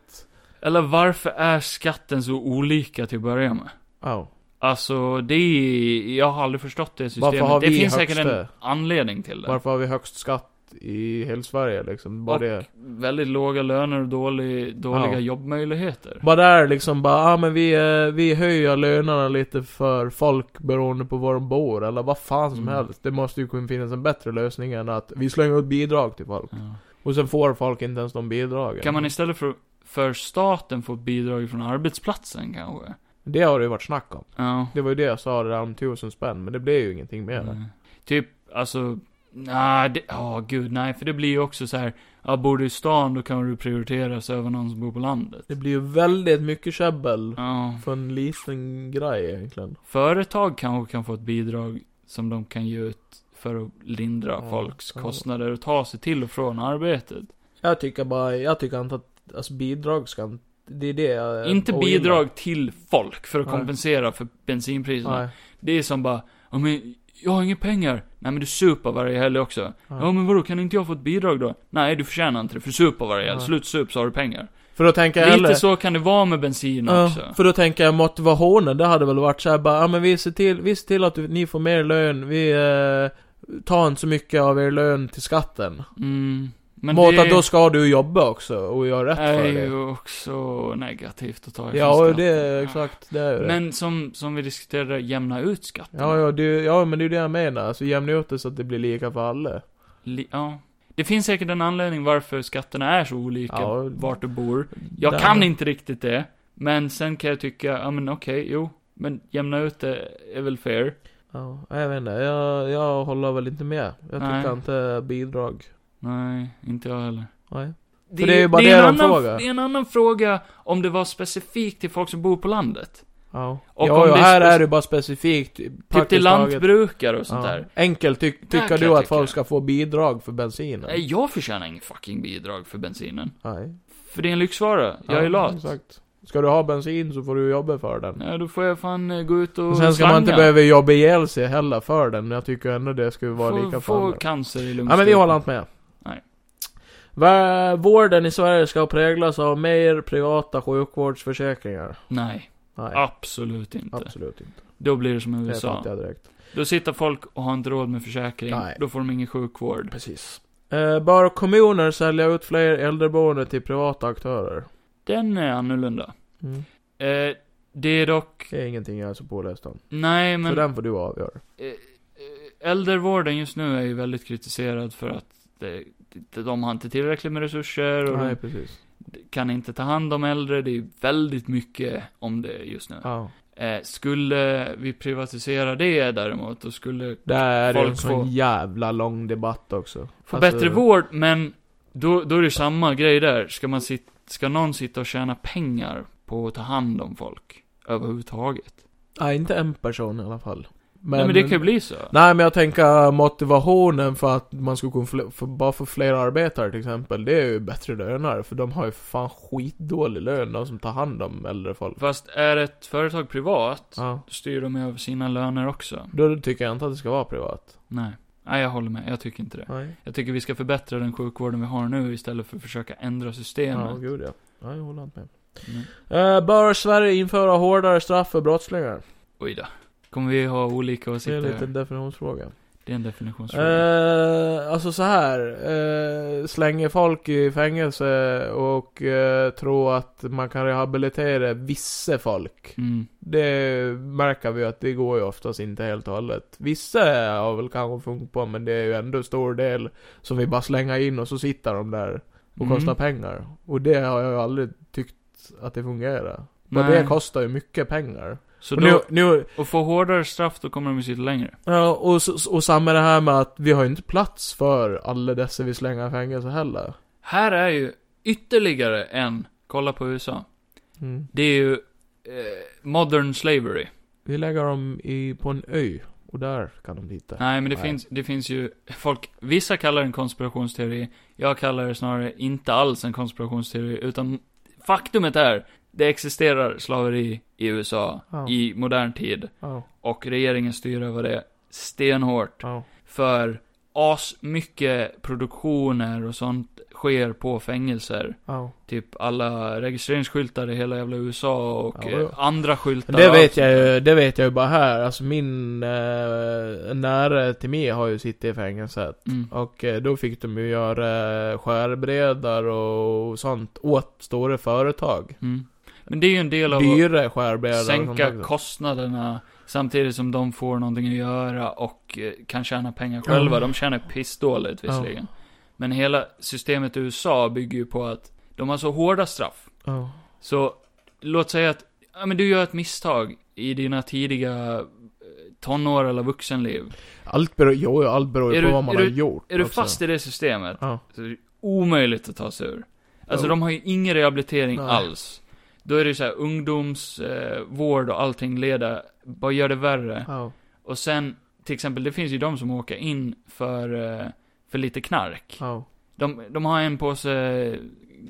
B: Eller varför är skatten så olika till att börja med?
C: Ja.
B: Alltså, det är, jag har aldrig förstått det systemet.
C: Varför har
B: det
C: vi
B: finns säkert en
C: högsta?
B: anledning till det.
C: Varför har vi högst skatt i hela Sverige liksom? Bara
B: Och
C: det.
B: väldigt låga löner och dålig, dåliga
C: Ja.
B: jobbmöjligheter.
C: Bara där liksom bara, ah, men vi, eh, vi höjer lönerna lite för folk beroende på var de bor eller vad fan som
B: Mm.
C: helst. Det måste ju kunna finnas en bättre lösning än att vi slänger ut bidrag till folk.
B: Ja.
C: Och sen får folk inte ens de bidragen.
B: Kan man istället för, för staten få bidrag från arbetsplatsen kanske?
C: Det har det ju varit snack om.
B: Ja.
C: Det var ju det jag sa det där om tusen spänn, men det blev ju ingenting mer.
B: Mm. Typ, alltså, nej, det, ja gud, nej, för det blir ju också så här, ja, bor du i stan då kan du prioriteras över någon som bor på landet.
C: Det blir ju väldigt mycket käbbel
B: Ja.
C: för en liten grej egentligen.
B: Företag kanske kan få ett bidrag som de kan ge ut för att lindra
C: Ja,
B: folks
C: ja.
B: kostnader och ta sig till och från arbetet.
C: Jag tycker bara, jag tycker inte att, alltså bidrag ska inte, det är det jag
B: Inte
C: ogillar.
B: bidrag till folk för att
C: Eh, Nej.
B: kompensera för bensinpriserna.
C: Nej.
B: Det är som bara, ja men jag har inga pengar. Nej men du super varje helg också.
C: Ja.
B: Ja men vadå, kan inte jag få ett bidrag då? Nej, du förtjänar inte det, för du super varje helg.
C: Ja.
B: Slut sup så har du pengar.
C: För då tänker jag
B: Lite
C: heller,
B: så kan det vara med bensin
C: Ja,
B: också.
C: för då tänker jag motivationen, det hade väl varit såhär bara, ja men vi ser till, vi ser till att du, ni får mer lön, vi eh, tar inte så mycket av er lön till skatten.
B: Mm. Men
C: Mot
B: det
C: att då ska du jobba också och göra rätt
B: är
C: för det.
B: ju också negativt att ta ifrån
C: Ja, och
B: skatten.
C: det är exakt, det är ju det.
B: Men som, som vi diskuterade, jämna ut skatten.
C: Ja, ja, det, ja, men det är ju det jag menar. Alltså jämna ut det så att det blir lika för alla.
B: Li- ja. Det finns säkert en anledning varför skatterna är så olika
C: Ja.
B: vart du bor. Jag
C: Där-
B: kan inte riktigt det. Men sen kan jag tycka, ja men okej, jo. Men jämna ut det är väl fair.
C: Ja, jag vet inte. Jag, jag håller väl inte med. Jag
B: Nej.
C: tycker inte bidrag.
B: Nej, inte jag heller.
C: Nej. det är ju bara
B: en
C: det de
B: annan,
C: frågar.
B: Det är en annan fråga om det var specifikt till folk som bor på landet. Typ
C: Ja.
B: Och om
C: ja, ja,
B: det är
C: här
B: spec-
C: är det bara specifikt.
B: Typ
C: praktiskt
B: till
C: taget.
B: lantbrukare och sånt
C: Ja.
B: där.
C: Enkelt ty
B: kan jag
C: tycker du att
B: tycka.
C: folk ska få bidrag för bensinen?
B: Nej, jag förtjänar ingen fucking bidrag för bensinen.
C: Nej.
B: För det är en lyxvara. Jag är
C: Ja,
B: lat.
C: Exakt. Ska du ha bensin så får du jobba för den.
B: Nej, då får jag fan eh, gå ut och
C: Och sen ska man inte
B: slanga.
C: behöva jobba ihjäl sig heller för den. Jag tycker ändå det skulle vara
B: få,
C: lika för
B: få
C: alla.
B: cancer i lungstrupen.
C: Ja men vi håller inte med.
B: Nej.
C: Va- Vården i Sverige ska präglas av mer privata sjukvårdsförsäkringar.
B: Nej,
C: Nej,
B: absolut inte.
C: absolut inte.
B: Då blir det som i
C: Det
B: USA.
C: fattar jag direkt.
B: Då sitter folk och har inte råd med försäkring.
C: Nej.
B: Då får de ingen sjukvård.
C: Precis. Eh, bör kommuner sälja ut fler äldreboende till privata aktörer? Mm.
B: Den är annorlunda. Eh, det är dock...
C: Det är ingenting jag är så påläst om.
B: Nej, men...
C: Så den får du avgöra.
B: eh, eh, Äldrevården just nu är ju väldigt kritiserad för att det, det- de har inte tillräckligt med resurser och
C: Nej, precis.
B: de kan inte ta hand om äldre. Det är väldigt mycket om det just nu.
C: Ja.
B: Eh, skulle vi privatisera det däremot, då skulle
C: Där är det en
B: Folk
C: sån
B: får-
C: jävla lång debatt också.
B: få
C: Alltså-
B: bättre vård, men då, då är det samma grej där. Ska, man sit, ska någon sitta och tjäna pengar på att ta hand om folk? Överhuvudtaget.
C: Nej, inte en person i alla fall. Men,
B: Nej men det kan ju bli så.
C: Nej men jag tänker äh, motivationen för att man skulle kunna fl- för, bara få fler arbetare till exempel, det är ju bättre löner. För de har ju för fan skitdålig lön, de som tar hand om äldre folk.
B: Fast är ett företag privat,
C: Ja.
B: då styr de över sina löner också.
C: Då tycker jag inte att det ska vara privat.
B: Nej. Nej, jag håller med. Jag tycker inte det.
C: Nej.
B: Jag tycker vi ska förbättra den sjukvården vi har nu istället för att försöka ändra systemet.
C: Ja, gud ja. Nej, jag håller inte med.
B: Mm.
C: Eh, bör Sverige införa hårdare straff för brottslingar?
B: Oj då. Kommer vi ha olika
C: Det är en
B: åsikter?
C: liten definitionsfråga.
B: Det är en definitionsfråga.
C: Eh, alltså så här eh, slänger folk i fängelse och eh, tror att man kan rehabilitera vissa folk.
B: Mm.
C: Det märker vi att det går ju oftast inte helt och hållet. Vissa har väl kanske funkat på, men det är ju ändå stor del som vi bara slänger in och så sitter de där och
B: Mm.
C: kostar pengar. Och det har jag ju aldrig tyckt att det fungerar. Men
B: Nej.
C: det kostar ju mycket pengar.
B: Så
C: och nu,
B: då,
C: nu,
B: och får hårdare straff då kommer de ju sitta längre.
C: ja, och, så- och samma det här med att vi har ju inte plats för alla dessa vi slänger i fängelse heller.
B: Här är ju ytterligare en, kolla på USA.
C: Mm.
B: Det är ju eh, modern slavery.
C: Vi lägger dem i, på en ö, och där kan de titta.
B: Nej, men det,
C: Nej.
B: Finns, det finns ju folk, vissa kallar det en konspirationsteori, jag kallar det snarare inte alls en konspirationsteori, utan faktumet är, det existerar slaveri i USA
C: Ja.
B: i modern tid,
C: Ja,
B: och regeringen styr över det stenhårt,
C: ja.
B: för as mycket produktioner och sånt sker på fängelser.
C: ja.
B: Typ alla registreringsskyltar i hela jävla USA och
C: Ja, ja.
B: eh, andra skyltar.
C: Det
B: och
C: vet
B: allt
C: jag
B: sånt där.
C: ju, det vet jag ju bara här. Alltså min eh, nära till mig har ju suttit i fängelset.
B: Mm.
C: Och eh, då fick de ju göra eh, skärbrädor och sånt åt stora företag.
B: Mm. Men det är ju en del av...
C: Dyra skärbrädor och sånt
B: sänka
C: också.
B: kostnaderna samtidigt som de får någonting att göra och eh, kan tjäna pengar själva. De tjänar pissdåligt visserligen. Men hela systemet i USA bygger ju på att de har så hårda straff.
C: Ja.
B: Så låt säga att ja, men du gör ett misstag i dina tidiga eh, tonår eller vuxenliv.
C: Allt beror, jo, jo, allt beror ju
B: Är
C: på
B: du-
C: vad man
B: är
C: har gjort
B: Är du
C: också.
B: fast i det systemet
C: Ja.
B: så är det omöjligt att ta sig ur. Alltså
C: Ja.
B: de har ju ingen rehabilitering
C: Nej.
B: alls. Då är det ju så här ungdomsvård eh, vård och allting leder, bara gör det värre.
C: Ja.
B: Och sen, till exempel, det finns ju de som åker in för, eh, för lite knark.
C: Ja.
B: De, de har en påse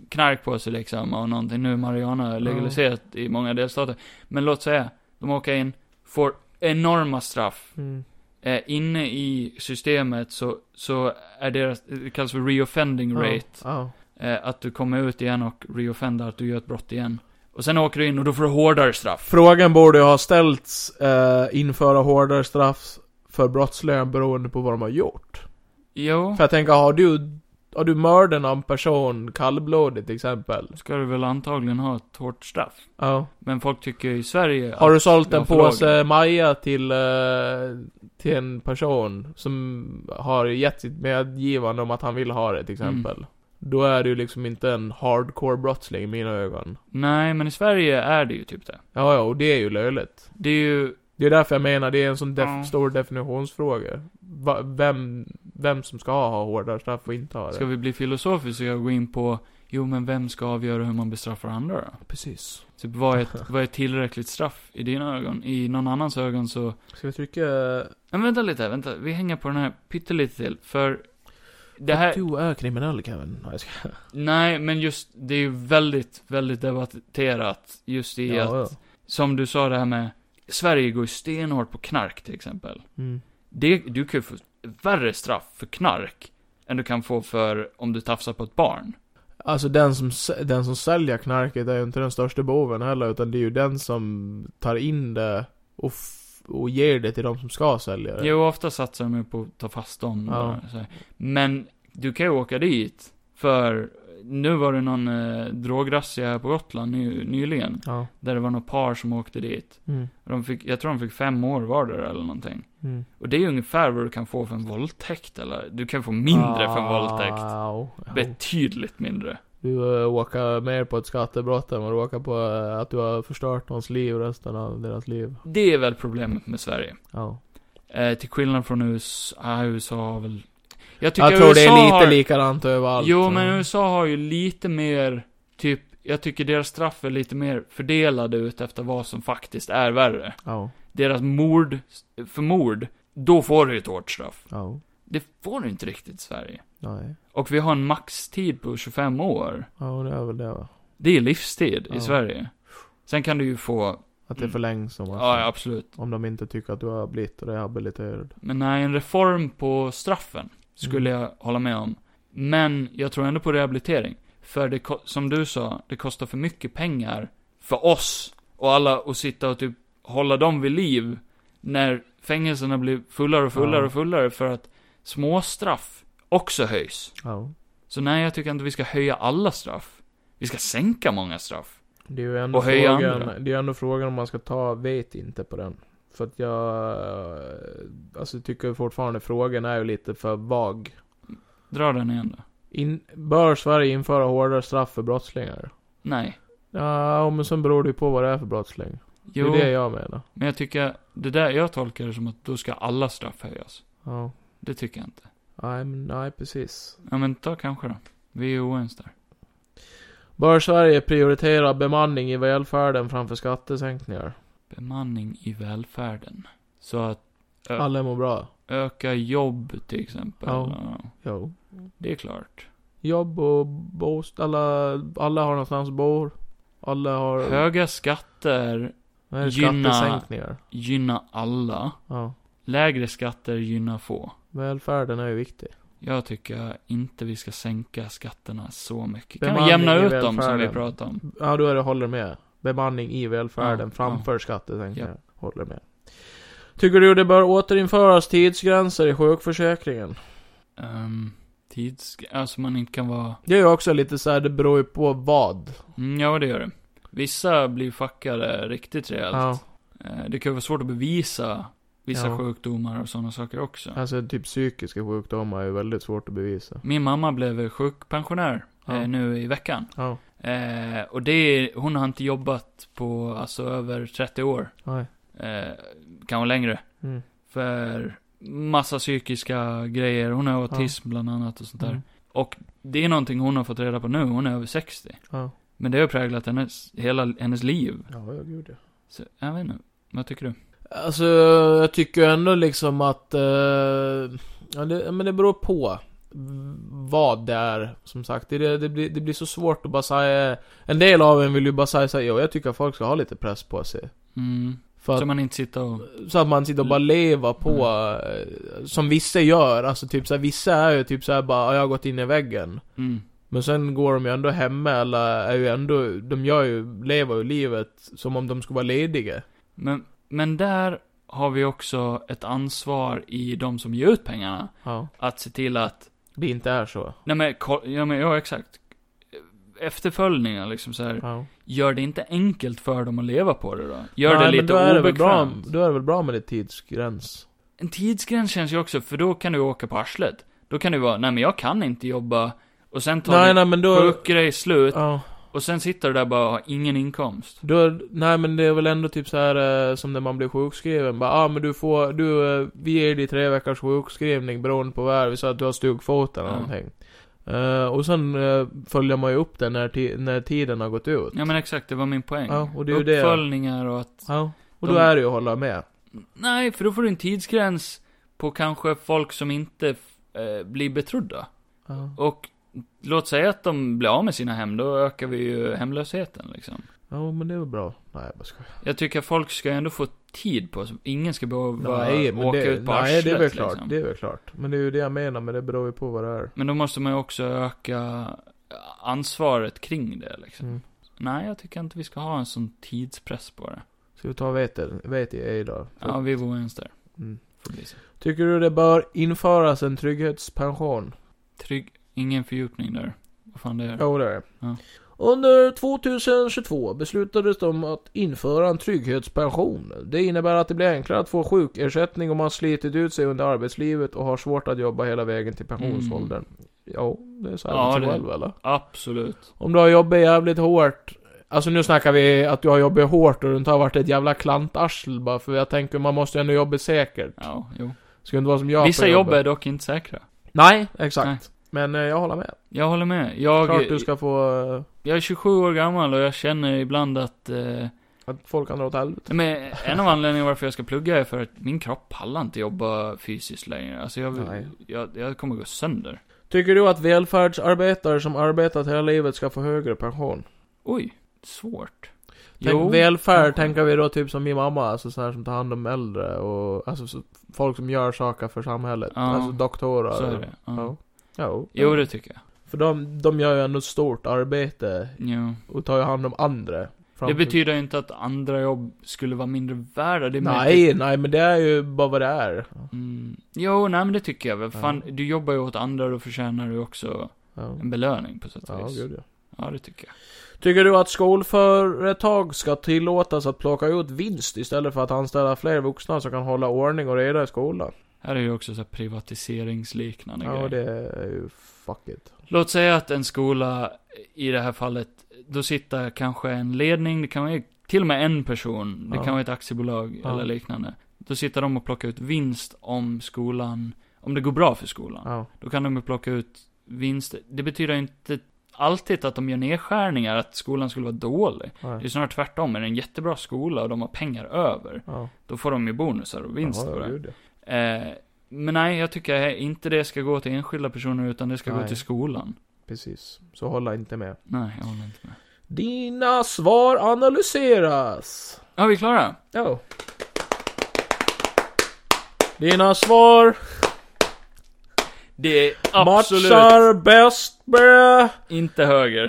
B: knark på sig liksom, och någonting. Nu är marijuana legaliserat i många delstater. Men låt säga, de åker in, får enorma straff.
C: Mm.
B: Eh, inne i systemet så, så är deras, det kallas för reoffending rate.
C: Ja.
B: Eh, att du kommer ut igen och reoffendar, att du gör ett brott igen. Och sen åker du in och då får du hårdare straff.
C: Frågan borde ju ha ställts, eh, införa hårdare straff för brottslingar beroende på vad de har gjort.
B: Jo,
C: För jag tänker, har du, har du mördat någon person kallblodigt till exempel?
B: ska du väl antagligen ha ett hårt straff.
C: Ja.
B: Men folk tycker i Sverige
C: Har du sålt
B: jag
C: en
B: får lagen.
C: påse Maja till, eh, till en person som har gett sitt medgivande om att han vill ha det till exempel? Då är du liksom inte en hardcore brottsling i mina ögon.
B: Nej, men i Sverige är det ju typ det.
C: Ja, ja, och det är ju löjligt.
B: Det är ju...
C: Det är därför jag menar, det är en sån def-
B: Ja.
C: stor definitionsfråga. Va- vem, vem som ska ha hårdare straff och inte ha det.
B: Ska vi bli filosofiska och gå in på... Jo, men vem ska avgöra hur man bestraffar andra då?
C: Precis.
B: Typ, vad är, ett, vad är ett tillräckligt straff i dina ögon? I någon annans ögon så...
C: Ska vi trycka...
B: Men vänta lite, vänta. Vi hänger på den här pyttelite till, för... Det här...
C: Du är kriminell Kevin. Nej, jag ska...
B: Nej, men just... Det är ju väldigt, väldigt debatterat just i att...
C: ja.
B: Som du sa det här med... Sverige går ju stenhårt på knark, till exempel.
C: Mm.
B: Det, du kan ju få värre straff för knark än du kan få för om du tafsar på ett barn.
C: Alltså den som, s- den som säljer knarket är ju inte den största boven heller, utan det är ju den som tar in det och, f- och ger det till de som ska sälja det.
B: Jo, ofta satsar de ju på att ta fast dem.
C: Ja.
B: bara, så här. Men du kan ju åka dit för nu var det någon eh, drograzzia här på Gotland ny, nyligen.
C: Ja.
B: Där det var något par som åkte dit.
C: Mm.
B: Och De fick, jag tror de fick fem år vardera eller någonting.
C: Mm.
B: Och det är ju ungefär vad du kan få för en våldtäkt eller, du kan få mindre för en
C: Ah.
B: våldtäkt.
C: Au, au.
B: Betydligt mindre.
C: Du äh, åker mer på ett skattebrott än vad du åker på eh, att du har förstört någons liv resten av deras liv.
B: Det är väl problemet med Sverige.
C: Ja.
B: Eh, till skillnad från USA, ah, USA har väl... Jag tycker
C: Jag tror
B: USA
C: det är lite
B: har...
C: likadant överallt. eh.
B: Jo, men USA har ju lite mer, typ, jag tycker deras straff är lite mer fördelade ut efter vad som faktiskt är värre.
C: Ja,
B: Deras mord, för mord, då får du ju ett hårt straff.
C: ja,
B: Det får du inte riktigt i Sverige.
C: nej.
B: Och vi har en maxtid på 25 år.
C: Ja, det är väl det va?
B: Det är livstid i
C: Ja.
B: Sverige. Sen kan du ju få,
C: Att det
B: Mm.
C: förlängs om,
B: ja, ja absolut.
C: om de inte tycker att du har blivit rehabiliterad.
B: Men nej, en reform på straffen skulle
C: Mm.
B: jag hålla med om. Men jag tror ändå på rehabilitering. För det, ko- som du sa, det kostar för mycket pengar för oss och alla att sitta och typ hålla dem vid liv. När fängelserna blir fullare och fullare
C: Ja.
B: och fullare för att små straff också höjs.
C: Ja.
B: Så nej, jag tycker inte vi ska höja alla straff. Vi ska sänka många straff.
C: Det är ju ändå,
B: Och höja
C: frågan,
B: andra.
C: det är ju ändå frågan om man ska ta vet inte på den. För att jag, eh, alltså tycker fortfarande frågan är ju lite för vag.
B: Dra den igen då.
C: In, bör Sverige införa hårdare straff för brottslingar?
B: Nej.
C: Ja, men sen beror det ju på vad det är för brottsling.
B: Jo,
C: Det är det jag menar.
B: men jag tycker, det där, jag tolkar det som att då ska alla straff höjas.
C: Ja.
B: Det tycker jag inte.
C: Nej, men nej precis.
B: Ja men ta kanske då. Vi är oense där.
C: Bör Sverige prioritera bemanning i välfärden framför skattesänkningar?
B: Bemanning i välfärden. Så att Ja.
C: Alla mår bra.
B: öka jobb till exempel.
C: Ja.
B: Ja,
C: Jo.
B: Det är klart.
C: Jobb och bostad. Alla, alla har någonstans att bo. Alla har...
B: Höga skatter
C: Nej,
B: gynna-
C: Skattesänkningar.
B: gynnar alla.
C: Ja.
B: Lägre skatter gynnar få.
C: Välfärden är ju viktig.
B: Jag tycker inte vi ska sänka skatterna så mycket. Kan vi
C: Bemanning
B: jämna
C: i
B: ut dem som vi
C: välfärden.
B: pratade om?
C: Ja, du är, håller med. Bemanning i välfärden
B: Ja,
C: framför skattesänkningar. Håller med. Tycker du det bör återinföras tidsgränser i sjukförsäkringen?
B: Um, tids... Alltså man inte kan vara...
C: Det är ju också lite så här, det beror ju på vad.
B: Mm, ja, det gör det. Vissa blir fuckade riktigt rejält.
C: Ja,
B: Eh, Det kan ju vara svårt att bevisa vissa
C: Ja.
B: sjukdomar och sådana saker också.
C: alltså typ psykiska sjukdomar är ju väldigt svårt att bevisa.
B: Min mamma blev sjukpensionär
C: Ja.
B: eh, nu i veckan.
C: Ja,
B: Eh, och det är, hon har inte jobbat på alltså över 30 år.
C: nej.
B: Eh, kanske längre.
C: Mm.
B: För massa psykiska grejer. Hon har autism bland annat och sånt där.
C: Mm.
B: Och det är någonting hon har fått reda på nu. Hon är över 60.
C: Ja,
B: Men det har präglat hennes, hela hennes liv.
C: ja gud ja.
B: Så, jag vet inte. Vad tycker du?
C: Alltså, jag tycker ändå liksom att... Eh, ja, det, men det beror på vad det är, som sagt. Det, det, det, blir, det blir så svårt att bara säga... En del av en vill ju bara säga så här, "Jo, jag tycker att folk ska ha lite press på sig.
B: Mm.
C: För
B: Så
C: att,
B: man inte sitter och...
C: så att man sitter och bara lever på... eh, Som vissa gör, alltså typ så här, vissa är ju typ så här bara, "Ja, jag har gått in i väggen.
B: Mm.
C: Men sen går de ju ändå hemma, eller är ju ändå... De gör ju, lever ju livet som om de skulle vara lediga.
B: Men, men där har vi också ett ansvar i de som ger ut pengarna.
C: Ja.
B: Att se till att,
C: Det inte är så.
B: nej men, ko- ja, men ja exakt. Efterföljningar liksom så här.
C: Ja.
B: Gör det inte enkelt för dem att leva på det då. Gör det
C: men
B: lite
C: då är det väl bra,
B: obekvämt.
C: Då är det väl bra med lite tidsgräns?
B: En tidsgräns känns ju också, för då kan du åka på arslet. Då kan du vara, nej men jag kan inte jobba. Och sen tar
C: Nej,
B: du
C: nej men då...
B: sjukgrej slut.
C: Ja,
B: Och sen sitter du där bara och har ingen inkomst.
C: då... Nej men det är väl ändå typ så här eh, som när man blir sjukskriven. Bara, ah men du får... Du, eh, vi ger dig tre veckors sjukskrivning beroende på vad det är. Vi sa att du har stugfot eller
B: Ja.
C: någonting. Eh, och sen eh, följer man ju upp det när, ti- när tiden har gått ut.
B: Ja men exakt, det var min poäng.
C: Ja, och det är ju det.
B: Uppföljningar och att
C: Ja. Och
B: De-
C: då är det ju att hålla med.
B: Nej, för då får du en tidsgräns på kanske folk som inte eh, blir betrodda.
C: Ja.
B: Och låt säga att de blir av med sina hem, då ökar vi ju hemlösheten liksom.
C: ja, men det är väl bra. Nej, jag bara skojar.
B: Jag tycker att folk ska ändå få tid på sig. Ingen ska behöva
C: Nej, men
B: åka
C: det,
B: ut på
C: nej, det är
B: arslet,
C: väl klart.
B: liksom.
C: Det är väl klart. Men det är ju det jag menar, men det beror ju på vad det är.
B: Men då måste man ju också öka eh, ansvaret kring det liksom.
C: Mm.
B: Nej, jag tycker inte vi ska ha en sån tidspress på det.
C: Ska vi ta vete, vete i idag?
B: Ja, vi var ens där.
C: Mm.
B: Får bli så.
C: Tycker du det bör införas en trygghetspension?
B: Trygg, ingen fördjupning där. Vad fan det är.
C: Jo, det är det.
B: Ja.
C: Under 2022 beslutades det om att införa en trygghetspension. Det innebär att det blir enklare att få sjukersättning om man slitit ut sig under arbetslivet och har svårt att jobba hela vägen till pensionsåldern. Ja, det är så här
B: Mm. Ja,
C: ja,
B: det-
C: själv, eller?
B: Absolut.
C: Om du har jobbat jävligt hårt. Alltså nu snackar vi att du har jobbat hårt och du inte har varit ett jävla klantarsel bara, för jag tänker man måste ju ändå jobba säkert.
B: Ja, jo.
C: Ska inte vara som jag på
B: Vissa jobb
C: jobbet.
B: är dock inte säkra.
C: Nej, exakt.
B: Nej.
C: Men eh, jag håller med.
B: Jag håller med. Jag,
C: Klart du ska få eh,
B: jag är 27 år gammal och jag känner ibland att... Eh,
C: att folk kan dra åt helvete.
B: men en av anledningarna varför jag ska plugga är för att min kropp pallar inte jobba fysiskt längre. Alltså jag,
C: Nej.
B: jag, jag kommer gå sönder.
C: Tycker du att välfärdsarbetare som arbetat hela livet ska få högre pension?
B: Oj, svårt.
C: Tänk, välfärd
B: kanske.
C: tänker vi då typ som min mamma, alltså sådana som tar hand om äldre och alltså så, folk som gör saker för samhället.
B: Ja,
C: alltså doktorer.
B: så är det. Ja.
C: Ja. Jo.
B: Jo, det tycker jag.
C: För de, de gör ju ändå ett stort arbete
B: Jo.
C: och tar ju hand om andra. Fram
B: Det
C: till-
B: betyder ju inte att andra jobb skulle vara mindre värda. Det är mer
C: Nej, nej men det är ju bara vad det är.
B: Mm. Jo, nej men det tycker jag väl. Fan,
C: Ja.
B: du jobbar ju åt andra, då förtjänar du också
C: Ja,
B: en belöning på sätt och
C: ja
B: vis.
C: gud ja.
B: ja, det tycker jag.
C: Tycker du att skolföretag ska tillåtas att plocka ut vinst istället för att anställa fler vuxna som kan hålla ordning och reda i skolan?
B: Här är ju också så här privatiseringsliknande
C: Ja,
B: grejer.
C: det är ju fuck it.
B: Låt säga att en skola, i det här fallet, då sitter kanske en ledning, det kan ju till och med en person, det
C: Ja.
B: kan vara ett aktiebolag
C: Ja.
B: eller liknande. Då sitter de och plockar ut vinst om skolan, om det går bra för skolan.
C: Ja.
B: Då kan de ju plocka ut vinster. Det betyder ju inte alltid att de gör nedskärningar, att skolan skulle vara dålig. Det är
C: Nej.
B: snarare tvärtom. Är det en jättebra skola och de har pengar över,
C: Ja.
B: då får de ju bonusar och vinst
C: Ja,
B: på det.
C: gud, ja.
B: Eh, men nej, jag tycker inte det ska gå till enskilda personer, utan det ska gå
C: Nej.
B: till skolan.
C: Precis. Så hålla inte med.
B: Nej, jag håller inte med.
C: Dina svar analyseras.
B: Ja, vi är klara.
C: Ja. Dina svar
B: Det är absolut
C: matchar bäst med
B: inte höger.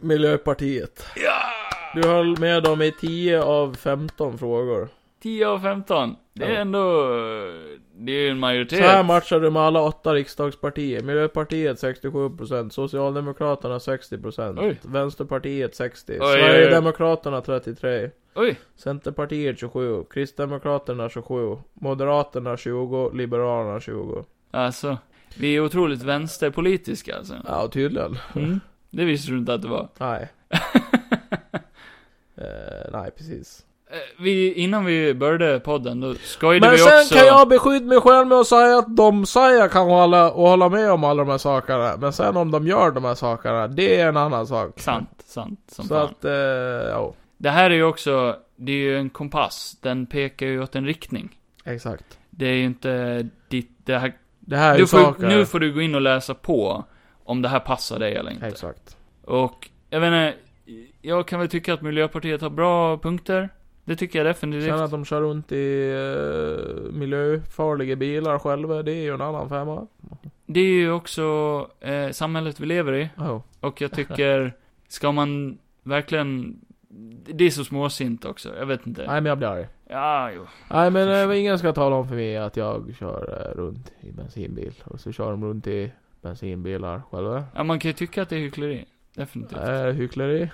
C: Miljöpartiet.
B: ja!
C: Du höll med dem i 10 av 15 frågor.
B: 10 av 15. Det är
C: Ja.
B: ändå... Det är ju en majoritet.
C: Så här matchar du med alla åtta riksdagspartier. Miljöpartiet 67%, Socialdemokraterna 60%,
B: Oj.
C: Vänsterpartiet 60%,
B: oj, oj.
C: Sverigedemokraterna 33%,
B: Oj,
C: Centerpartiet 27%, Kristdemokraterna 27%, Moderaterna 20%, Liberalerna 20%.
B: alltså. Vi är otroligt vänsterpolitiska alltså.
C: Ja, tydligen.
B: Mm. Det visste du inte att det var.
C: Nej. Eh, nej, precis.
B: Eh, Vi, innan vi började podden, då skojade
C: Men
B: vi
C: sen
B: också...
C: kan jag beskydda mig själv med att säga att de säger kan hålla, och hålla med om alla de här sakerna. Men sen om de gör de här sakerna, det är en annan sak.
B: Sant, sant som
C: Så
B: fan.
C: att, eh, ja.
B: Det här är ju också, det är ju en kompass. Den pekar ju åt en riktning.
C: Exakt.
B: Det är ju inte ditt, det här...
C: Det här är ju
B: Du får,
C: saker...
B: nu får du gå in och läsa på om det här passar dig eller inte.
C: Exakt.
B: Och, jag vet inte, jag kan väl tycka att Miljöpartiet har bra punkter. Det tycker jag definitivt.
C: Sen att de kör runt i eh, miljöfarliga bilar själva, det är ju en annan femma.
B: Det är ju också eh, samhället vi lever i.
C: Oh.
B: Och jag tycker, ska man verkligen... Det är så småsint också, jag vet inte.
C: Nej, men jag blir arg.
B: Ja, jo.
C: Nej, men eh, ingen ska tala om för mig att jag kör eh, runt i bensinbil. Och så kör de runt i bensinbilar själva.
B: Ja, man kan ju tycka att det är hyckleri. Definitivt.
C: Eh, hyckleri.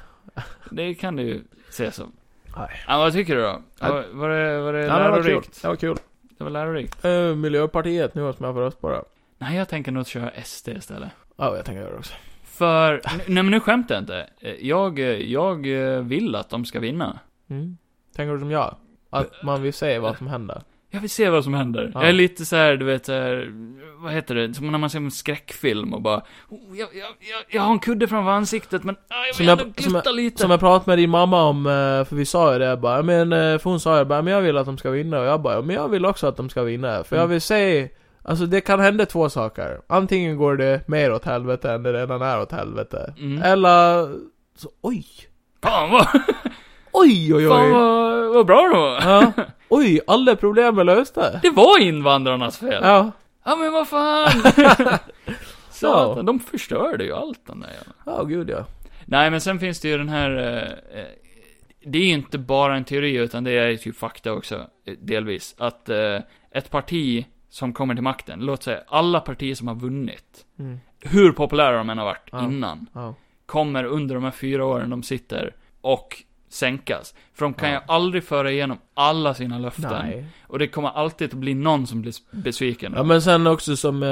B: Det kan det ju ses som.
C: Nej.
B: Ja, vad tycker du då?
C: Nej.
B: Var, var det, var det
C: Ja, men det var kul.
B: lärorikt?
C: Det var kul.
B: Det var lärorikt.
C: Eh, Miljöpartiet nu som jag får röst på det.
B: Nej, jag tänker nog köra SD istället.
C: Ja, jag tänker göra det också.
B: För, nej men nu skämtar jag inte. Eh, Jag, eh, jag eh, vill att de ska vinna.
C: Mm. Tänker du som jag? Att man vill se vad som händer?
B: Jag vill se vad som händer.
C: Ja.
B: Jag är lite så här, du vet, så här, vad heter det? Som när man ser en skräckfilm och bara, oh, jag, jag, jag, jag har en kudde framför ansiktet men ah, jag
C: Som
B: vill
C: jag-
B: ändå glutta lite.
C: Som jag pratade med din mamma om, eh, för vi sa ju det, jag bara, "Ja, men, eh, för hon sa ju bara, men jag vill att de ska vinna, och jag bara, "Ja, men jag vill också att de ska vinna, för jag
B: Mm.
C: vill se, alltså det kan hända två saker. Antingen går det mer åt helvete än det redan är åt helvete.
B: Mm.
C: Eller, så, oj,
B: Fan vad,
C: oj, oj,
B: fan
C: oj.
B: vad, vad bra det var.
C: Ja. Oj, alla problem är lösta.
B: Det var invandrarnas fel. Ja,
C: Ja.
B: men vad fan. Så,
C: Ja.
B: de förstörde ju allt den där jävla.
C: Ja, gud ja.
B: Nej men sen finns det ju den här, eh, eh, det är ju inte bara en teori utan det är ju typ fakta också, eh, delvis. Att eh, ett parti som kommer till makten, låt säga alla partier som har vunnit,
C: Mm.
B: hur populära de än har varit
C: Ja.
B: innan,
C: ja.
B: kommer under de här fyra åren de sitter och sänkas. För de kan
C: Ja.
B: ju aldrig föra igenom alla sina löften.
C: Nej.
B: Och det kommer alltid att bli någon som blir besviken.
C: Ja men sen också som, eh,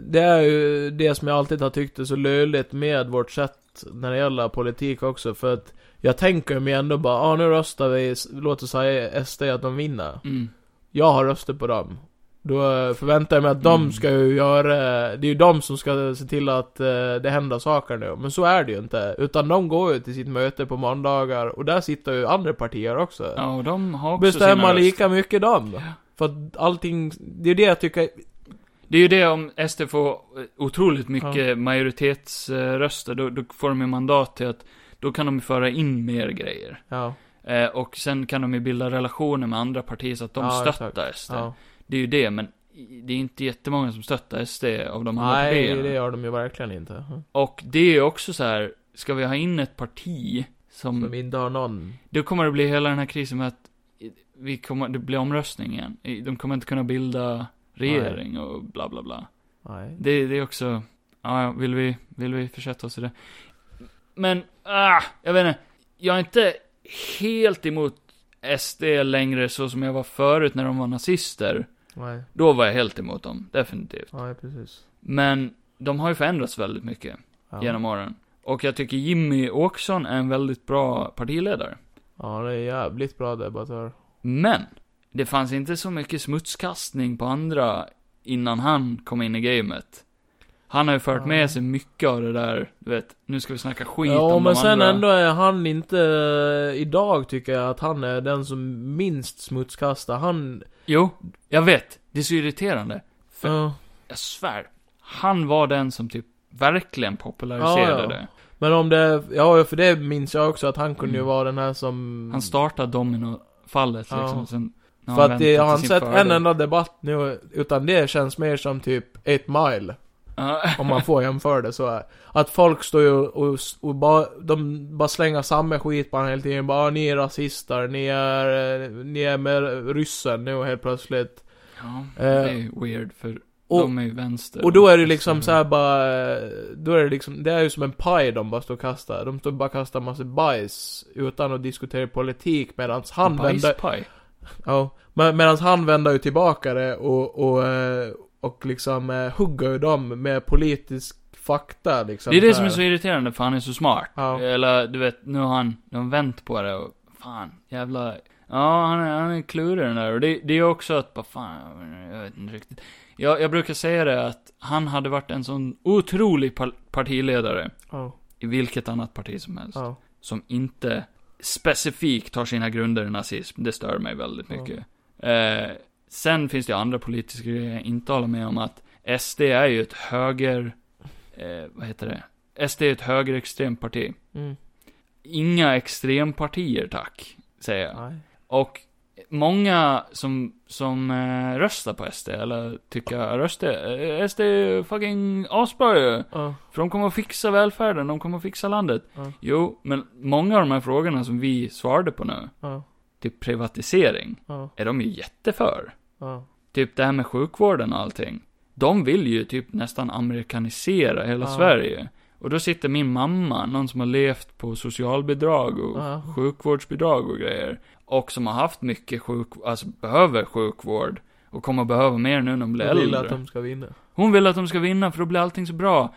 C: det är ju det som jag alltid har tyckt är så löjligt med vårt sätt när det gäller politik också för att jag tänker mig ändå bara, ah, nu röstar vi, låt oss säga SD att de vinner.
B: Mm.
C: Jag har röstat på dem. Då eh, förväntar jag mig att de
B: Mm.
C: ska ju göra, det är ju de som ska se till att eh, det händer saker nu. Men så är det ju inte. Utan de går ju till sitt möte på måndagar och där sitter ju andra partier också.
B: Ja, och de har också sina
C: Bestämmer
B: röster.
C: lika mycket dem.
B: Ja.
C: För att allting, det är det jag tycker
B: Det är ju det om SD får eh, otroligt mycket
C: Ja.
B: majoritetsröster, då, då får de ju mandat till att då kan de ju föra in mer grejer.
C: Ja,
B: Eh, och sen kan de ju bilda relationer med andra partier så att de
C: Ja,
B: stöttar SD.
C: ja.
B: Det är ju det, men i- det är inte jättemånga som stöttar SD av de andra
C: Nej,
B: partierna.
C: det gör de ju verkligen inte.
B: Och det är ju också så här, ska vi ha in ett parti
C: De
B: som,
C: inte har någon.
B: då kommer det bli hela den här krisen med att vi kommer, det blir omröstning igen. De kommer inte kunna bilda regering och bla bla bla.
C: Nej.
B: Det, det är också, ja, ja, vill vi, vill vi försätta oss i det? Men, ah, jag vet inte. Jag är inte helt emot SD längre så som jag var förut när de var nazister.
C: Nej,
B: Då var jag helt emot dem, definitivt.
C: nej precis.
B: Men de har ju förändrats väldigt mycket
C: Ja.
B: genom åren. Och jag tycker Jimmy Åkesson är en väldigt bra partiledare.
C: Ja, han är en jävligt bra debattör.
B: Men, det fanns inte så mycket smutskastning på andra innan han kom in i gamet. Han har ju fört
C: Ja.
B: med sig mycket av det där, du vet, nu ska vi snacka skit
C: Ja,
B: om
C: men
B: de
C: sen
B: andra.
C: ändå är han inte... eh, Idag tycker jag att han är den som minst smutskastar. Han...
B: Jo, jag vet. Det är så irriterande. För-
C: Ja.
B: Jag svär. Han var den som typ verkligen populariserade
C: Ja, ja.
B: det.
C: Men om det... Ja, för det minns jag också att han kunde ju
B: Mm.
C: vara den här som...
B: Han startade dominofallet
C: Ja.
B: liksom, sen... när
C: För
B: han
C: att
B: väntade
C: det, jag har
B: till
C: inte
B: sin
C: sett en
B: fördel.
C: enda debatt nu, utan det känns mer som typ 8 mile.
B: Ja.
C: Om man får jämföra det så här. Att folk står ju och, och bara, de bara slänger samma skit på honom hela tiden. Bara, "Ah, ni är rasister, ni är, eh, ni är med ryssen nu helt plötsligt.
B: Ja, det
C: Eh,
B: är ju weird för
C: och-
B: de är ju vänster.
C: Och då är det
B: så
C: liksom så här bara, eh, då är det liksom, det är ju som en paj de bara står och kastar. De står och bara och kastar massa bajs utan att diskutera politik medans han vänder,
B: Bajspaj.
C: ja, med, medans han vänder ju tillbaka det och, och, eh, och liksom eh, hugger ju dem med politisk fakta liksom.
B: Det är det som
C: här.
B: är så irriterande för han är så smart.
C: Ja.
B: Eller du vet, nu har han, de har vänt på det och fan, jävla... Ja, han är, han är klurig den där. Och det, det är också att, bara fan, jag vet inte riktigt. Jag, jag brukar säga det att han hade varit en sån otrolig par- partiledare
C: Ja,
B: i vilket annat parti som helst.
C: ja.
B: Som inte specifikt tar sina grunder i nazism. Det stör mig väldigt
C: Ja.
B: mycket. Eh, sen finns det ju andra politiska grejer jag inte håller med om att SD är ju ett höger... Eh, vad heter det? SD är ett högerextremt parti.
C: Mm.
B: Inga extrempartier tack, säger jag.
C: Nej.
B: Och många som, som eh, röstar på SD, eller tycker röstar, eh, SD är fucking asbra ju.
C: Ja.
B: För de kommer att fixa välfärden, de kommer att fixa landet.
C: Ja.
B: Jo, men många av de här frågorna som vi svarade på nu,
C: Ja.
B: typ privatisering,
C: Ja.
B: är de ju jätteför.
C: Ja.
B: Typ det här med sjukvården och allting. De vill ju typ nästan amerikanisera hela
C: Ja.
B: Sverige. Och då sitter min mamma, någon som har levt på socialbidrag och
C: Ja.
B: sjukvårdsbidrag och grejer. Och som har haft mycket sjuk, alltså behöver sjukvård. Och kommer behöva mer nu när de blir
C: Jag vill
B: äldre.
C: att de ska vinna.
B: Hon vill att de ska vinna för då blir allting så bra.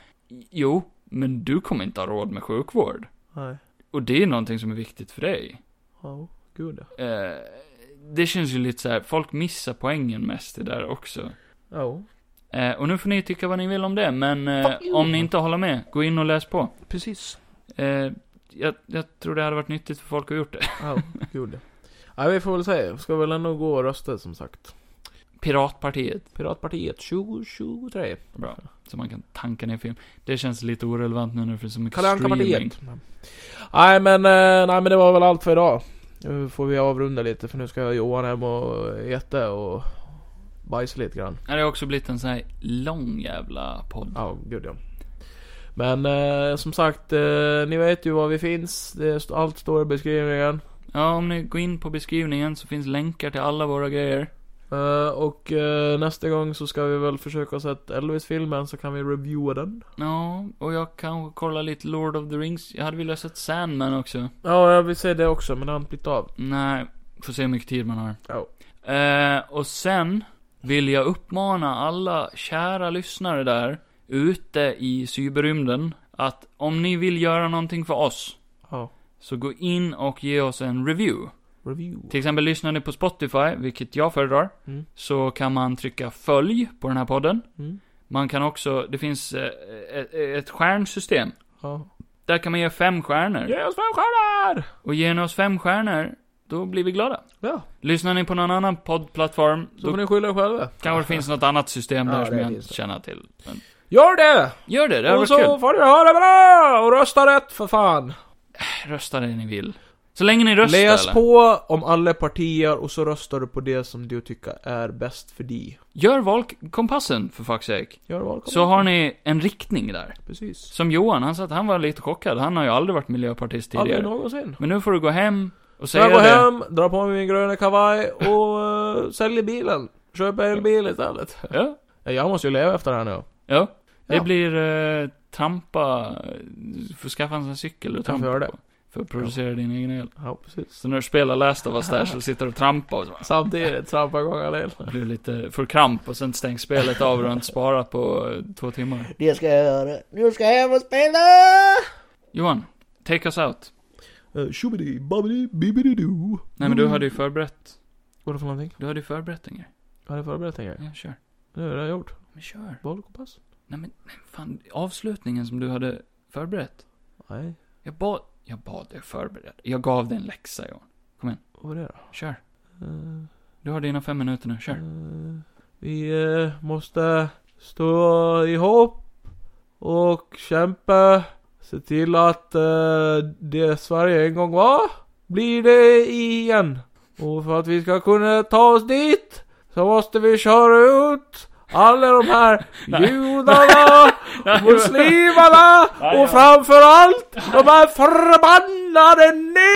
B: Jo, men du kommer inte ha råd med sjukvård.
C: Nej.
B: Och det är någonting som är viktigt för dig.
C: Ja, gud ja.
B: Eh, det känns ju lite så här, folk missar poängen mest i det där också.
C: Ja,
B: Eh, och nu får ni tycka vad ni vill om det, men eh,
C: Fuck you.
B: om ni inte håller med, gå in och läs på.
C: precis.
B: Eh, jag, jag tror det hade varit nyttigt för folk att ha gjort det.
C: Ja, gud ja. ja. vi får väl se. Vi ska väl ändå gå och rösta som sagt.
B: Piratpartiet,
C: Piratpartiet 2023.
B: Bra. så man kan tanka ner film. Det känns lite orelevant nu när det finns så mycket
C: Kalle
B: streaming.
C: Anka-partiet. Nej men, eh, nej men det var väl allt för idag. Nu får vi avrunda lite för nu ska Johan hem och äta och bajsa lite grann.
B: Det har också blivit en sån här lång jävla podd.
C: Ja, gud ja. Men eh, som sagt, eh, ni vet ju var vi finns. Det, är- allt står i beskrivningen.
B: Ja, om ni går in på beskrivningen så finns länkar till alla våra grejer.
C: Eh, och eh, nästa gång så ska vi väl försöka ha sett Elvis-filmen så kan vi reviewa den.
B: Ja, och jag kan kolla lite Lord of the Rings. Jag hade velat sett Sandman också.
C: Ja, jag vill säga det också men det har inte blivit av.
B: Nej, får se hur mycket tid man har.
C: Ja.
B: Eh, och sen vill jag uppmana alla kära lyssnare där ute i cyberrymden att om ni vill göra någonting för oss
C: Ja.
B: så gå in och ge oss en review.
C: Review.
B: Till exempel lyssnar ni på Spotify, vilket jag föredrar,
C: Mm.
B: så kan man trycka följ på den här podden.
C: Mm.
B: Man kan också, det finns eh, ett, ett stjärnsystem.
C: Ja.
B: Där kan man ge fem stjärnor.
C: Ge oss fem stjärnor!
B: Och ger ni oss fem stjärnor, då blir vi glada.
C: Ja,
B: Lyssnar ni på någon annan poddplattform,
C: så får
B: då
C: ni skylla er själva.
B: kanske det finns något annat system
C: Ja,
B: där
C: det
B: som jag
C: finns
B: inte
C: det.
B: känner till. Men
C: Gör det!
B: gör det, det hade
C: och
B: varit
C: så
B: kul.
C: får ni ha det bra! Och rösta rätt för fan!
B: Eh, Rösta det ni vill. Så länge ni röstar
C: Läs
B: eller?
C: på om alla partier och så röstar du på det som du tycker är bäst för dig.
B: Gör valkompassen för fuck's sake.
C: Gör valkompassen.
B: Så har ni en riktning där.
C: Precis.
B: Som Johan, han sa att han var lite chockad. Han har ju aldrig varit miljöpartist
C: Aldrig
B: tidigare.
C: någonsin.
B: Men nu får du gå hem och
C: Så jag
B: säga
C: går
B: det.
C: hem, drar på mig min gröna kavaj och uh, säljer bilen. Köper elbil istället.
B: Ja,
C: Jag måste ju leva efter det här nu.
B: ja. Det
C: Ja.
B: blir eh, trampa, eh, får skaffa en sån här cykel och
C: får
B: trampa
C: göra det.
B: på. För att producera din egen el.
C: Ja, precis.
B: Så när du spelar Last of Us där så sitter du och trampar och så
C: Samtidigt trampar igång all el.
B: blir du lite, får kramp och sen stängs spelet av och du har inte sparat på eh, två timmar.
D: Det ska jag göra. Nu ska jag hem och spela!
B: Johan, take us out.
A: Eh, Tjobidi, babidi, bibidi-doo.
B: Nej
C: Mm.
B: men du hade ju förberett.
C: Vad är det för någonting?
B: Du hade ju förberett en grej.
C: Jag hade förberett en grej.
B: Ja, kör.
C: Nu har jag redan gjort.
B: Men kör.
C: Boll och kompass?
B: Nej men, nej, fan. Avslutningen som du hade förberett.
C: Nej.
B: Jag bad, jag bad dig förbereda. Jag gav dig en läxa, Johan.
C: Vad var det då?
B: Kör.
C: Eh,
B: Du har dina fem minuter nu, kör.
C: eh, vi eh, måste stå ihop och kämpa. Se till att eh, det Sverige en gång var, blir det igen. Och för att vi ska kunna ta oss dit, så måste vi köra ut alla de här
B: Nej.
C: judarna muslimerna
B: Nej, ja.
C: och framförallt de här förbannade